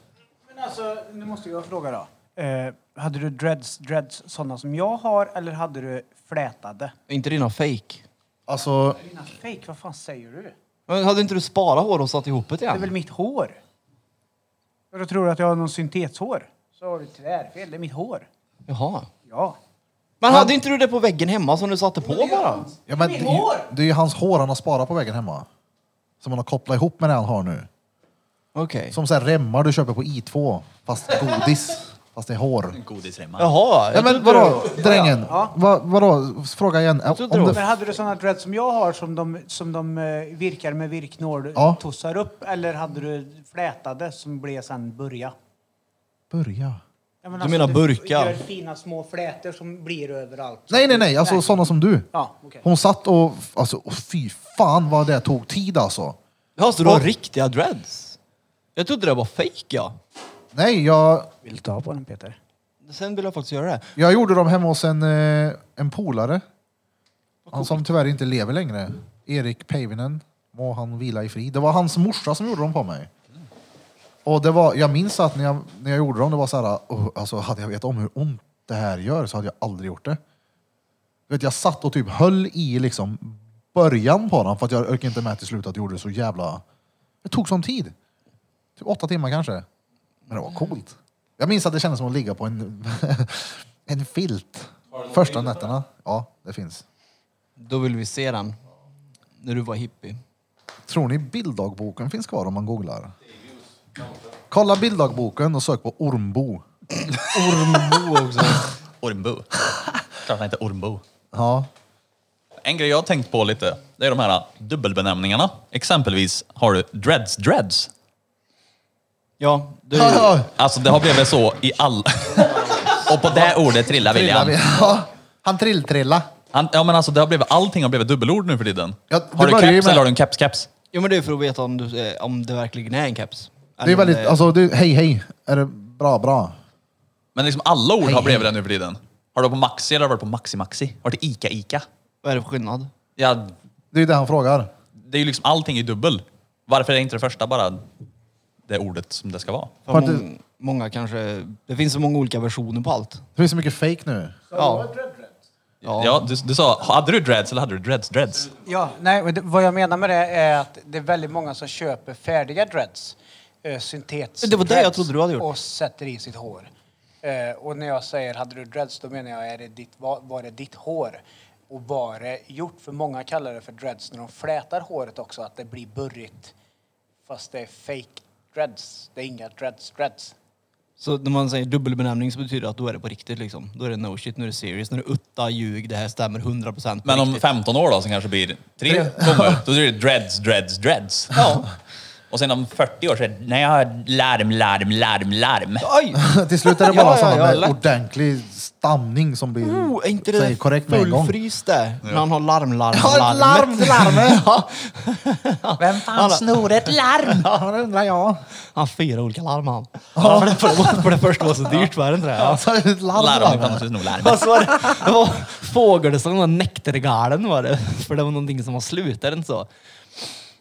S6: Men alltså, nu måste jag fråga då. Eh, hade du dreads, dreads sådana som jag har eller hade du flätade?
S2: Inte dina fake.
S3: Alltså,
S6: Dina fake, vad fan säger du?
S2: Men hade inte du sparat hår och satt ihop det
S6: Det är väl
S2: igen?
S6: mitt hår? Och Då tror du att jag har någon syntethår? Så har du tvärfel, det är mitt hår.
S2: Jaha.
S6: Ja.
S2: Men hade inte du det på väggen hemma som du satte på bara?
S3: ja, men det, är ju- det är ju hans hår han har sparat på vägen hemma. Som han har kopplat ihop med det han har nu.
S2: Okej.
S3: Som så här remmar du köper på I2, fast godis. fast det är hår.
S1: Godisremmar.
S2: Jaha.
S3: Ja,
S2: jag
S3: men
S2: trodde
S3: vadå,
S2: du-
S3: drängen? Va, vadå, fråga igen.
S2: trodde
S3: Om
S2: det
S6: Men
S3: det,
S6: hade du sådana dreads som jag har som de, som de eh, virkar med virknål
S3: Ja.
S6: tossar upp? Eller hade du flätade som blev sen börja?
S3: börja.
S6: Jag alltså,
S2: Du menar burkar?
S6: Du gör fina små flätor som blir överallt.
S3: Nej, nej, nej. Alltså sådana som du.
S6: Ja, okej.
S3: Hon satt och... Alltså, och fy fan vad det tog tid alltså.
S2: Ja, så du har riktiga dreads? Jag trodde det var fake ja.
S3: Nej, jag,
S6: Vill du ta på den Peter?
S2: Sen vill jag faktiskt göra det.
S3: jag gjorde dem hemma hos en, eh, en polare. Han som tyvärr inte lever längre. Erik Päivinen. Må han vila i frid. Det var hans morsa som gjorde dem på mig. Och det var, jag minns att när jag, när jag gjorde dem, det var så här, "Åh, alltså hade jag vetat om hur ont det här gör så hade jag aldrig gjort det. Du vet, jag satt och typ höll i liksom början på den för att jag orkade inte med till slut att jag gjorde det så jävla... Det tog sån tid. Typ åtta timmar kanske. Men det var coolt. Jag minns att det kändes som att ligga på en, en filt. Första nätterna. Ja, det finns.
S2: Då vill vi se den. När du var hippie.
S3: Tror ni bilddagboken finns kvar om man googlar? Kolla bilddagboken och sök på ormbo.
S2: Ormbo också.
S1: Ormbo. Klart han heter Ormbo.
S3: Ja.
S1: En grej jag har tänkt på lite, det är de här dubbelbenämningarna. Exempelvis har du dreads dreads.
S2: Ja, du...
S1: Alltså det har blivit så i all... Och på det ordet trillar
S3: Trilla,
S1: William.
S3: ja. Han trilltrilla.
S1: Han, ja men alltså det har blivit, allting har blivit dubbelord nu för tiden.
S3: Ja, det
S1: har du
S3: börjar ju
S1: keps
S3: med-
S1: eller har du en keps-keps?
S2: Jo men det är för att veta om, du, eh, om det verkligen är en keps.
S3: Det är
S2: Eller om
S3: väldigt, alltså det, hej hej, är det bra bra?
S1: Men liksom alla ord har blivit det nu för tiden. Har du varit på Maxi eller har du varit på Maxi Maxi? Har du varit Ica Ica?
S2: Vad är det för skillnad?
S1: Ja,
S3: Det är ju det han frågar.
S1: det är ju liksom allting i dubbel. Varför är inte det första bara det ordet som det ska vara?
S2: för
S3: Har
S2: mång-
S3: du-
S2: många kanske... Det finns så många olika versioner på allt.
S3: Det finns så mycket fake nu.
S2: Ja.
S1: Ja, du, du sa, hade du dreads eller hade du dreads dreads?
S6: Ja, nej, men det- vad jag menar med det är att det är väldigt många som köper färdiga dreads. eh, Syntets
S2: Det var det jag
S6: dreads,
S2: trodde du hade gjort.
S6: Och sätter i sitt hår. Eh, och när jag säger hade du dreads då menar jag är det ditt, var, var det ditt hår? Och var det gjort? För många kallar det för dreads när de flätar håret också att det blir burrigt. Fast det är fake dreads. Det är inga dreads dreads.
S2: Så när man säger dubbelbenämning så betyder det att då är det på riktigt liksom. Då är det no shit, nu är det serious, nu är det utta, ljug, det här stämmer 100% på
S1: Men om
S2: riktigt.
S1: 15 år då, som kanske blir tre tummar, då blir det dreads, dreads, dreads.
S2: Ja.
S1: Och sen om 40 år så är det, nej jag har larm, larm, larm, larm.
S2: Oj!
S3: Till slut är det
S2: Ja,
S3: bara
S2: ja,
S3: sådana
S2: ja,
S3: med
S2: lätt.
S3: ordentlig stamning som blir
S2: Oh, är inte
S3: säger
S2: det
S3: korrekt med en gång.
S2: fullfrys det? När han har larm, larm,
S3: Ja, larm,
S2: larmet.
S3: larm!
S2: Ja,
S3: Vem fan snor ett larm? Ja, det undrar jag.
S2: han har fyra olika larm han. Ja. För, det, för, det, för det första var så dyrt, var det inte det? Ja.
S3: Alltså, ett larm,
S1: Larm,
S3: larm.
S1: ibland måste du sno larm.
S2: Alltså, var det, det var fågelsång och näktergalen var det. För det var någonting som var slut, är det inte så?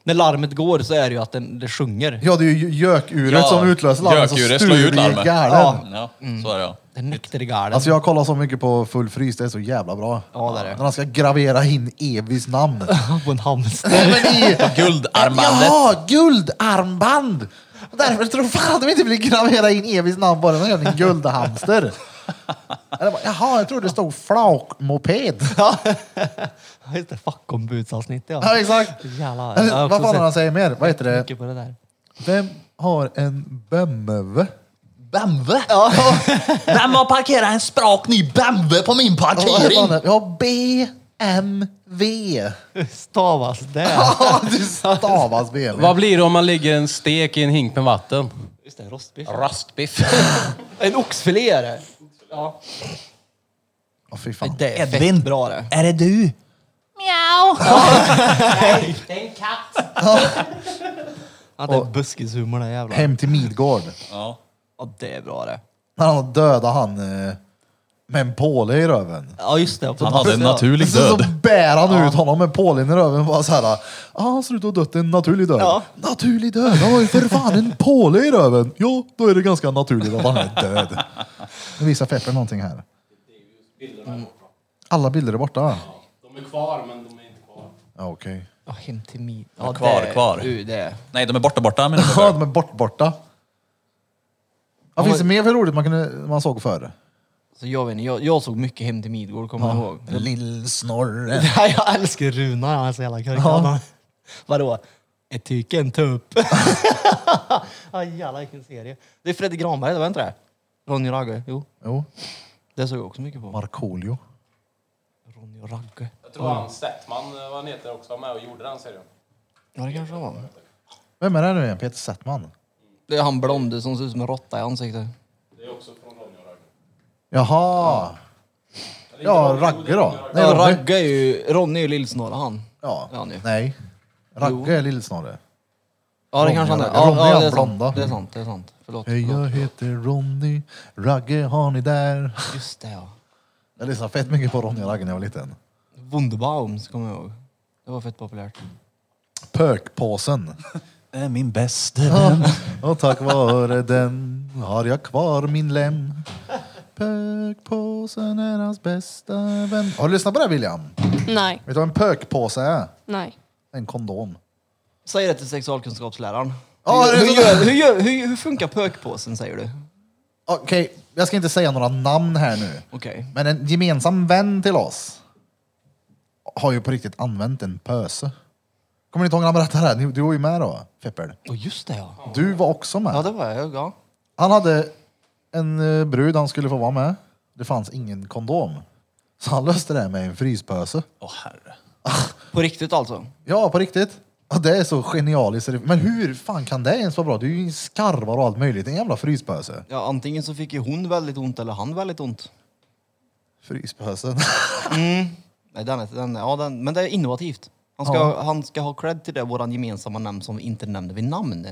S2: När larmet går så är det ju att den, det sjunger.
S3: Ja, det är ju gökuret
S1: Ja,
S3: som utlöser larmet.
S1: gökuret
S3: så
S1: slår ju ut
S3: stur i Mm.
S1: larmet.
S3: galen.
S2: Ja.
S1: Ja, så är det ja.
S2: Det är näktergalen.
S3: Alltså jag kollar så mycket på Full Frys, det är så jävla bra.
S2: Ja, det är det.
S3: När han ska gravera in Evis namn.
S2: på en hamster.
S3: Men i...
S1: Guldarmbandet.
S3: Jaha, guldarmband! Och Därför tror fan de inte vill gravera in Evis namn bara med en guldhamster. Eller bara, Jaha, jag trodde det stod flaukmoped.
S2: Just det, fackombudsavsnittet ja.
S3: Ja, exakt.
S2: Jävlar.
S3: Eller,
S2: Jag har
S3: vad
S2: också
S3: fan har han
S2: sett
S3: säger mer? Vad heter det?
S2: mycket på det där.
S3: Vem har en BMW?
S1: Bamve? Vem har parkerat en sprak ny Bamve på min
S3: Ja, vad heter
S1: parkering?
S3: han? Ja, BMW.
S2: Hur stavas det?
S3: Ja, det stavas BMW.
S5: Vad blir det om man lägger en stek i en hink med vatten?
S2: Just det, rostbiff.
S5: Rastbiff.
S2: En oxfilé är det.
S3: Åh, fy fan.
S2: Det är fett bra det.
S1: Är det du?
S2: Ja, det är buskishumor det jävlar.
S3: Hem till Midgård.
S1: Ja.
S2: Ja, det är bra det.
S3: När han dödade han eh, med en påle i röven.
S2: Ja, just det.
S1: Han hade en naturlig
S3: Så, så
S1: död.
S3: bär han ut honom med pålen i röven och bara så här. Ah, ser ut att ha dött en naturlig död.
S2: Ja.
S3: Naturlig död? Han har ju för fan en påle i röven. Ja, då är det ganska naturligt att han är död. Nu visar Pepper någonting här. Mm. Alla bilder är borta?
S5: De är kvar, men de är inte kvar.
S3: Ja, okej.
S2: Ja, hem till min... Ja,
S1: Kvar,
S2: det,
S1: kvar.
S2: Uh, det.
S1: Nej, de är borta borta menar
S3: Ja,
S1: jag.
S3: de är bort, borta. Ja, finns det mer för roligt man, kunde, man såg förr?
S2: Så jag, vet inte, jag, jag såg mycket Hem till Midgård, kommer jag ihåg.
S3: Lill-Snorre.
S2: Ja, jag älskar Runar, han är så jävla korkad.
S3: Ja.
S2: Vadå? Ett tyke, en tupp. ja, jävlar vilken serie. Det är Fredrik Granberg, det var inte det? Ronny och Ragge, jo.
S3: Jo,
S2: Det såg jag också mycket på.
S3: Markoolio.
S2: Ronny och Ragge.
S5: Jag tror han Settman, vad han heter, också var med och gjorde den serien.
S2: Ja, det kanske det var.
S3: Vem är det nu igen? Peter Settman?
S2: Det är han blonde som ser ut som en råtta i ansiktet.
S5: Det är också från Ronny och Ragge.
S3: Jaha! Ja, Ragge då? Nej,
S2: Ja,
S3: Robby.
S2: Ragge är ju... Ronny är ju lillsnåla han.
S3: Ja.
S2: Ja, han är.
S3: Nej. Ragge är Lill-Snorre.
S2: Ja, det
S3: Ronny
S2: kanske han är.
S3: och Ragge.
S2: Ja,
S3: Ronny
S2: ja,
S3: är
S2: det är sant.
S3: blonda.
S2: Det är sant, det är sant. Förlåt.
S3: Hej, jag
S2: förlåt.
S3: heter Ronny. Ragge, har ni där?
S2: Just det ja.
S3: Jag lyssnade fett mycket på Ronny och Ragge när jag var liten.
S2: Wunderbaums kommer jag ihåg. Det var fett populärt.
S3: Pökpåsen.
S1: Det är min bästa vän.
S3: Och tack vare den har jag kvar min lem. Pökpåsen är hans bästa vän. Har du lyssnat på det här, William?
S4: Nej,
S3: Vet du vad en pökpåse är?
S4: nej.
S3: En kondom.
S2: Säg det till sexualkunskapsläraren.
S3: Ja, det är
S2: hur,
S3: så-
S2: hur, gör, hur, gör, hur, hur funkar pökpåsen säger du?
S3: Okej, jag ska inte säga några namn här nu.
S2: Okej.
S3: Men en gemensam vän till oss har ju på riktigt använt en pöse. Kommer ni inte ihåg när han berättade det här? Ni- Du var ju med då, Feppel.
S2: Åh just det ja.
S3: Du var också med.
S2: Ja det var jag, ja.
S3: Han hade en eh, brud han skulle få vara med. Det fanns ingen kondom. Så han löste det här med en fryspöse.
S1: Åh herre.
S2: På riktigt alltså?
S3: Ja, på riktigt. Ja, det är så genialiskt. Men hur fan kan det ens vara bra? Det är ju skarvar och allt möjligt. En jävla fryspöse.
S2: Ja, antingen så fick ju hon väldigt ont eller han väldigt ont.
S3: Fryspösen.
S2: Nej, den, är- den, är- ja, den, men det är innovativt. Han ska,
S6: Ja.
S2: han ska ha cred till det, våran gemensamma nämn som vi inte nämner vid namn.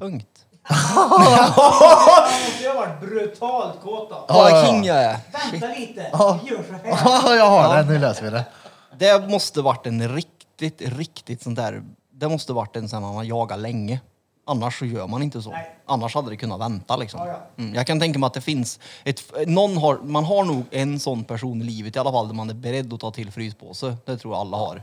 S2: Punkt.
S6: Jag har varit brutalt kåta.
S2: Ja, ja, ja. king jag är.
S6: Vänta lite.
S3: Ja.
S6: Vi gör så här.
S3: jag har den, nu löser vi det.
S2: Det måste varit en riktigt, riktigt sånt där... Det måste varit en sån man har jagat länge. Annars så gör man inte så. Annars hade det kunnat vänta liksom. Mm. Jag kan tänka mig att det finns ett... Någon har, man har nog en sån person i livet i alla fall där man är beredd att ta till fryspåse. Det tror jag alla har.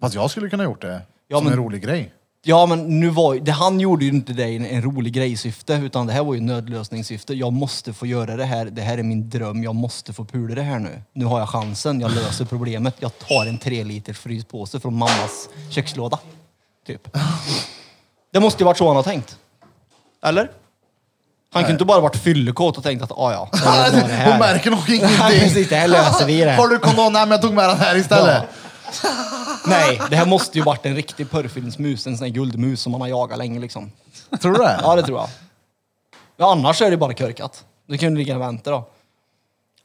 S3: Fast jag skulle kunna ha gjort det
S2: Ja,
S3: som
S2: men-
S3: en rolig grej.
S2: Ja, men nu var ju- det, han gjorde ju inte det i en, en rolig grej-syfte, utan det här var ju nödlösningssyfte. Jag måste få göra det här. Det här är min dröm. Jag måste få pula det här nu. Nu har jag chansen. Jag löser problemet. Jag tar en tre liters fryspåse från mammas kökslåda. Typ. Det måste ju varit så han har tänkt. Eller? Han kunde inte bara varit fyllekåt och tänkt att ah, ja, det var det här.
S3: Hon märker nog
S2: Nej,
S3: ingenting.
S2: precis, det här löser vi det.
S3: Har du kondom? Nej, men jag tog med den här istället.
S2: Nej, det här måste ju varit en riktig pörrfilmsmus, en sån här guldmus som man har jagat länge liksom.
S3: Tror du det?
S2: Ja, det tror jag. Ja, annars är det bara körkat. Du kan ju lika gärna vänta då.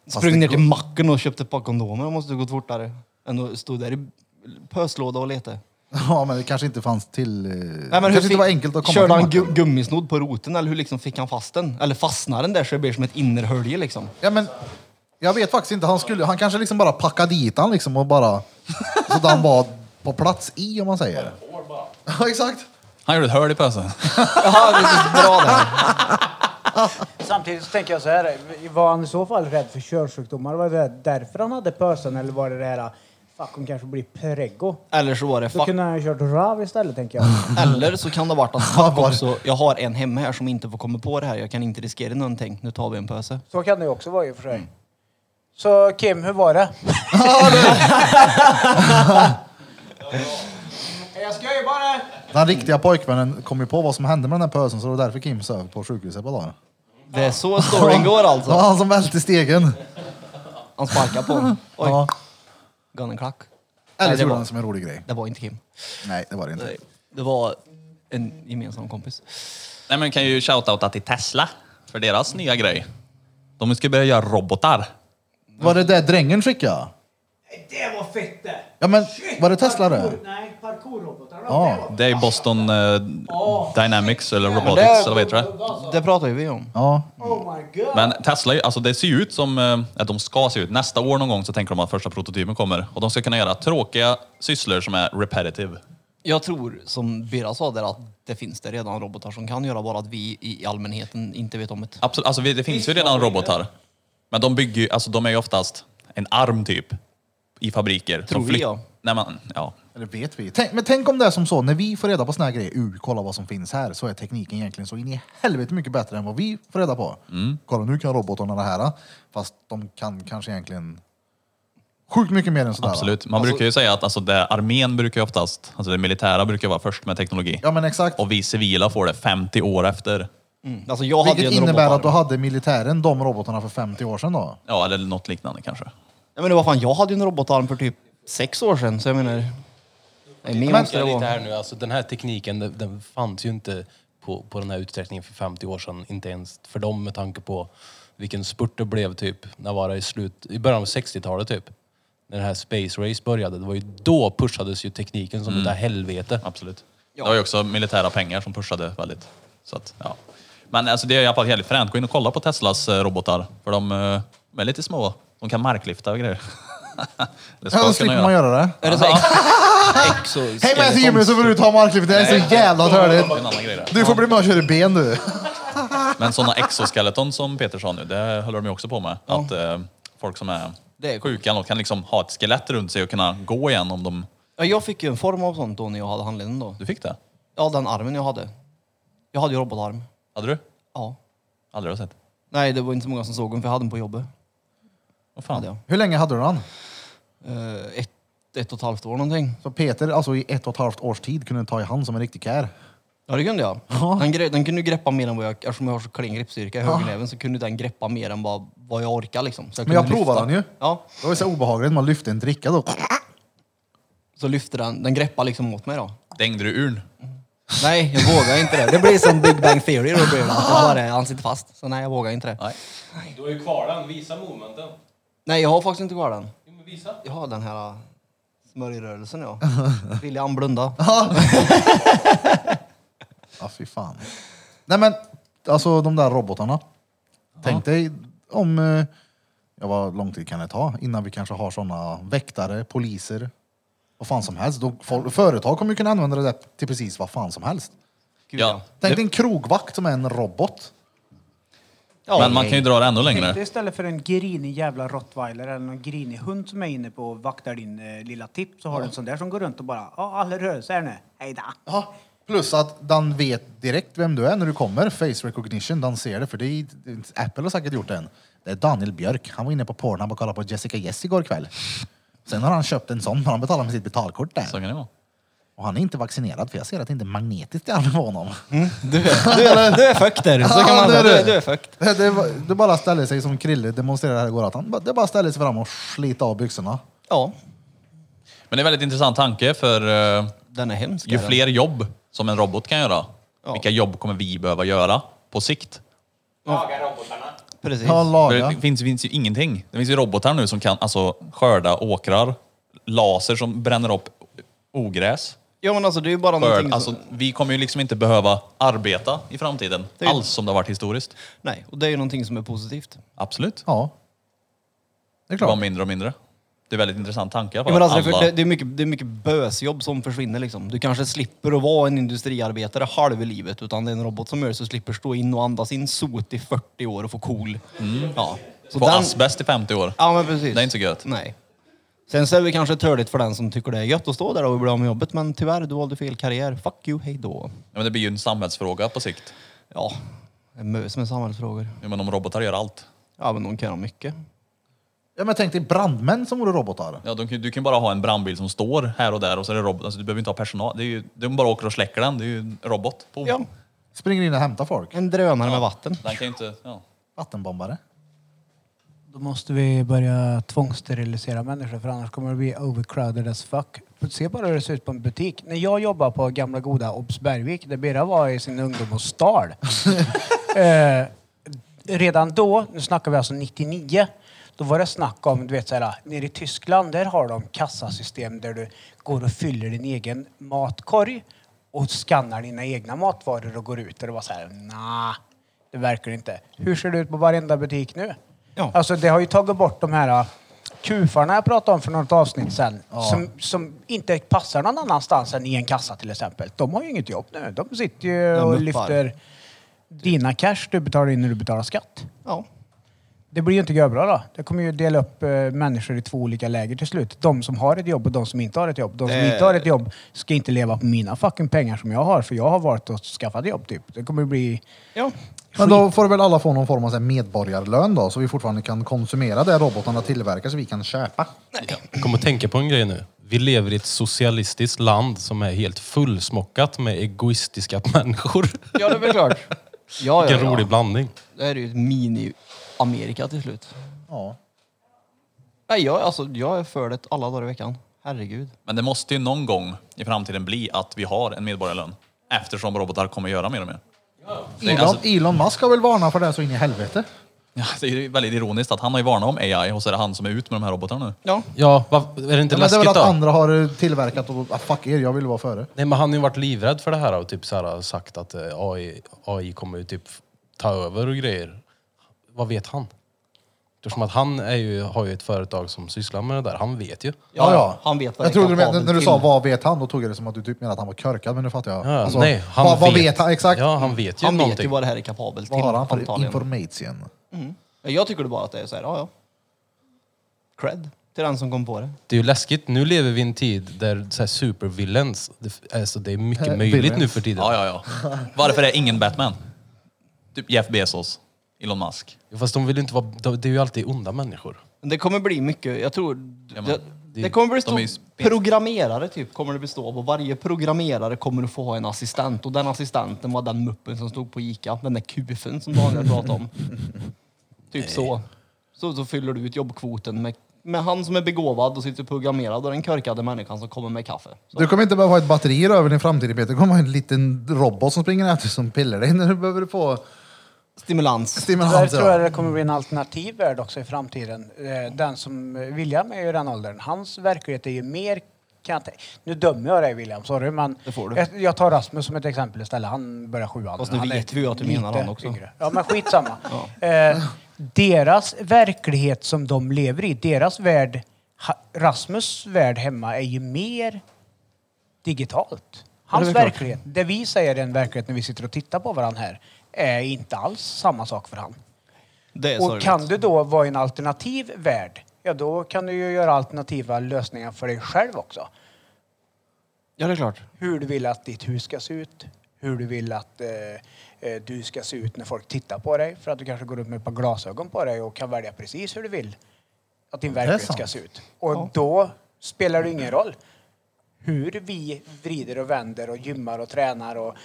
S2: Sprung
S3: det
S2: ner
S3: går-
S2: till macken och köpte ett par kondomer. Det måste gått fortare än att stå där i pöslåda och leta.
S3: Ja, men det kanske inte fanns till... eh,
S2: Nej, men hur
S3: kanske inte
S2: fick-
S3: var enkelt att komma
S2: Körde han
S3: till
S2: gu- gummisnodd på roten eller hur liksom fick han fast den? Eller fastnade den där så det blir som ett innerhölje liksom?
S3: Ja, men jag vet faktiskt inte. Han, skulle, han kanske liksom bara packade dit han liksom och bara... Så att han var på plats i, om man säger. Ja, exakt.
S1: Han gjorde ett hål i pösen.
S6: Samtidigt så tänker jag så här. Var han i så fall rädd för körsjukdomar? Var det därför han hade pösen? Eller var det det här, fuck hon kanske blir preggo?
S2: Eller så var det
S6: Då
S2: fuck.
S6: kunde han ha kört rav istället tänker jag.
S2: Eller så kan det ha varit att fuck också, jag har en hemma här som inte får komma på det här. Jag kan inte riskera någonting. Nu tar vi en pöse.
S6: Så kan det ju också vara i och för sig. Så Kim, hur var det? jag ska ju bara...
S3: Den riktiga pojkvännen kom ju på vad som hände med den här pösen så det var därför Kim söv på sjukhuset på dagen.
S2: Det är så storyn går
S3: Det var
S2: alltså.
S3: han som välte stegen.
S2: Han sparkar på den. Oj.
S3: Ja.
S2: Gav den en klack.
S3: Eller så
S2: Nej, det
S3: gjorde
S2: var-
S3: han det som en rolig grej.
S2: Det var inte Kim.
S3: Nej, det var det inte.
S2: Det var en gemensam kompis.
S1: Nej, men vi kan ju shoutouta till Tesla för deras nya grej. De ska börja göra robotar.
S3: Var det det drängen skickade?
S6: Det var fett det!
S3: Ja, men var det Tesla det?
S6: Nej, parkourrobotar.
S3: Ja.
S1: Det är Boston eh, Dynamics eller
S2: Men det-
S1: Robotics eller vad heter det?
S2: Det pratar ju vi om.
S3: Ja.
S6: Oh my god!
S1: Men Tesla, är ju- alltså det ser ju ut som eh, att de ska se ut. Nästa år någon gång så tänker de att första prototypen kommer. Och de ska kunna göra tråkiga sysslor som är repetitive.
S2: Jag tror, som Bera sa där, att det finns det redan robotar som kan göra, bara att vi i allmänheten inte vet om det.
S1: Absolut, alltså vi- det finns ju redan robotar. Men de bygger ju, alltså de är ju oftast en arm typ i fabriker.
S2: Tror vi,
S1: flytt-
S2: ja.
S1: Nej, man, ja.
S3: Eller vet vi? Tänk, men tänk om det är som så, när vi får reda på såna här grejer, uh, kolla vad som finns här, så är tekniken egentligen så in i helvete mycket bättre än vad vi får reda på. Kolla, nu kan robotarna det här, fast de kan kanske egentligen sjukt mycket mer än sådär. va?
S1: Absolut. Man brukar ju säga att alltså, det armén brukar ju oftast, alltså det militära brukar vara först med teknologi.
S3: Ja, men exakt.
S1: Och vi civila får det 50 år efter.
S2: Mm. Alltså jag hade
S3: Vilket
S2: ju en
S3: innebär att
S2: robotarm.
S3: då hade militären de robotarna för 50 år sedan då?
S1: Ja, eller något liknande kanske.
S2: Ja, men det var fan, jag hade ju en robotarm för typ sex år sedan, så jag menar... Nej, min
S5: Men,
S2: måste
S5: lite
S2: det vara.
S5: här nu, alltså, den här tekniken den, den fanns ju inte på, på den här utsträckningen för 50 år sedan. Inte ens för dem med tanke på vilken spurt det blev typ. När var det i slut, i början av 60-talet typ. När det här Space Race började. Det var ju då pushades ju tekniken som
S2: Mm.
S5: det där helvete.
S1: Absolut. Det var ju också militära pengar som pushade väldigt. Så att, ja. Men alltså, det är i alla fall jävligt fränt. Gå in och kolla på Teslas eh, robotar. För de eh, de är lite små. De kan marklyfta och grejer. det
S3: Ja, då slipper man göra det.
S2: Är det så ex- exoskeletons-
S3: Häng med till Jimmy så får du ta marklivet, det är så jävla törligt.
S1: Det är en annan grej där.
S3: Du får bli med och köra ben du.
S1: Men sådana exoskeleton som Peter sa nu, det håller de ju också på med. Att eh, folk som är,
S2: Det är
S1: sjuka eller något kan liksom ha ett skelett runt sig och kunna gå igen om de...
S2: Ja, jag fick ju en form av sånt då när jag hade handleden då.
S1: Du fick det?
S2: Ja, den armen jag hade. Jag hade ju robotarm.
S1: Hade du?
S2: Ja.
S1: Aldrig har jag sett.
S2: Nej, det var inte så många som såg den, för jag hade den på jobbet.
S1: Vad
S2: Hade
S1: fan?
S2: jag.
S3: Hur länge hade du den?
S2: Eh, ett, ett och ett halvt år någonting.
S3: Så Peter, alltså i ett och ett halvt års tid kunde ta i hand som en riktig kär.
S2: Ja, det kunde jag. Den, gre- den kunde ju greppa mer än vad jag... Eftersom jag har så klen greppstyrka i högernäven så kunde den greppa mer än vad, vad jag orkar liksom. Så
S3: Men
S2: kunde
S3: jag provade
S2: lyfta.
S3: den ju.
S2: Ja,
S3: Det var ju så obehagligt, man lyfte en dricka då.
S2: så lyfte den. Den greppade liksom åt mig då.
S1: Dängde du urn?
S2: Nej, jag vågar inte det. Det blir som Big Bang Theory då blir det. Att jag bara, han sitter fast. Så nej, jag vågar inte det.
S1: Nej.
S11: Du har ju kvar den, visa momenten.
S2: Nej, jag har faktiskt inte kvar den.
S11: Jo, men visa.
S2: Jag har den här... äh, Smörjrörelsen ja. William blunda.
S3: Ja, fy fan. Nej men, alltså de där robotarna. Tänk dig om, eh, ja vad lång tid kan det ta innan vi kanske har såna väktare, poliser, vad fan som helst. De, folk, företag kommer ju kunna använda det där till precis vad fan som helst.
S1: Ja.
S3: Tänk dig en krogvakt som är en robot.
S1: Men man kan ju dra det ännu
S6: Tänk dig
S1: längre.
S6: istället för en grinig jävla rottweiler eller någon grinig hund som är inne på och vaktar din eh, lilla tipp så har du en sån där som går runt och bara ja, alla rör sig här nu. Hejdå!
S3: Ja. Plus att den vet direkt vem du är när du kommer. Face recognition, den ser det. För det är, Apple har säkert gjort det än. Det är Daniel Björk. Han var inne på Pornhub och kollade på Jessica Jess igår kväll. Sen har han köpt en sån, men han betalar med sitt betalkort där. Så
S1: kan det vara.
S3: Och han är inte vaccinerad, för jag ser att det inte är magnetiskt i armen på honom.
S2: Du är, du är, du är fucked Så kan man säga. Du är, du är fucked.
S3: Det, det, var- det bara ställer sig som Krille demonstrerade här igår. Att han, bara- det bara ställer sig fram och sliter av byxorna.
S2: Ja.
S1: Men det är en väldigt intressant tanke för eh,
S2: Den är hemsk.
S1: ju
S2: är den.
S1: fler jobb som en robot kan göra, vilka jobb kommer vi behöva göra på sikt?
S9: Laga robotarna.
S2: Precis.
S3: Ja, laga.
S1: Det finns, finns ju ingenting. Det finns ju robotar nu som kan alltså, skörda åkrar, laser som bränner upp ogräs.
S2: Ja men alltså det är ju bara
S1: Skörd.
S2: någonting som...
S1: Alltså, vi kommer ju liksom inte behöva arbeta i framtiden
S2: Det är-
S1: alls som det har varit historiskt.
S2: Nej, och det är ju någonting som är positivt.
S1: Absolut.
S3: Ja. Det är
S1: Det var
S3: klart.
S1: mindre och mindre. Det är väldigt intressant tanke. i alla
S2: Ja, men
S1: fall.
S2: alltså, det, är för-
S1: Alla-
S2: det, det, är mycket, det är mycket bösjobb som försvinner liksom. Du kanske slipper att vara en industriarbetare halv i livet utan det är en robot som gör så du slipper stå in och andas in sot i 40 år och få KOL. Ja. Så
S1: Mm. Få
S2: den-
S1: asbest i 50 år.
S2: Ja men precis.
S1: Det är inte så gött.
S2: Nej. Sen så är det kanske törligt för den som tycker det är gött att stå där och bli av med jobbet men tyvärr, du valde fel karriär. Fuck you, hej då.
S1: Ja, men det blir ju en samhällsfråga på sikt.
S2: Ja, det är mös med samhällsfrågor.
S1: Ja, men om robotar gör allt.
S2: Ja men de kan ha mycket.
S3: Ja, men tänk dig brandmän som vore robotar.
S1: Ja, de, kan- du kan bara ha en brandbil som står här och där och så är det robot. Alltså, du behöver inte ha personal. Det är ju, de bara åker och släcker den. Det är ju en robot. Boom.
S2: Ja,
S3: Springer in och hämtar folk.
S2: en drönare med vatten.
S1: Den kan ju inte... Ja.
S3: Vattenbombare.
S6: Då måste vi börja tvångssterilisera människor för annars kommer det bli overcrowded as fuck. Se bara hur det ser ut på en butik. När jag jobbade på gamla goda Obs Bergvik, där Birra var i sin ungdom och stal. eh, redan då, nu snackar vi alltså 99, då var det snack om, du vet såhär, nere i Tyskland där har de kassasystem där du går och fyller din egen matkorg och skannar dina egna matvaror och går ut. Och det var så här, nah, det verkar inte. Hur ser det ut på varenda butik nu?
S2: Ja.
S6: Alltså det har ju tagit bort de här ah, kufarna jag pratade om för något avsnitt sen. Som, som inte passar någon annanstans än i en kassa till exempel. De har ju inget jobb nu. De sitter ju
S2: De muppar.
S6: och lyfter dina cash du betalar in när du betalar skatt.
S2: Ja.
S6: Det blir ju inte görbra då. Det kommer ju dela upp eh, människor i två olika läger till slut. De som har ett jobb och de som inte har ett jobb. De som
S2: Det-
S6: inte har ett jobb ska inte leva på mina fucking pengar som jag har för jag har varit och skaffat jobb typ. Det kommer ju bli...
S2: Ja.
S3: Men då får väl alla få någon form av så här medborgarlön då, så vi fortfarande kan konsumera det robotarna tillverkar så vi kan köpa.
S5: Jag kommer att tänka på en grej nu. Vi lever i ett socialistiskt land som är helt fullsmockat med egoistiska människor.
S2: Ja, det är väl klart. Ja, ja,
S5: Vilken
S2: ja.
S5: rolig blandning.
S2: Det här är ju ett mini-Amerika till slut.
S3: Ja.
S2: Nej, jag, alltså, jag är för det alla dagar i veckan. Herregud.
S1: Men det måste ju någon gång i framtiden bli att vi har en medborgarlön. Eftersom robotar kommer göra mer och mer. Det är,
S3: Elon,
S1: alltså,
S3: Elon Musk har väl varnat för det här så in i helvete.
S1: ja, det är ju väldigt ironiskt att han har ju varnat om AI och så är det han som är ut med de här robotarna nu.
S2: Ja.
S5: Ja, va, är det inte
S3: Ja, men det är
S5: läskigt
S3: väl att
S5: då?
S3: andra har tillverkat och ah, fuck er, jag vill vara före.
S5: Nej, men han har ju varit livrädd för det här och typ så här, sagt att eh, AI, AI kommer ju typ ta över och grejer. Vad vet han? Eftersom att han är ju, har ju ett företag som sysslar med det där. Han vet ju.
S3: Ja, ja.
S2: Han vet vad
S3: Jag
S2: det är
S3: trodde du menade,
S2: kapabelt
S3: när du
S2: till.
S3: sa vad vet han, då tog jag det som att du typ menade att han var körkad, men nu fattar jag. Alltså,
S5: Ja, nej, han
S3: vad,
S5: vet.
S3: vad vet han exakt?
S5: Ja, han vet ju
S2: Han vet ju
S5: någonting.
S2: vad det här är kapabelt
S3: Vad har han för
S2: antagligen.
S3: information?
S2: Ja, Jag tycker bara att det är så här, ja ja. Cred till den som kom på det.
S5: Det är ju läskigt. Nu lever vi i en tid där så här supervillains, det, alltså det är mycket
S3: Eh,
S5: möjligt
S3: villains.
S5: nu för tiden.
S1: Ja, ja, ja. Varför är ingen Batman? Typ Jeff Bezos, Elon Musk.
S5: Fast de vill inte vara, de, det är ju alltid onda människor.
S2: Men Det kommer bli mycket, jag tror...
S1: Ja, men
S2: det,
S5: det-
S2: det kommer
S1: de är
S2: bli
S1: ju
S2: stå,
S1: spets-
S2: programmerare typ, kommer det bestå av. Och varje programmerare kommer att få ha en assistent. Och den assistenten var den muppen som stod på Ica. Den där kufen som Daniel pratade om. typ så. så. Så fyller du ut jobbkvoten med, med han som är begåvad och sitter programmerad och den körkade människan som kommer med kaffe. Så.
S3: Du kommer inte behöva ha ett batteri över din framtid Peter, du kommer ha en liten robot som springer efter som pillar dig när du behöver få
S2: Stimulans.
S6: Där
S3: stimulans.
S6: tror jag det kommer bli en alternativ värld också i framtiden. Eh, Den som eh, William är i den åldern, hans verklighet är ju mer Kan jag inte. Nu dömer jag dig William, sorry. Men Jag, jag tar Rasmus som ett exempel istället. Han börjar sjuan.
S2: Fast nu
S6: Han är
S2: vet vi ju att du menar
S6: lite
S2: han också.
S6: yngre. Ja, men skitsamma. eh, deras verklighet som de lever i, deras värld, ha, Rasmus värld hemma är ju mer digitalt. Hans
S2: Ja, det är väl
S6: verklighet, det vi säger är en verklighet när vi sitter och tittar på varandra här, är inte alls samma sak för han.
S10: Det är
S6: Och
S10: sorgligt.
S6: kan du då vara i en alternativ värld, ja då kan du ju göra alternativa lösningar för dig själv också.
S2: Ja, det är klart.
S6: Hur du vill att ditt hus ska se ut, hur du vill att eh, eh, du ska se ut när folk tittar på dig, för att du kanske går upp med ett par glasögon på dig och kan välja precis hur du vill att din
S3: Det är
S6: verklighet
S3: sant.
S6: ska se ut. Och då spelar det ingen roll hur vi vrider och vänder och gymmar och tränar och,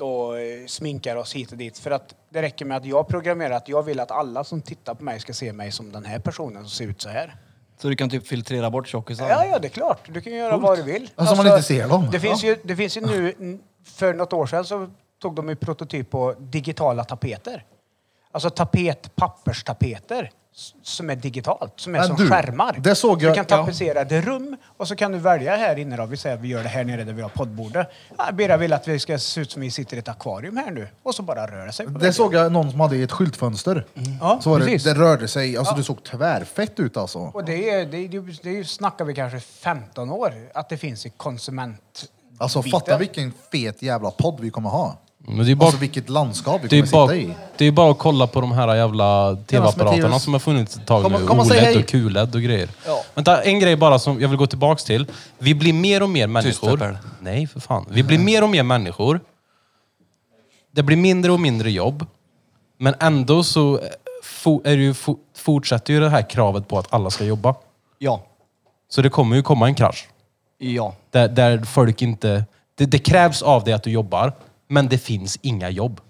S6: och eh, sminkar oss hit och dit. För att det räcker med att jag programmerar att jag vill att alla som tittar på mig ska se mig som den här personen som ser ut så här.
S2: Så du kan typ filtrera bort tjockisar?
S6: Ja, ja, det är klart. Du kan göra
S2: Coolt.
S6: vad du vill.
S2: Alltså, man inte ser dem.
S6: Det finns,
S2: Ja.
S6: ju, det finns ju nu, för något år sedan så tog de ju prototyp på digitala tapeter. Alltså tapet, papperstapeter s- som är digitalt, som är
S3: Men
S6: som
S3: du,
S6: skärmar.
S3: det såg
S6: Du
S3: jag-
S6: kan
S3: ja.
S6: tapetsera ett rum och så kan du välja här inne då. Vi säger att vi gör det här nere där vi har poddbordet. Ja, Bera vill att vi ska se ut som vi sitter i ett akvarium här nu. Och så bara rör det sig. på
S3: Det
S6: väggen.
S3: såg jag någon som hade i ett skyltfönster.
S6: Ja,
S3: så var det,
S6: precis.
S3: det rörde sig, alltså
S6: Mm. Ja.
S3: det såg tvärfett ut alltså.
S6: Och det, är, det, är, det, är, det är, ju- snackar vi kanske 15 år att det finns i konsument...
S3: Alltså fatta vilken fet jävla podd vi kommer ha.
S5: Men det är bara-
S3: Alltså vilket landskap vi
S5: Det
S3: kommer
S5: är, bara,
S3: sitta i.
S5: det är bara att kolla på de här jävla tv-apparaterna
S3: Mattias.
S5: som har funnits ett tag
S3: Kom och-
S5: nu.
S3: kom och säg
S5: OLED
S3: hej.
S5: och QLED och grejer. Vänta, en grej bara som jag vill gå tillbaks till. Vi blir mer och mer människor. Nej, för fan. Vi blir mer och mer människor. Det blir mindre och mindre jobb. Men ändå så eh, fo- är det ju, fo- fortsätter ju det här kravet på att alla ska jobba.
S2: Ja.
S5: Så det kommer ju komma en krasch.
S2: Ja.
S5: Där, där folk inte... Det, det krävs av dig att du jobbar, men det finns inga jobb.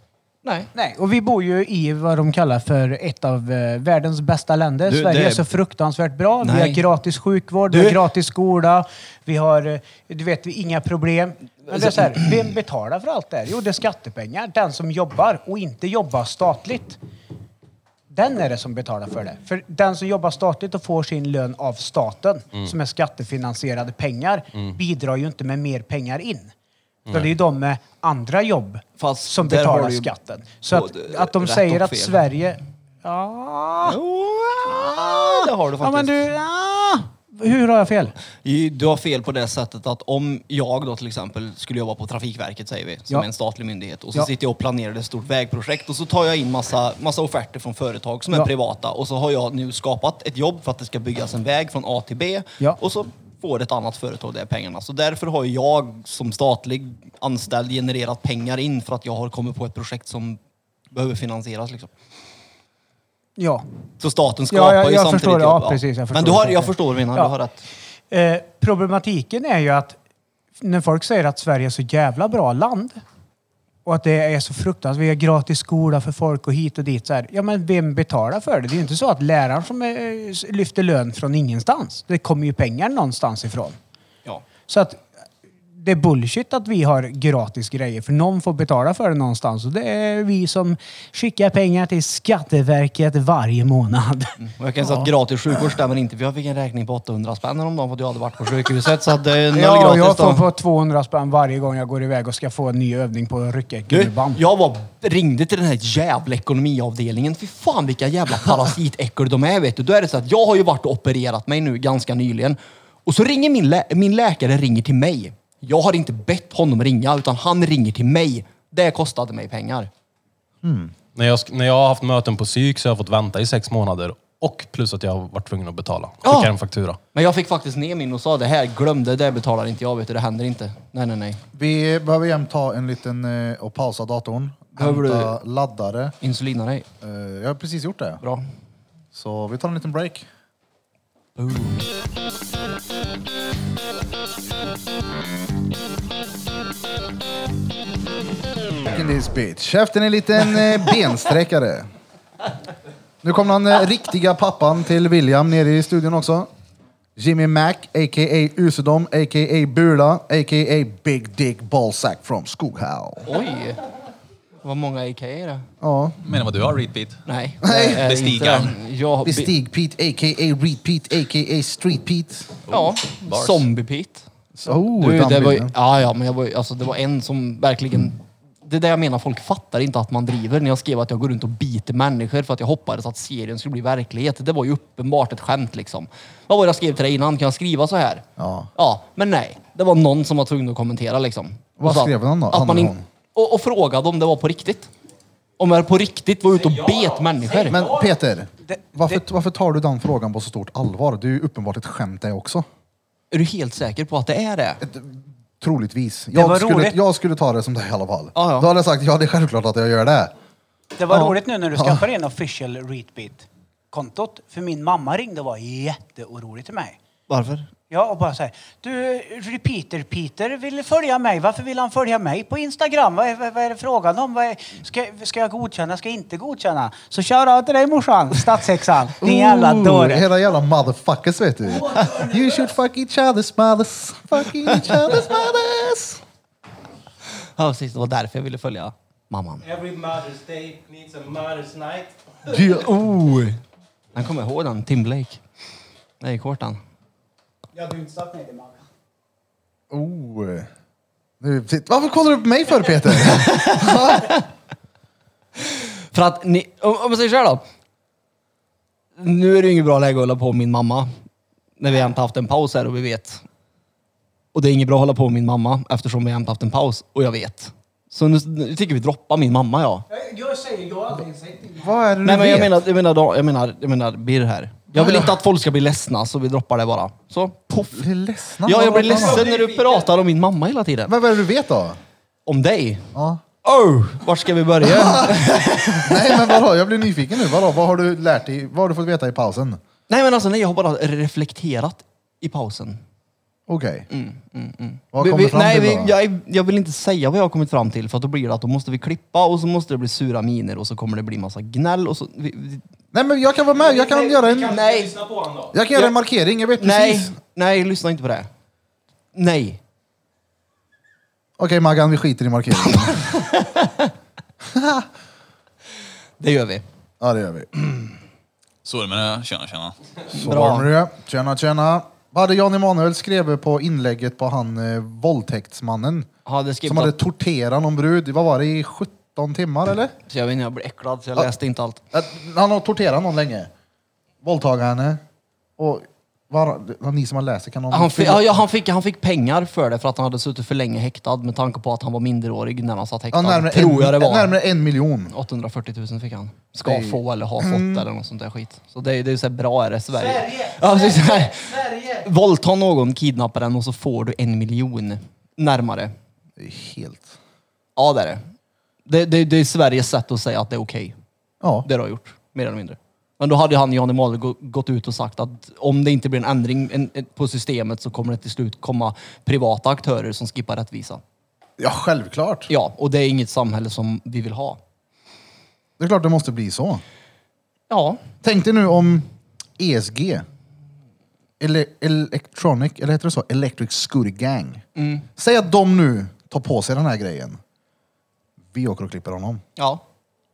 S2: Nej.
S6: Nej, och vi bor ju i vad de kallar för ett av eh, världens bästa länder.
S5: Du,
S6: Sverige
S5: det-
S6: är så fruktansvärt bra. Vi har
S5: Nej.
S6: gratis sjukvård,
S5: Du-
S6: vi har gratis skola, vi har, eh, du vet, vi- inga problem. Men det är så här, vem betalar för allt det här? Jo, det är skattepengar. Den som jobbar och inte jobbar statligt. Den är det som betalar för det. För den som jobbar statligt och får sin lön av staten,
S7: Mm.
S6: som är skattefinansierade pengar,
S7: Mm.
S6: bidrar ju inte med mer pengar in. Så
S7: Nej.
S6: det är ju de med andra jobb som
S2: där har
S6: betalar
S2: du ju
S6: skatten. Så att,
S2: både
S6: att de
S2: rätt
S6: säger
S2: och
S6: att
S2: fel.
S6: Sverige... Ja,
S2: det har du
S6: ja, men
S2: faktiskt.
S6: du... Ja. Hur har jag fel?
S2: I- Du har fel på det sättet att om jag då till exempel skulle jobba på Trafikverket säger vi, som
S6: Ja.
S2: är en statlig myndighet och så
S6: Ja.
S2: sitter jag och planerar ett stort vägprojekt och så tar jag in massa, massa offerter från företag som är
S6: Ja.
S2: privata och så har jag nu skapat ett jobb för att det ska byggas en väg från A till B
S6: Ja.
S2: och så får ett annat företag de pengarna. Så därför har jag som statlig anställd genererat pengar in för att jag har kommit på ett projekt som behöver finansieras. Liksom.
S6: Ja.
S2: Så staten skapar
S6: jag,
S2: ju
S6: jag
S2: samtidigt
S6: förstår,
S2: jobb.
S6: Ja, precis, jag förstår
S2: Men du har,
S6: det.
S2: jag förstår mina,
S6: Ja.
S2: du har rätt.
S6: Eh, problematiken är ju att när folk säger att Sverige är så jävla bra land och att det är så fruktansvärt, vi har gratis skola för folk och hit och dit. Så här. Ja, men vem betalar för det? Det är ju inte så att läraren som eh, s- lyfter lön från ingenstans. Det kommer ju pengar någonstans ifrån.
S2: Ja.
S6: Så att det är bullshit att vi har gratis grejer för någon får betala för det någonstans och det är vi som skickar pengar till Skatteverket varje månad.
S2: Och jag kan säga att gratis sjukvård stämmer inte för jag fick en räkning på 800 spänn häromdagen för att jag hade varit på sjukhuset. Så att det är noll
S6: Ja, jag
S2: gratis
S6: får
S2: då.
S6: på 200 spänn varje gång jag går iväg och ska få en ny övning på att rycka ett
S2: Du,
S6: gummiband.
S2: jag var, ringde till den här jävla ekonomiavdelningen. Fy fan vilka jävla parasitäckel de är vet du. Då är det så att jag har ju varit och opererat mig nu ganska nyligen. Och så ringer min, lä- min läkare ringer till mig. Jag har inte bett honom ringa utan han ringer till mig. Det kostade mig pengar.
S5: När jag, sk- när jag har haft möten på psyk så har jag fått vänta i sex månader. Och plus att jag har varit tvungen att betala. Skicka
S2: Ja.
S5: en faktura.
S2: Men jag fick faktiskt ner min och sa det här, glöm det, det betalar inte jag vet du. Det händer inte. Nej, nej, nej.
S3: Vi behöver jämt ta en liten eh, och pausa datorn.
S2: Behöver du-
S3: Hämta laddare. Eh,
S2: Insulina dig.
S3: jag har precis gjort det.
S2: Bra.
S3: Så vi tar en liten break. Back in this bitch. Käften är en liten eh, bensträckare. Nu kommer han eh, riktiga pappan till William nere i studion också. Jimmy Mac, a.k.a. Usedom, a.k.a. Bula, a.k.a. Big Dick Ballsack from Skoghall.
S2: Oj! Vad många IK är det?
S3: Ja.
S1: Menar vad du har, repeat?
S2: Nej.
S3: Nej.
S2: det är
S1: Bestigaren.
S2: inte den. Jag har be-
S3: Bestig Pete, a.k.a. Repeat, a.k.a. Street Pete.
S2: Ja,
S3: Oh, Bars.
S2: Zombie-Pete. Så,
S3: Oh,
S2: du, det, var, ju-
S3: dammbilden.
S2: ja, ja, men jag var, ju- alltså, det var en som verkligen... Det är det jag menar, folk fattar inte att man driver. När jag skrev att jag går runt och biter människor för att jag hoppades att serien skulle bli verklighet. Det var ju uppenbart ett skämt liksom. Vad var det jag skrev till dig innan? Kan jag skriva så här?
S3: Ja.
S2: Ja, men nej. Det var någon som var tvungen att kommentera liksom.
S3: Vad
S2: Och så att-
S3: skrev han då?
S2: Att man
S3: Han eller
S2: in, och, och frågade om det var på riktigt. Om jag på riktigt var ute och bet människor.
S3: Men Peter, varför, varför tar du den frågan på så stort allvar? Det är ju uppenbart ett skämt det också.
S2: Är du helt säker på att det är det?
S3: Troligtvis.
S6: var
S3: Jag skulle,
S6: roligt.
S3: jag skulle ta det som det i alla fall. Då hade jag sagt, ja det är självklart att jag gör det.
S6: Det var
S3: Ja.
S6: roligt nu när du skaffade en official Readbeat-kontot. För min mamma ringde och var jätteorolig till mig.
S2: Varför?
S6: Ja, och bara så här. Du, Repeater Peter vill följa mig. Varför vill han följa mig på Instagram? Vad är, vad vad är det frågan om? Vad är, ska, ska jag godkänna? Ska jag inte godkänna? Så shoutout till dig morsan, statshäxan. Din jävla
S3: Ooh,
S6: dåre.
S3: Hela jävla motherfuckers vet du. You should fuck each other's mothers. Fucking each other's mothers.
S2: Ja, precis. Det var därför jag ville följa mamman.
S11: Every Mother's Day needs a Mother's Night.
S2: Oh. Han kommer ihåg den, Tim Blake. Nej, i kortan.
S6: Jag har inte sagt nej till mamma.
S3: Oh. Nu, varför kollar du på mig för Peter?
S2: För att ni, om, om jag säger så här då. Nu är det ju inget bra läge att hålla på med min mamma. När vi jämt haft en paus här och vi vet. Och det är inget bra att hålla på med min mamma eftersom vi jämt haft en paus och jag vet. Så nu, nu tycker vi droppa min mamma ja.
S6: Jag säger, jag har aldrig sagt
S3: Vad är det
S2: Nej
S3: du
S2: men jag
S3: vet?
S2: menar, jag menar, då- jag menar, jag menar Birr här. Jag vill inte att folk ska bli ledsna så vi droppar det bara. Så, poff.
S3: Blir ledsna?
S2: Ja, jag
S3: Vad-
S2: blir
S3: vad- vad-
S2: ledsen när du pratar om min mamma hela tiden.
S3: Men vad är det du vet då?
S2: Om dig?
S3: Ja.
S2: Oh, vart ska vi börja?
S3: Nej men vadå, jag blir nyfiken nu. Vadå, vad har du lärt dig? Vad har du fått veta i pausen?
S2: nej men alltså nej, jag har bara reflekterat i pausen.
S3: Okej. Vad
S2: Mm, Vi,
S3: kom du
S2: vi,
S3: fram
S2: nej,
S3: till
S2: vi,
S3: då?
S2: jag, jag vill inte säga vad jag har kommit fram till för att då blir det att då måste vi klippa och så måste det bli sura miner och så kommer det bli massa gnäll och så... Vi, vi,
S3: Nej men jag kan vara med, jag kan göra en...
S2: nej.
S3: Jag kan göra en markering, jag vet
S2: Nej,
S3: precis.
S2: nej, lyssna inte på det. Nej.
S3: Okej Maggan, vi skiter i markeringen.
S2: Det gör vi.
S3: ja det gör vi.
S1: Så är det med det. Tjena, tjena.
S3: Så
S2: Bra.
S3: var det. Tjena tjena. Vad hade Jan Emanuel skrev på inlägget på han eh, våldtäktsmannen?
S2: Ja, det skrev
S3: Som hade torterat någon brud, vad var det, i 17 timmar eller?
S2: så jag vet inte, jag blir äcklad så jag
S3: Ja.
S2: läste inte allt.
S3: Att Han har torterat någon länge. Våldtagit henne. Och var, ni som har läst det kan någon...
S2: Han fick, ja, ja, han, fick, han fick pengar för det för att han hade suttit för länge häktad med tanke på att han var minderårig när han satt häktad.
S3: Ja, närmare,
S2: tror jag det
S3: en,
S2: var.
S3: närmare en miljon.
S2: 840 000 fick han. Ska
S3: Nej.
S2: få eller ha fått eller något sånt där skit. Så det är det är ju så här bra är det Sverige. ja, precis, så här. Våldta någon, kidnappa den och så får du en miljon närmare.
S3: Det är helt...
S2: Ja det är det. Det, det, det är Sveriges sätt att säga att det är okej.
S3: Ja.
S2: Det du har gjort, mer eller mindre. Men då hade han, Jan Emanuel, gå- gått ut och sagt att om det inte blir en ändring en, en, på systemet så kommer det till slut komma privata aktörer som skippar rättvisa.
S3: Ja, självklart.
S2: Ja, och det är inget samhälle som vi vill ha.
S3: Det är klart det måste bli så.
S2: Ja,
S3: Tänk dig nu om E ESG. Eller Electronic, eller heter det så? Electric Scooter Gang. Säg att de nu tar på sig den här grejen. Vi åker och klipper honom.
S2: ja.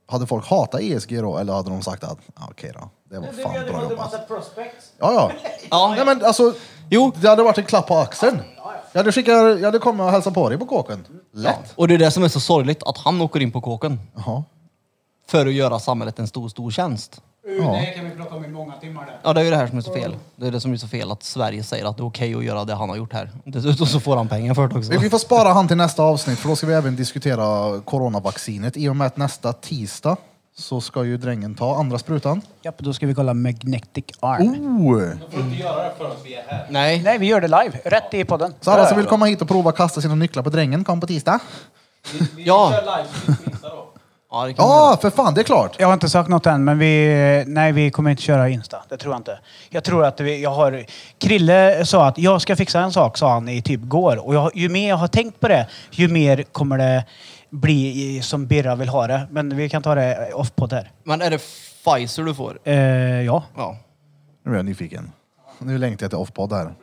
S3: Hade folk hatat ESG då? Eller hade de sagt att ah, okej då, det var fan bra jobbat.
S6: prospects.
S3: Ja, ja.
S2: ja.
S3: Nej, men alltså,
S2: Jo.
S3: Det hade varit en klapp på axeln. Jag hade, skickat, jag hade kommit och hälsat på dig på kåken. Lätt.
S2: Och det är det som är så sorgligt, att han åker in på kåken
S3: Jaha.
S2: för att göra samhället en stor, stor tjänst.
S6: Uh, Det här kan vi prata om i många timmar där.
S2: Ja, det är ju det här som är så fel. Det är det som är så fel, att Sverige säger att det är okej att göra det han har gjort här. Dessutom så får han pengar för det också.
S3: Vi- Vi får spara han till nästa avsnitt för då ska vi även diskutera coronavaccinet i och med att nästa tisdag så ska ju drängen ta andra sprutan.
S6: Japp, då ska vi kolla Magnetic Arm.
S3: Oh!
S2: Nej.
S6: Nej, vi gör det live. Rätt i podden.
S3: Så alla som vill komma hit och prova att kasta sina nycklar på drängen, kom på tisdag.
S2: Ja. Ja, det kan man göra.
S3: Ja, för fan, det är klart!
S6: Jag har inte sagt något än, men vi, nej, vi kommer inte köra Insta. Det tror jag inte. Jag tror att vi, jag har... Krille sa att jag ska fixa en sak, sa han i typ går. Och jag, ju mer jag har tänkt på det, ju mer kommer det bli i- som Birra vill ha det. Men vi kan ta det off-podd här.
S2: Men är det Pfizer du får?
S6: Eh, ja.
S2: Ja.
S3: Nu är jag nyfiken. Nu längtar jag till offpodd här.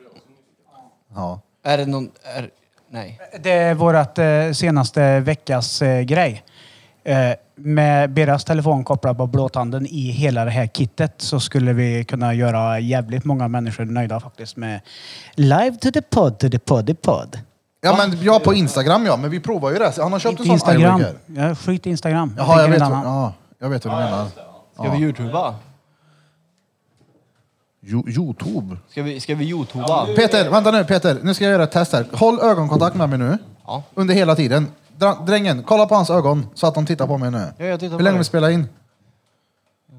S3: Ja.
S2: Är det någon... Är, nej.
S6: Det är vårt eh, senaste veckas eh, grej. Eh, med Beras telefon kopplad på blåtanden i hela det här kittet så skulle vi kunna göra jävligt många människor nöjda faktiskt med Live to the pod, to the pod, the pod.
S3: Ja, men jag på Instagram ja, men vi provar ju det. Han har köpt en sån
S6: Instagram.
S3: iWigger.
S6: Ja, skit i Instagram.
S3: Jaha, jag
S6: tänker
S3: vet,
S6: en
S3: vad,
S6: annan.
S3: ja, jag vet vad du menar.
S2: Ska vi youtuba?
S3: Jo, Youtube?
S2: Ska vi, ska vi youtuba?
S3: Peter, vänta nu Peter. Nu ska jag göra ett test här. Håll ögonkontakt med mig nu. Under hela tiden. Dra- Drängen, kolla på hans ögon så att de tittar på mig nu.
S2: Ja, jag tittar
S3: Hur
S2: på
S3: länge
S2: dig.
S3: vi spelar in?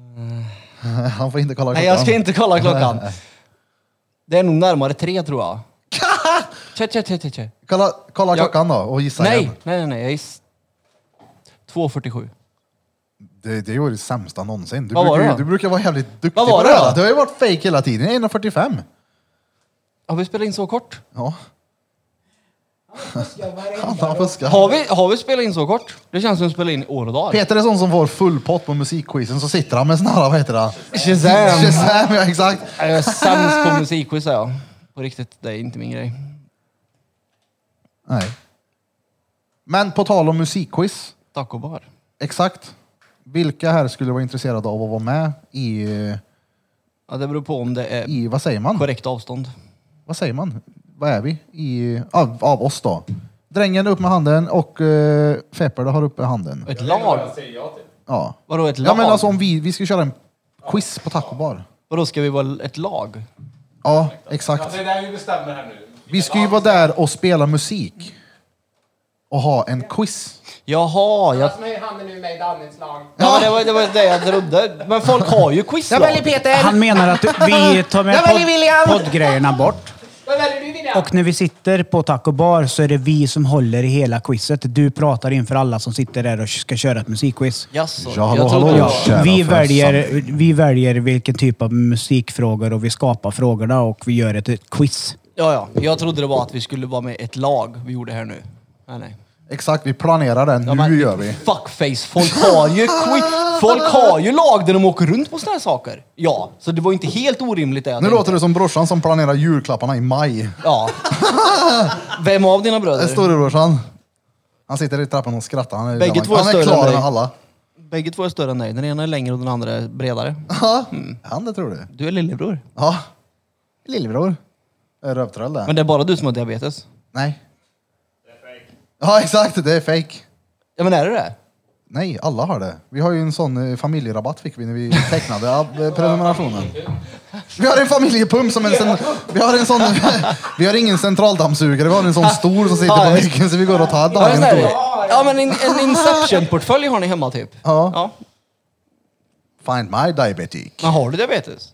S3: Han får inte kolla klockan.
S2: Nej, jag ska inte kolla klockan. Det är nog närmare tre tror jag. Tja, tja, tja, tja, tja.
S3: Kolla, kolla klockan då och gissa
S2: Nej,
S3: igen.
S2: nej, nej, nej. Jag giss... 2.47.
S3: Det, det var det sämsta någonsin. Du,
S2: Vad var
S3: brukar,
S2: det
S3: ju-
S2: då?
S3: du brukar vara jävligt duktig
S2: Vad var
S3: på
S2: det
S3: det. här.
S2: då?
S3: Du har ju varit fake hela tiden. 1.45.
S2: Har vi spelat in så kort?
S3: Ja. Han har fuskat.
S2: Har vi, har vi spelat in så kort? Det känns som att vi spelar in i år och dag.
S3: Peter är sån som får full pott på musikquizen så sitter han med sån här, vad heter det?
S2: Shazam.
S3: Shazam, ja exakt.
S2: Jag är sämst Eh, på musikquiz är jag. På riktigt, det är inte min grej.
S3: Nej. Men på tal om musikquiz.
S2: Tacobar.
S3: Exakt. Vilka här skulle vara intresserade av att vara med i, eh,
S2: Ja, det beror på om det är
S3: i vad säger man?
S2: korrekt avstånd.
S3: Vad säger man? Vad är vi? I, av, av oss då. Drängen upp med handen och uh, Fepparde har uppe handen.
S2: Ett lag?
S3: Ja.
S2: Vadå ett lag?
S3: Ja men alltså om vi, vi ska köra en quiz på tacobar.
S2: Vadå, ska vi vara ett lag?
S12: Ja,
S3: Ja, exakt.
S12: det är där vi bestämmer här nu.
S3: Vi ska ju vara där och spela musik. Och ha en quiz.
S2: Jaha, jag...
S11: Alltså, nu är handen ur mig, Dannets lag.
S2: Ja, men det, var, det var det jag trodde. Men folk har ju quizlag.
S6: Han menar att vi tar med
S2: Jag väljer William.
S6: pod- poddgrejerna bort.
S11: Vad väljer du William?
S6: Och när vi sitter på Taco Bar så är det vi som håller i hela quizet. Du pratar inför alla som sitter där och ska köra ett musikquiz.
S2: Jaså,
S3: Ja, hallå, hallå,
S2: trodde-
S3: kära
S6: Vi
S3: frösan.
S6: väljer, vi väljer vilken typ av musikfrågor och vi skapar frågorna och vi gör ett, ett quiz.
S2: Ja, ja. Jag trodde det var att vi skulle vara med ett lag vi gjorde här nu. Nej, nej.
S3: Exakt, vi planerar det. Nu
S2: Ja, men-
S3: gör vi.
S2: Fuckface, folk har ju quiz. Folk har ju lag där de åker runt på såna här saker. Ja, så det var ju inte helt orimligt det jag
S3: Nu
S2: tänkte.
S3: låter det som brorsan som planerar julklapparna i maj.
S2: Ja. Vem av dina bröder?
S3: Storebrorsan. Han sitter i trappan och skrattar. Han är,
S2: Bägge
S3: han,
S2: två är
S3: han är
S2: större än
S3: klar
S2: dig.
S3: med alla.
S2: Bägge två är större än dig. Den ena är längre och den andra är bredare.
S3: Ja,
S2: Mm.
S3: han det tror du.
S2: Du är lillebror.
S3: Ja. Lillebror. Är Rövtroll det.
S2: Men det är bara du som har diabetes.
S3: Nej. Ja, exakt. Det är fake.
S2: Ja, men är det det?
S3: Nej, alla har det. Vi har ju en sån eh, familjerabatt fick vi när vi tecknade ab- eh, prenumerationen. Vi har en familjepump som en sen, Vi har en sån... Vi har ingen centraldammsugare, vi har en sån stor som sitter på väggen så vi går och tar
S2: Ja, men,
S3: dagen.
S2: är det.
S3: på.
S2: ja, men en, en Inception-portfölj har ni hemma typ?
S3: Ja.
S2: Ja.
S3: Find my diabetic.
S2: Men har du diabetes?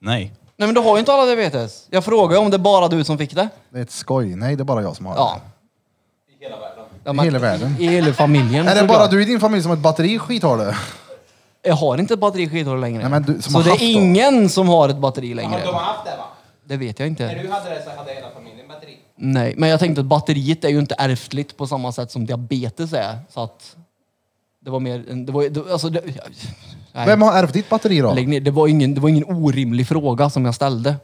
S1: Nej.
S2: Nej men du har ju inte alla diabetes. Jag frågar ju om det är bara du som fick det.
S3: Det är ett skoj. Nej, det är bara jag som har det.
S2: Ja. I hela världen. Ja, men,
S3: I hela världen.
S2: I hela familjen.
S3: Är det
S2: såklart.
S3: bara du i din familj som har ett batteri skit har du?
S2: Jag har inte ett batteri i skidor längre.
S3: Nej, men du som
S2: så
S3: har
S2: det
S3: haft
S2: är
S3: då?
S2: ingen som har ett batteri
S12: Ja,
S2: längre.
S12: de har haft det va?
S2: Det vet jag
S12: När
S2: inte.
S12: du hade det så hade hela familjen batteri.
S2: Nej, men jag tänkte att batteriet är ju inte ärftligt på samma sätt som diabetes är. Så att det var mer... en- Det var, det, alltså, det, nej.
S3: Vem har ärvt ditt batteri då?
S2: Lägg ner. Det, var ingen, det var ingen orimlig fråga som jag ställde.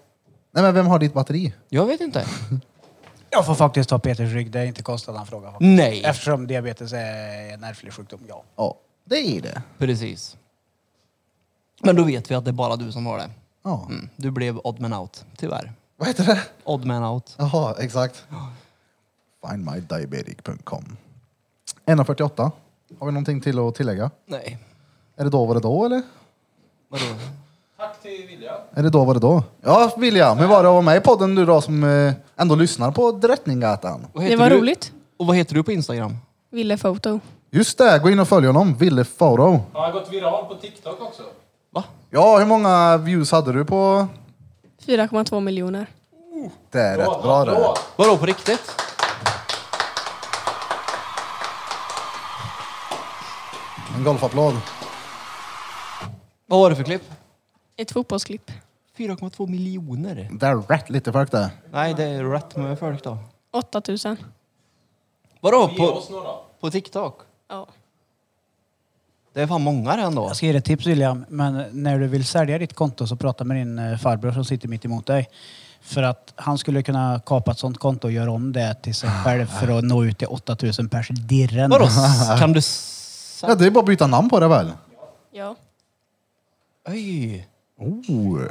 S3: Nej men vem har ditt batteri?
S2: Jag vet inte.
S6: Jag får faktiskt ta Peters rygg. Det är inte konstigt att han frågar. faktiskt.
S2: Nej,
S6: Eftersom diabetes är en ärftlig sjukdom, ja.
S3: Ja, det är det.
S2: precis. Men då vet vi att det är bara du som har det.
S3: Ja.
S2: Mm. Du blev odd man out, tyvärr.
S3: Vad heter det?
S2: Odd man out.
S3: Jaha, exakt. Findmydiabetic.com 1.48. Har vi någonting till att tillägga?
S2: Nej,
S3: Är det då var det då eller?
S2: vadå?
S12: Tack till William.
S3: Är det då var det då? Ja, William, hur var det att vara med i podden du då som eh, ändå lyssnar på Drottninggatan?
S2: Vad
S4: Det
S2: heter
S4: var
S2: du?
S4: roligt.
S2: Och vad heter du på Instagram?
S4: Ville foto.
S3: Just det, gå in och följ honom, Ville Faro.
S12: Han har gått viral på TikTok också.
S2: Va?
S3: Ja, hur många views hade du på?
S4: 4,2 miljoner.
S3: Det är rätt bra det.
S2: Vadå på riktigt?
S3: En golfapplåd.
S2: Vad var det för klipp?
S4: Ett fotbollsklipp.
S2: 4,2 miljoner.
S3: Det är rätt lite folk det.
S2: Nej, det är rätt med folk då.
S4: 8000.
S2: Vadå
S12: Ge
S2: på,
S12: oss några.
S2: på TikTok?
S4: Ja.
S2: Det är fan många det ändå.
S6: Jag ska ge dig ett tips William, men när du vill sälja ditt konto så prata med din eh, farbror som sitter mitt emot dig. För att han skulle kunna kapa ett sånt konto och göra om det till sig
S3: Ah.
S6: själv för att nå ut till 8000 pers i dirren.
S2: Vadå? Kan du...
S3: Ja, det är bara att byta namn på det väl?
S4: Ja.
S2: Oj.
S3: Oh.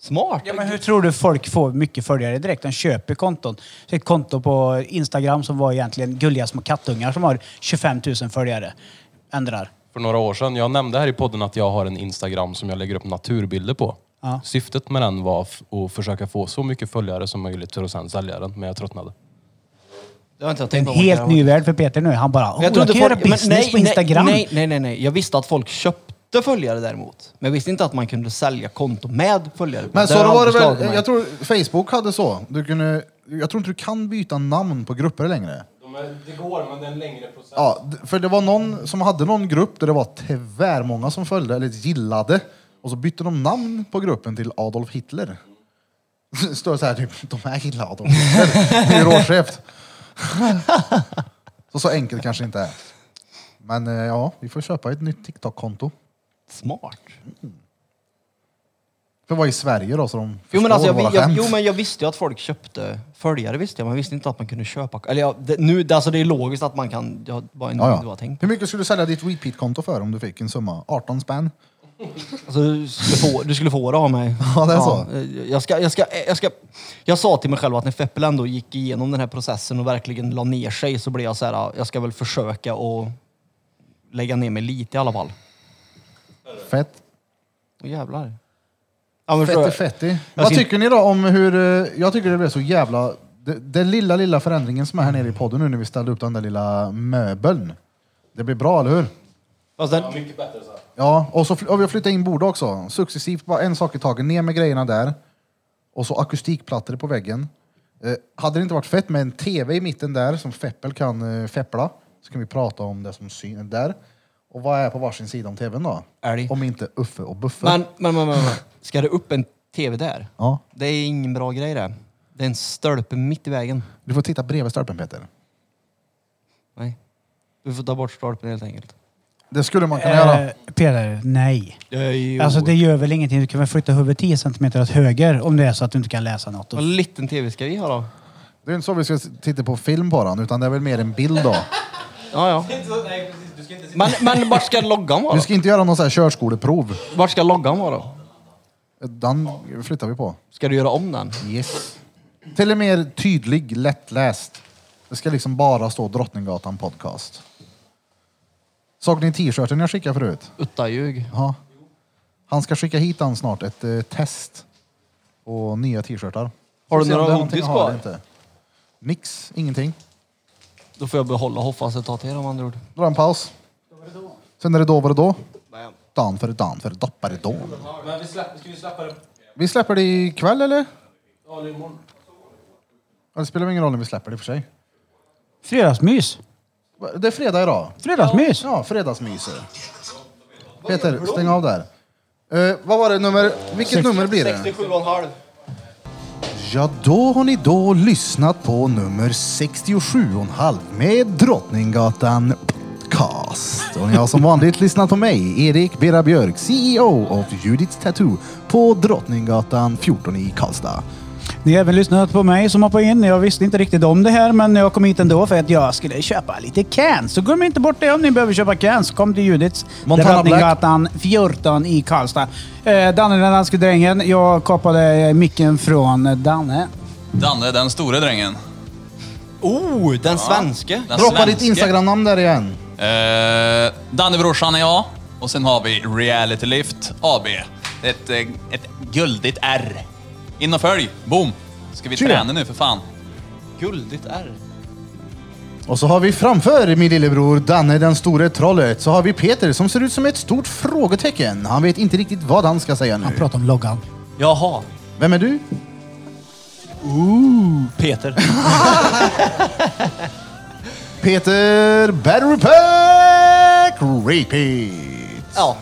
S2: Smart!
S6: Ja, men hur tror du folk får mycket följare direkt? De köper konton. Så ett konto på Instagram som var egentligen gulliga små kattungar som har 25 000 följare. Ändrar.
S5: För några år sedan, jag nämnde här i podden att jag har en Instagram som jag lägger upp naturbilder på.
S6: Ja.
S5: Syftet med den var f- att försöka få så mycket följare som möjligt för att sen sälja den, men jag tröttnade.
S2: Det har inte jag
S6: Det är en
S2: tänkt på.
S6: helt ny värld för Peter nu. Han bara, oh, jag,
S2: tror
S6: kan
S2: folk-
S6: göra
S2: men
S6: business
S2: nej,
S6: på Instagram.
S2: Nej, nej, nej, nej. Jag visste att folk köpte följare däremot. Men jag visste inte att man kunde sälja konto med följare.
S3: Men så
S2: Där
S3: då
S2: har
S3: var det
S2: beslagit
S3: väl,
S2: mig.
S3: jag tror Facebook hade så. Du kunde, jag tror inte du kan byta namn på grupper längre.
S5: Det går, men det är en längre process.
S3: Ja, d- för det var någon som hade någon grupp där det var tvärmånga som följde eller gillade. Och så bytte de namn på gruppen till Adolf Hitler. Står så här typ, de här gillar Adolf Hitler. Det är ju råskevt. Så så enkelt kanske inte är. Men eh, ja, vi får köpa ett nytt TikTok-konto.
S2: Smart.
S3: För vad i Sverige då så de
S2: Jo men, alltså,
S3: förstår
S2: jag,
S3: våra
S2: jag,
S3: skämt.
S2: jo men jag visste ju att folk köpte följare visste jag, men jag visste inte att man kunde köpa. Eller ja, det, nu, det, alltså, det är logiskt att man kan, jag bara inte
S3: Ja,
S2: vad
S3: ja.
S2: jag tänkt.
S3: Hur mycket skulle du sälja ditt repeat-konto för om du fick en summa? 18 spänn?
S2: Alltså, du, skulle få, du skulle få det av mig.
S3: Ja, det är så.
S2: eh, Jag, ska, jag, ska, jag, ska, jag sa till mig själv att när Feppel ändå gick igenom den här processen och verkligen la ner sig så blev jag så här, ah, jag ska väl försöka och lägga ner mig lite i alla fall.
S3: Fett.
S2: Åh jävlar. Ja, men förstår
S3: Fetti
S2: jag.
S3: fetti.
S2: Jag Alltså,
S3: Vad
S2: ser-
S3: tycker ni då om hur... eh, Jag tycker det blev så jävla... det- Den lilla, lilla förändringen som är här nere i podden nu när vi ställde upp den där lilla möbeln. Det blir bra, eller hur?
S2: Fast den,
S5: Mycket bättre så.
S3: Ja, och så fly- och vi har flyttat in bordet också. Successivt, bara en sak i taget. Ner med grejerna där. Och så akustikplattor på väggen. Eh, hade det inte varit fett med en tv i mitten där som Feppel kan eh, feppla så kan vi prata om det som syns där. Och vad är på varsin sida om tvn då?
S2: Älg.
S3: Om inte Uffe och Buffe.
S2: men, men, men, men, men, ska det upp en tv där?
S3: Ja.
S2: Det är ingen bra grej det. Det är en stölpe mitt i vägen.
S3: Du får titta bredvid stolpen Peter.
S2: Nej. Du får ta bort stolpen helt enkelt.
S3: Det skulle man kunna göra.
S6: Eh, Peter, nej.
S2: Eh,
S6: Alltså det gör väl ingenting. Du kan väl flytta huvudet 10 centimeter åt höger om det är så att du inte kan läsa något.
S2: Vad liten tv ska vi ha då?
S3: Det är inte så vi ska titta på film på den, utan det är väl mer en bild då.
S2: Ja, ja. Men, men vart ska loggan vara
S3: Vi
S2: då?
S3: ska inte göra någon sån här körskoleprov.
S2: Vart ska loggan vara då?
S3: Den flyttar vi på.
S2: Ska du göra om den?
S3: Yes. Till och med tydlig, lättläst. Det ska liksom bara stå Drottninggatan podcast. Såg ni t-shirten jag skickade förut?
S2: Uttaljug.
S3: Ja. Han ska skicka hit han snart, ett eh, test. Och nya t-shirtar.
S2: Har
S3: Får
S2: du
S3: se om
S2: några
S3: det är någonting
S2: hoodies
S3: jag har eller
S2: kvar?
S3: inte. Nix, ingenting.
S2: Då får jag behålla Hoffas ett tag till om andra ord.
S3: Dra en paus. Sen är det då var det då. Dan för dan för doppare då.
S11: Men vi släpper, ska vi släppa det?
S3: Vi släpper det ikväll eller?
S11: Ja, eller imorgon.
S3: Ja, Det spelar väl ingen roll när vi släpper det i och för sig.
S6: Fredagsmys.
S3: Va, Det är fredag idag.
S6: Fredagsmys.
S3: Ja, fredagsmyser. Peter, stäng av där. Eh, vad var det nummer? Vilket nummer blir det?
S2: 67,5.
S3: Ja, då har ni då lyssnat på nummer 67,5 med Drottninggatan Podcast. Och ni har som vanligt lyssnat på mig, Erik Bera Björk, CEO av Judiths Tattoo på Drottninggatan 14 i Karlstad.
S6: Ni har även lyssnat på mig som hoppade in. Jag visste inte riktigt om det här, men jag kom hit ändå för att jag skulle köpa lite cans. Så glöm inte bort det om ni behöver köpa cans. Kom till Judits,
S3: Montana Black.
S6: Drottninggatan 14 i Karlstad. Eh, Danne den danske drängen. Jag kapade eh, micken från Danne.
S1: Danne, den store drängen.
S2: Oh, den svenske!
S1: Den
S3: Droppa ditt
S1: svenske.
S3: Instagram-namn där igen.
S1: Eh, Dannebrorsan är jag och sen har vi Reality Lift AB. Ett, eh, ett guldigt R. In och följ, boom! Ska vi
S3: Tjena.
S1: träna nu för fan?
S2: Guldigt R.
S3: Och så har vi framför min lillebror Danne den store trollet så har vi Peter som ser ut som ett stort frågetecken. Han vet inte riktigt vad han ska säga nu.
S6: Prata om loggan.
S2: Jaha.
S3: Vem är du?
S2: Peter.
S3: Peter Batterpack Repeat.
S2: ja,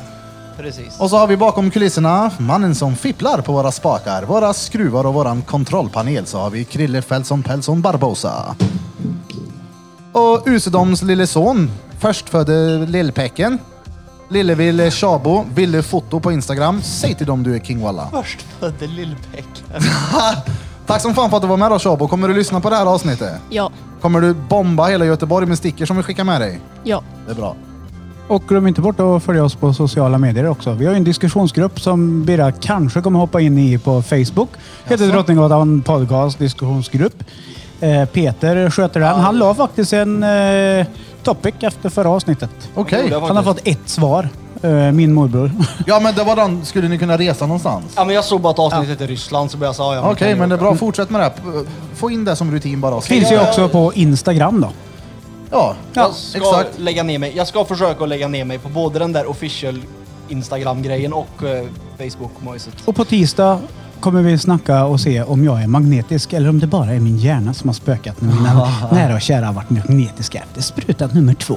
S2: precis.
S3: Och så har vi bakom kulisserna mannen som fipplar på våra spakar, våra skruvar och våran kontrollpanel så har vi Krille Felson Pelson Barbosa. Och Usedoms lille son Förstfödde Lillpäcken. Lillevill Shabo. Ville Foto på Instagram. Säg till dem du är King Walla.
S11: Först födde lillpäcken.
S3: Tack som fan för att du var med då Shabo. Kommer du lyssna på det här avsnittet?
S4: Ja.
S3: Kommer du bomba hela Göteborg med stickor som vi skickar med dig?
S4: Ja.
S3: Det är bra.
S6: Och glöm inte bort att följa oss på sociala medier också. Vi har ju en diskussionsgrupp som Birra kanske kommer hoppa in i på Facebook. Heter Drottninggatan Podcast Diskussionsgrupp. Eh, Peter sköter den. Han la faktiskt en eh, topic efter förra avsnittet.
S3: Okej.
S6: Han har fått ett svar. Eh, min morbror.
S3: Ja men det var den. Skulle ni kunna resa någonstans?
S2: Ja, men jag såg bara att avsnittet är Ryssland så började jag säga ja,
S3: Okej, men det är bra. Fortsätt med det. här. Få in det som rutin bara.
S6: Finns ju också på Instagram då.
S3: Ja,
S2: jag ska
S3: exakt.
S2: lägga ner mig. Jag ska försöka att lägga ner mig på både den där official Instagram-grejen och eh, Facebook-mojset.
S6: Och på tisdag kommer vi snacka och se om jag är magnetisk eller om det bara är min hjärna som har spökat när mina nära och kära har varit magnetiska efter spruta nummer två.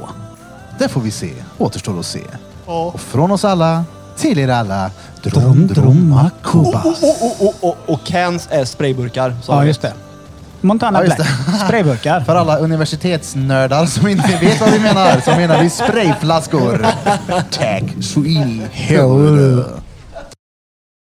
S3: Det får vi se. Återstår att se. Och från oss alla, till er alla. Drom,
S6: dromma,
S3: kubas.
S2: Och, och, och, och, och, och oh, cans är sprayburkar. så
S6: Ja,
S2: vi.
S6: just det. Montana
S3: Ja, just
S6: Black. Sprayburkar.
S3: För alla universitetsnördar som inte vet vad vi menar så menar vi sprayflaskor. Tack så in i helvete.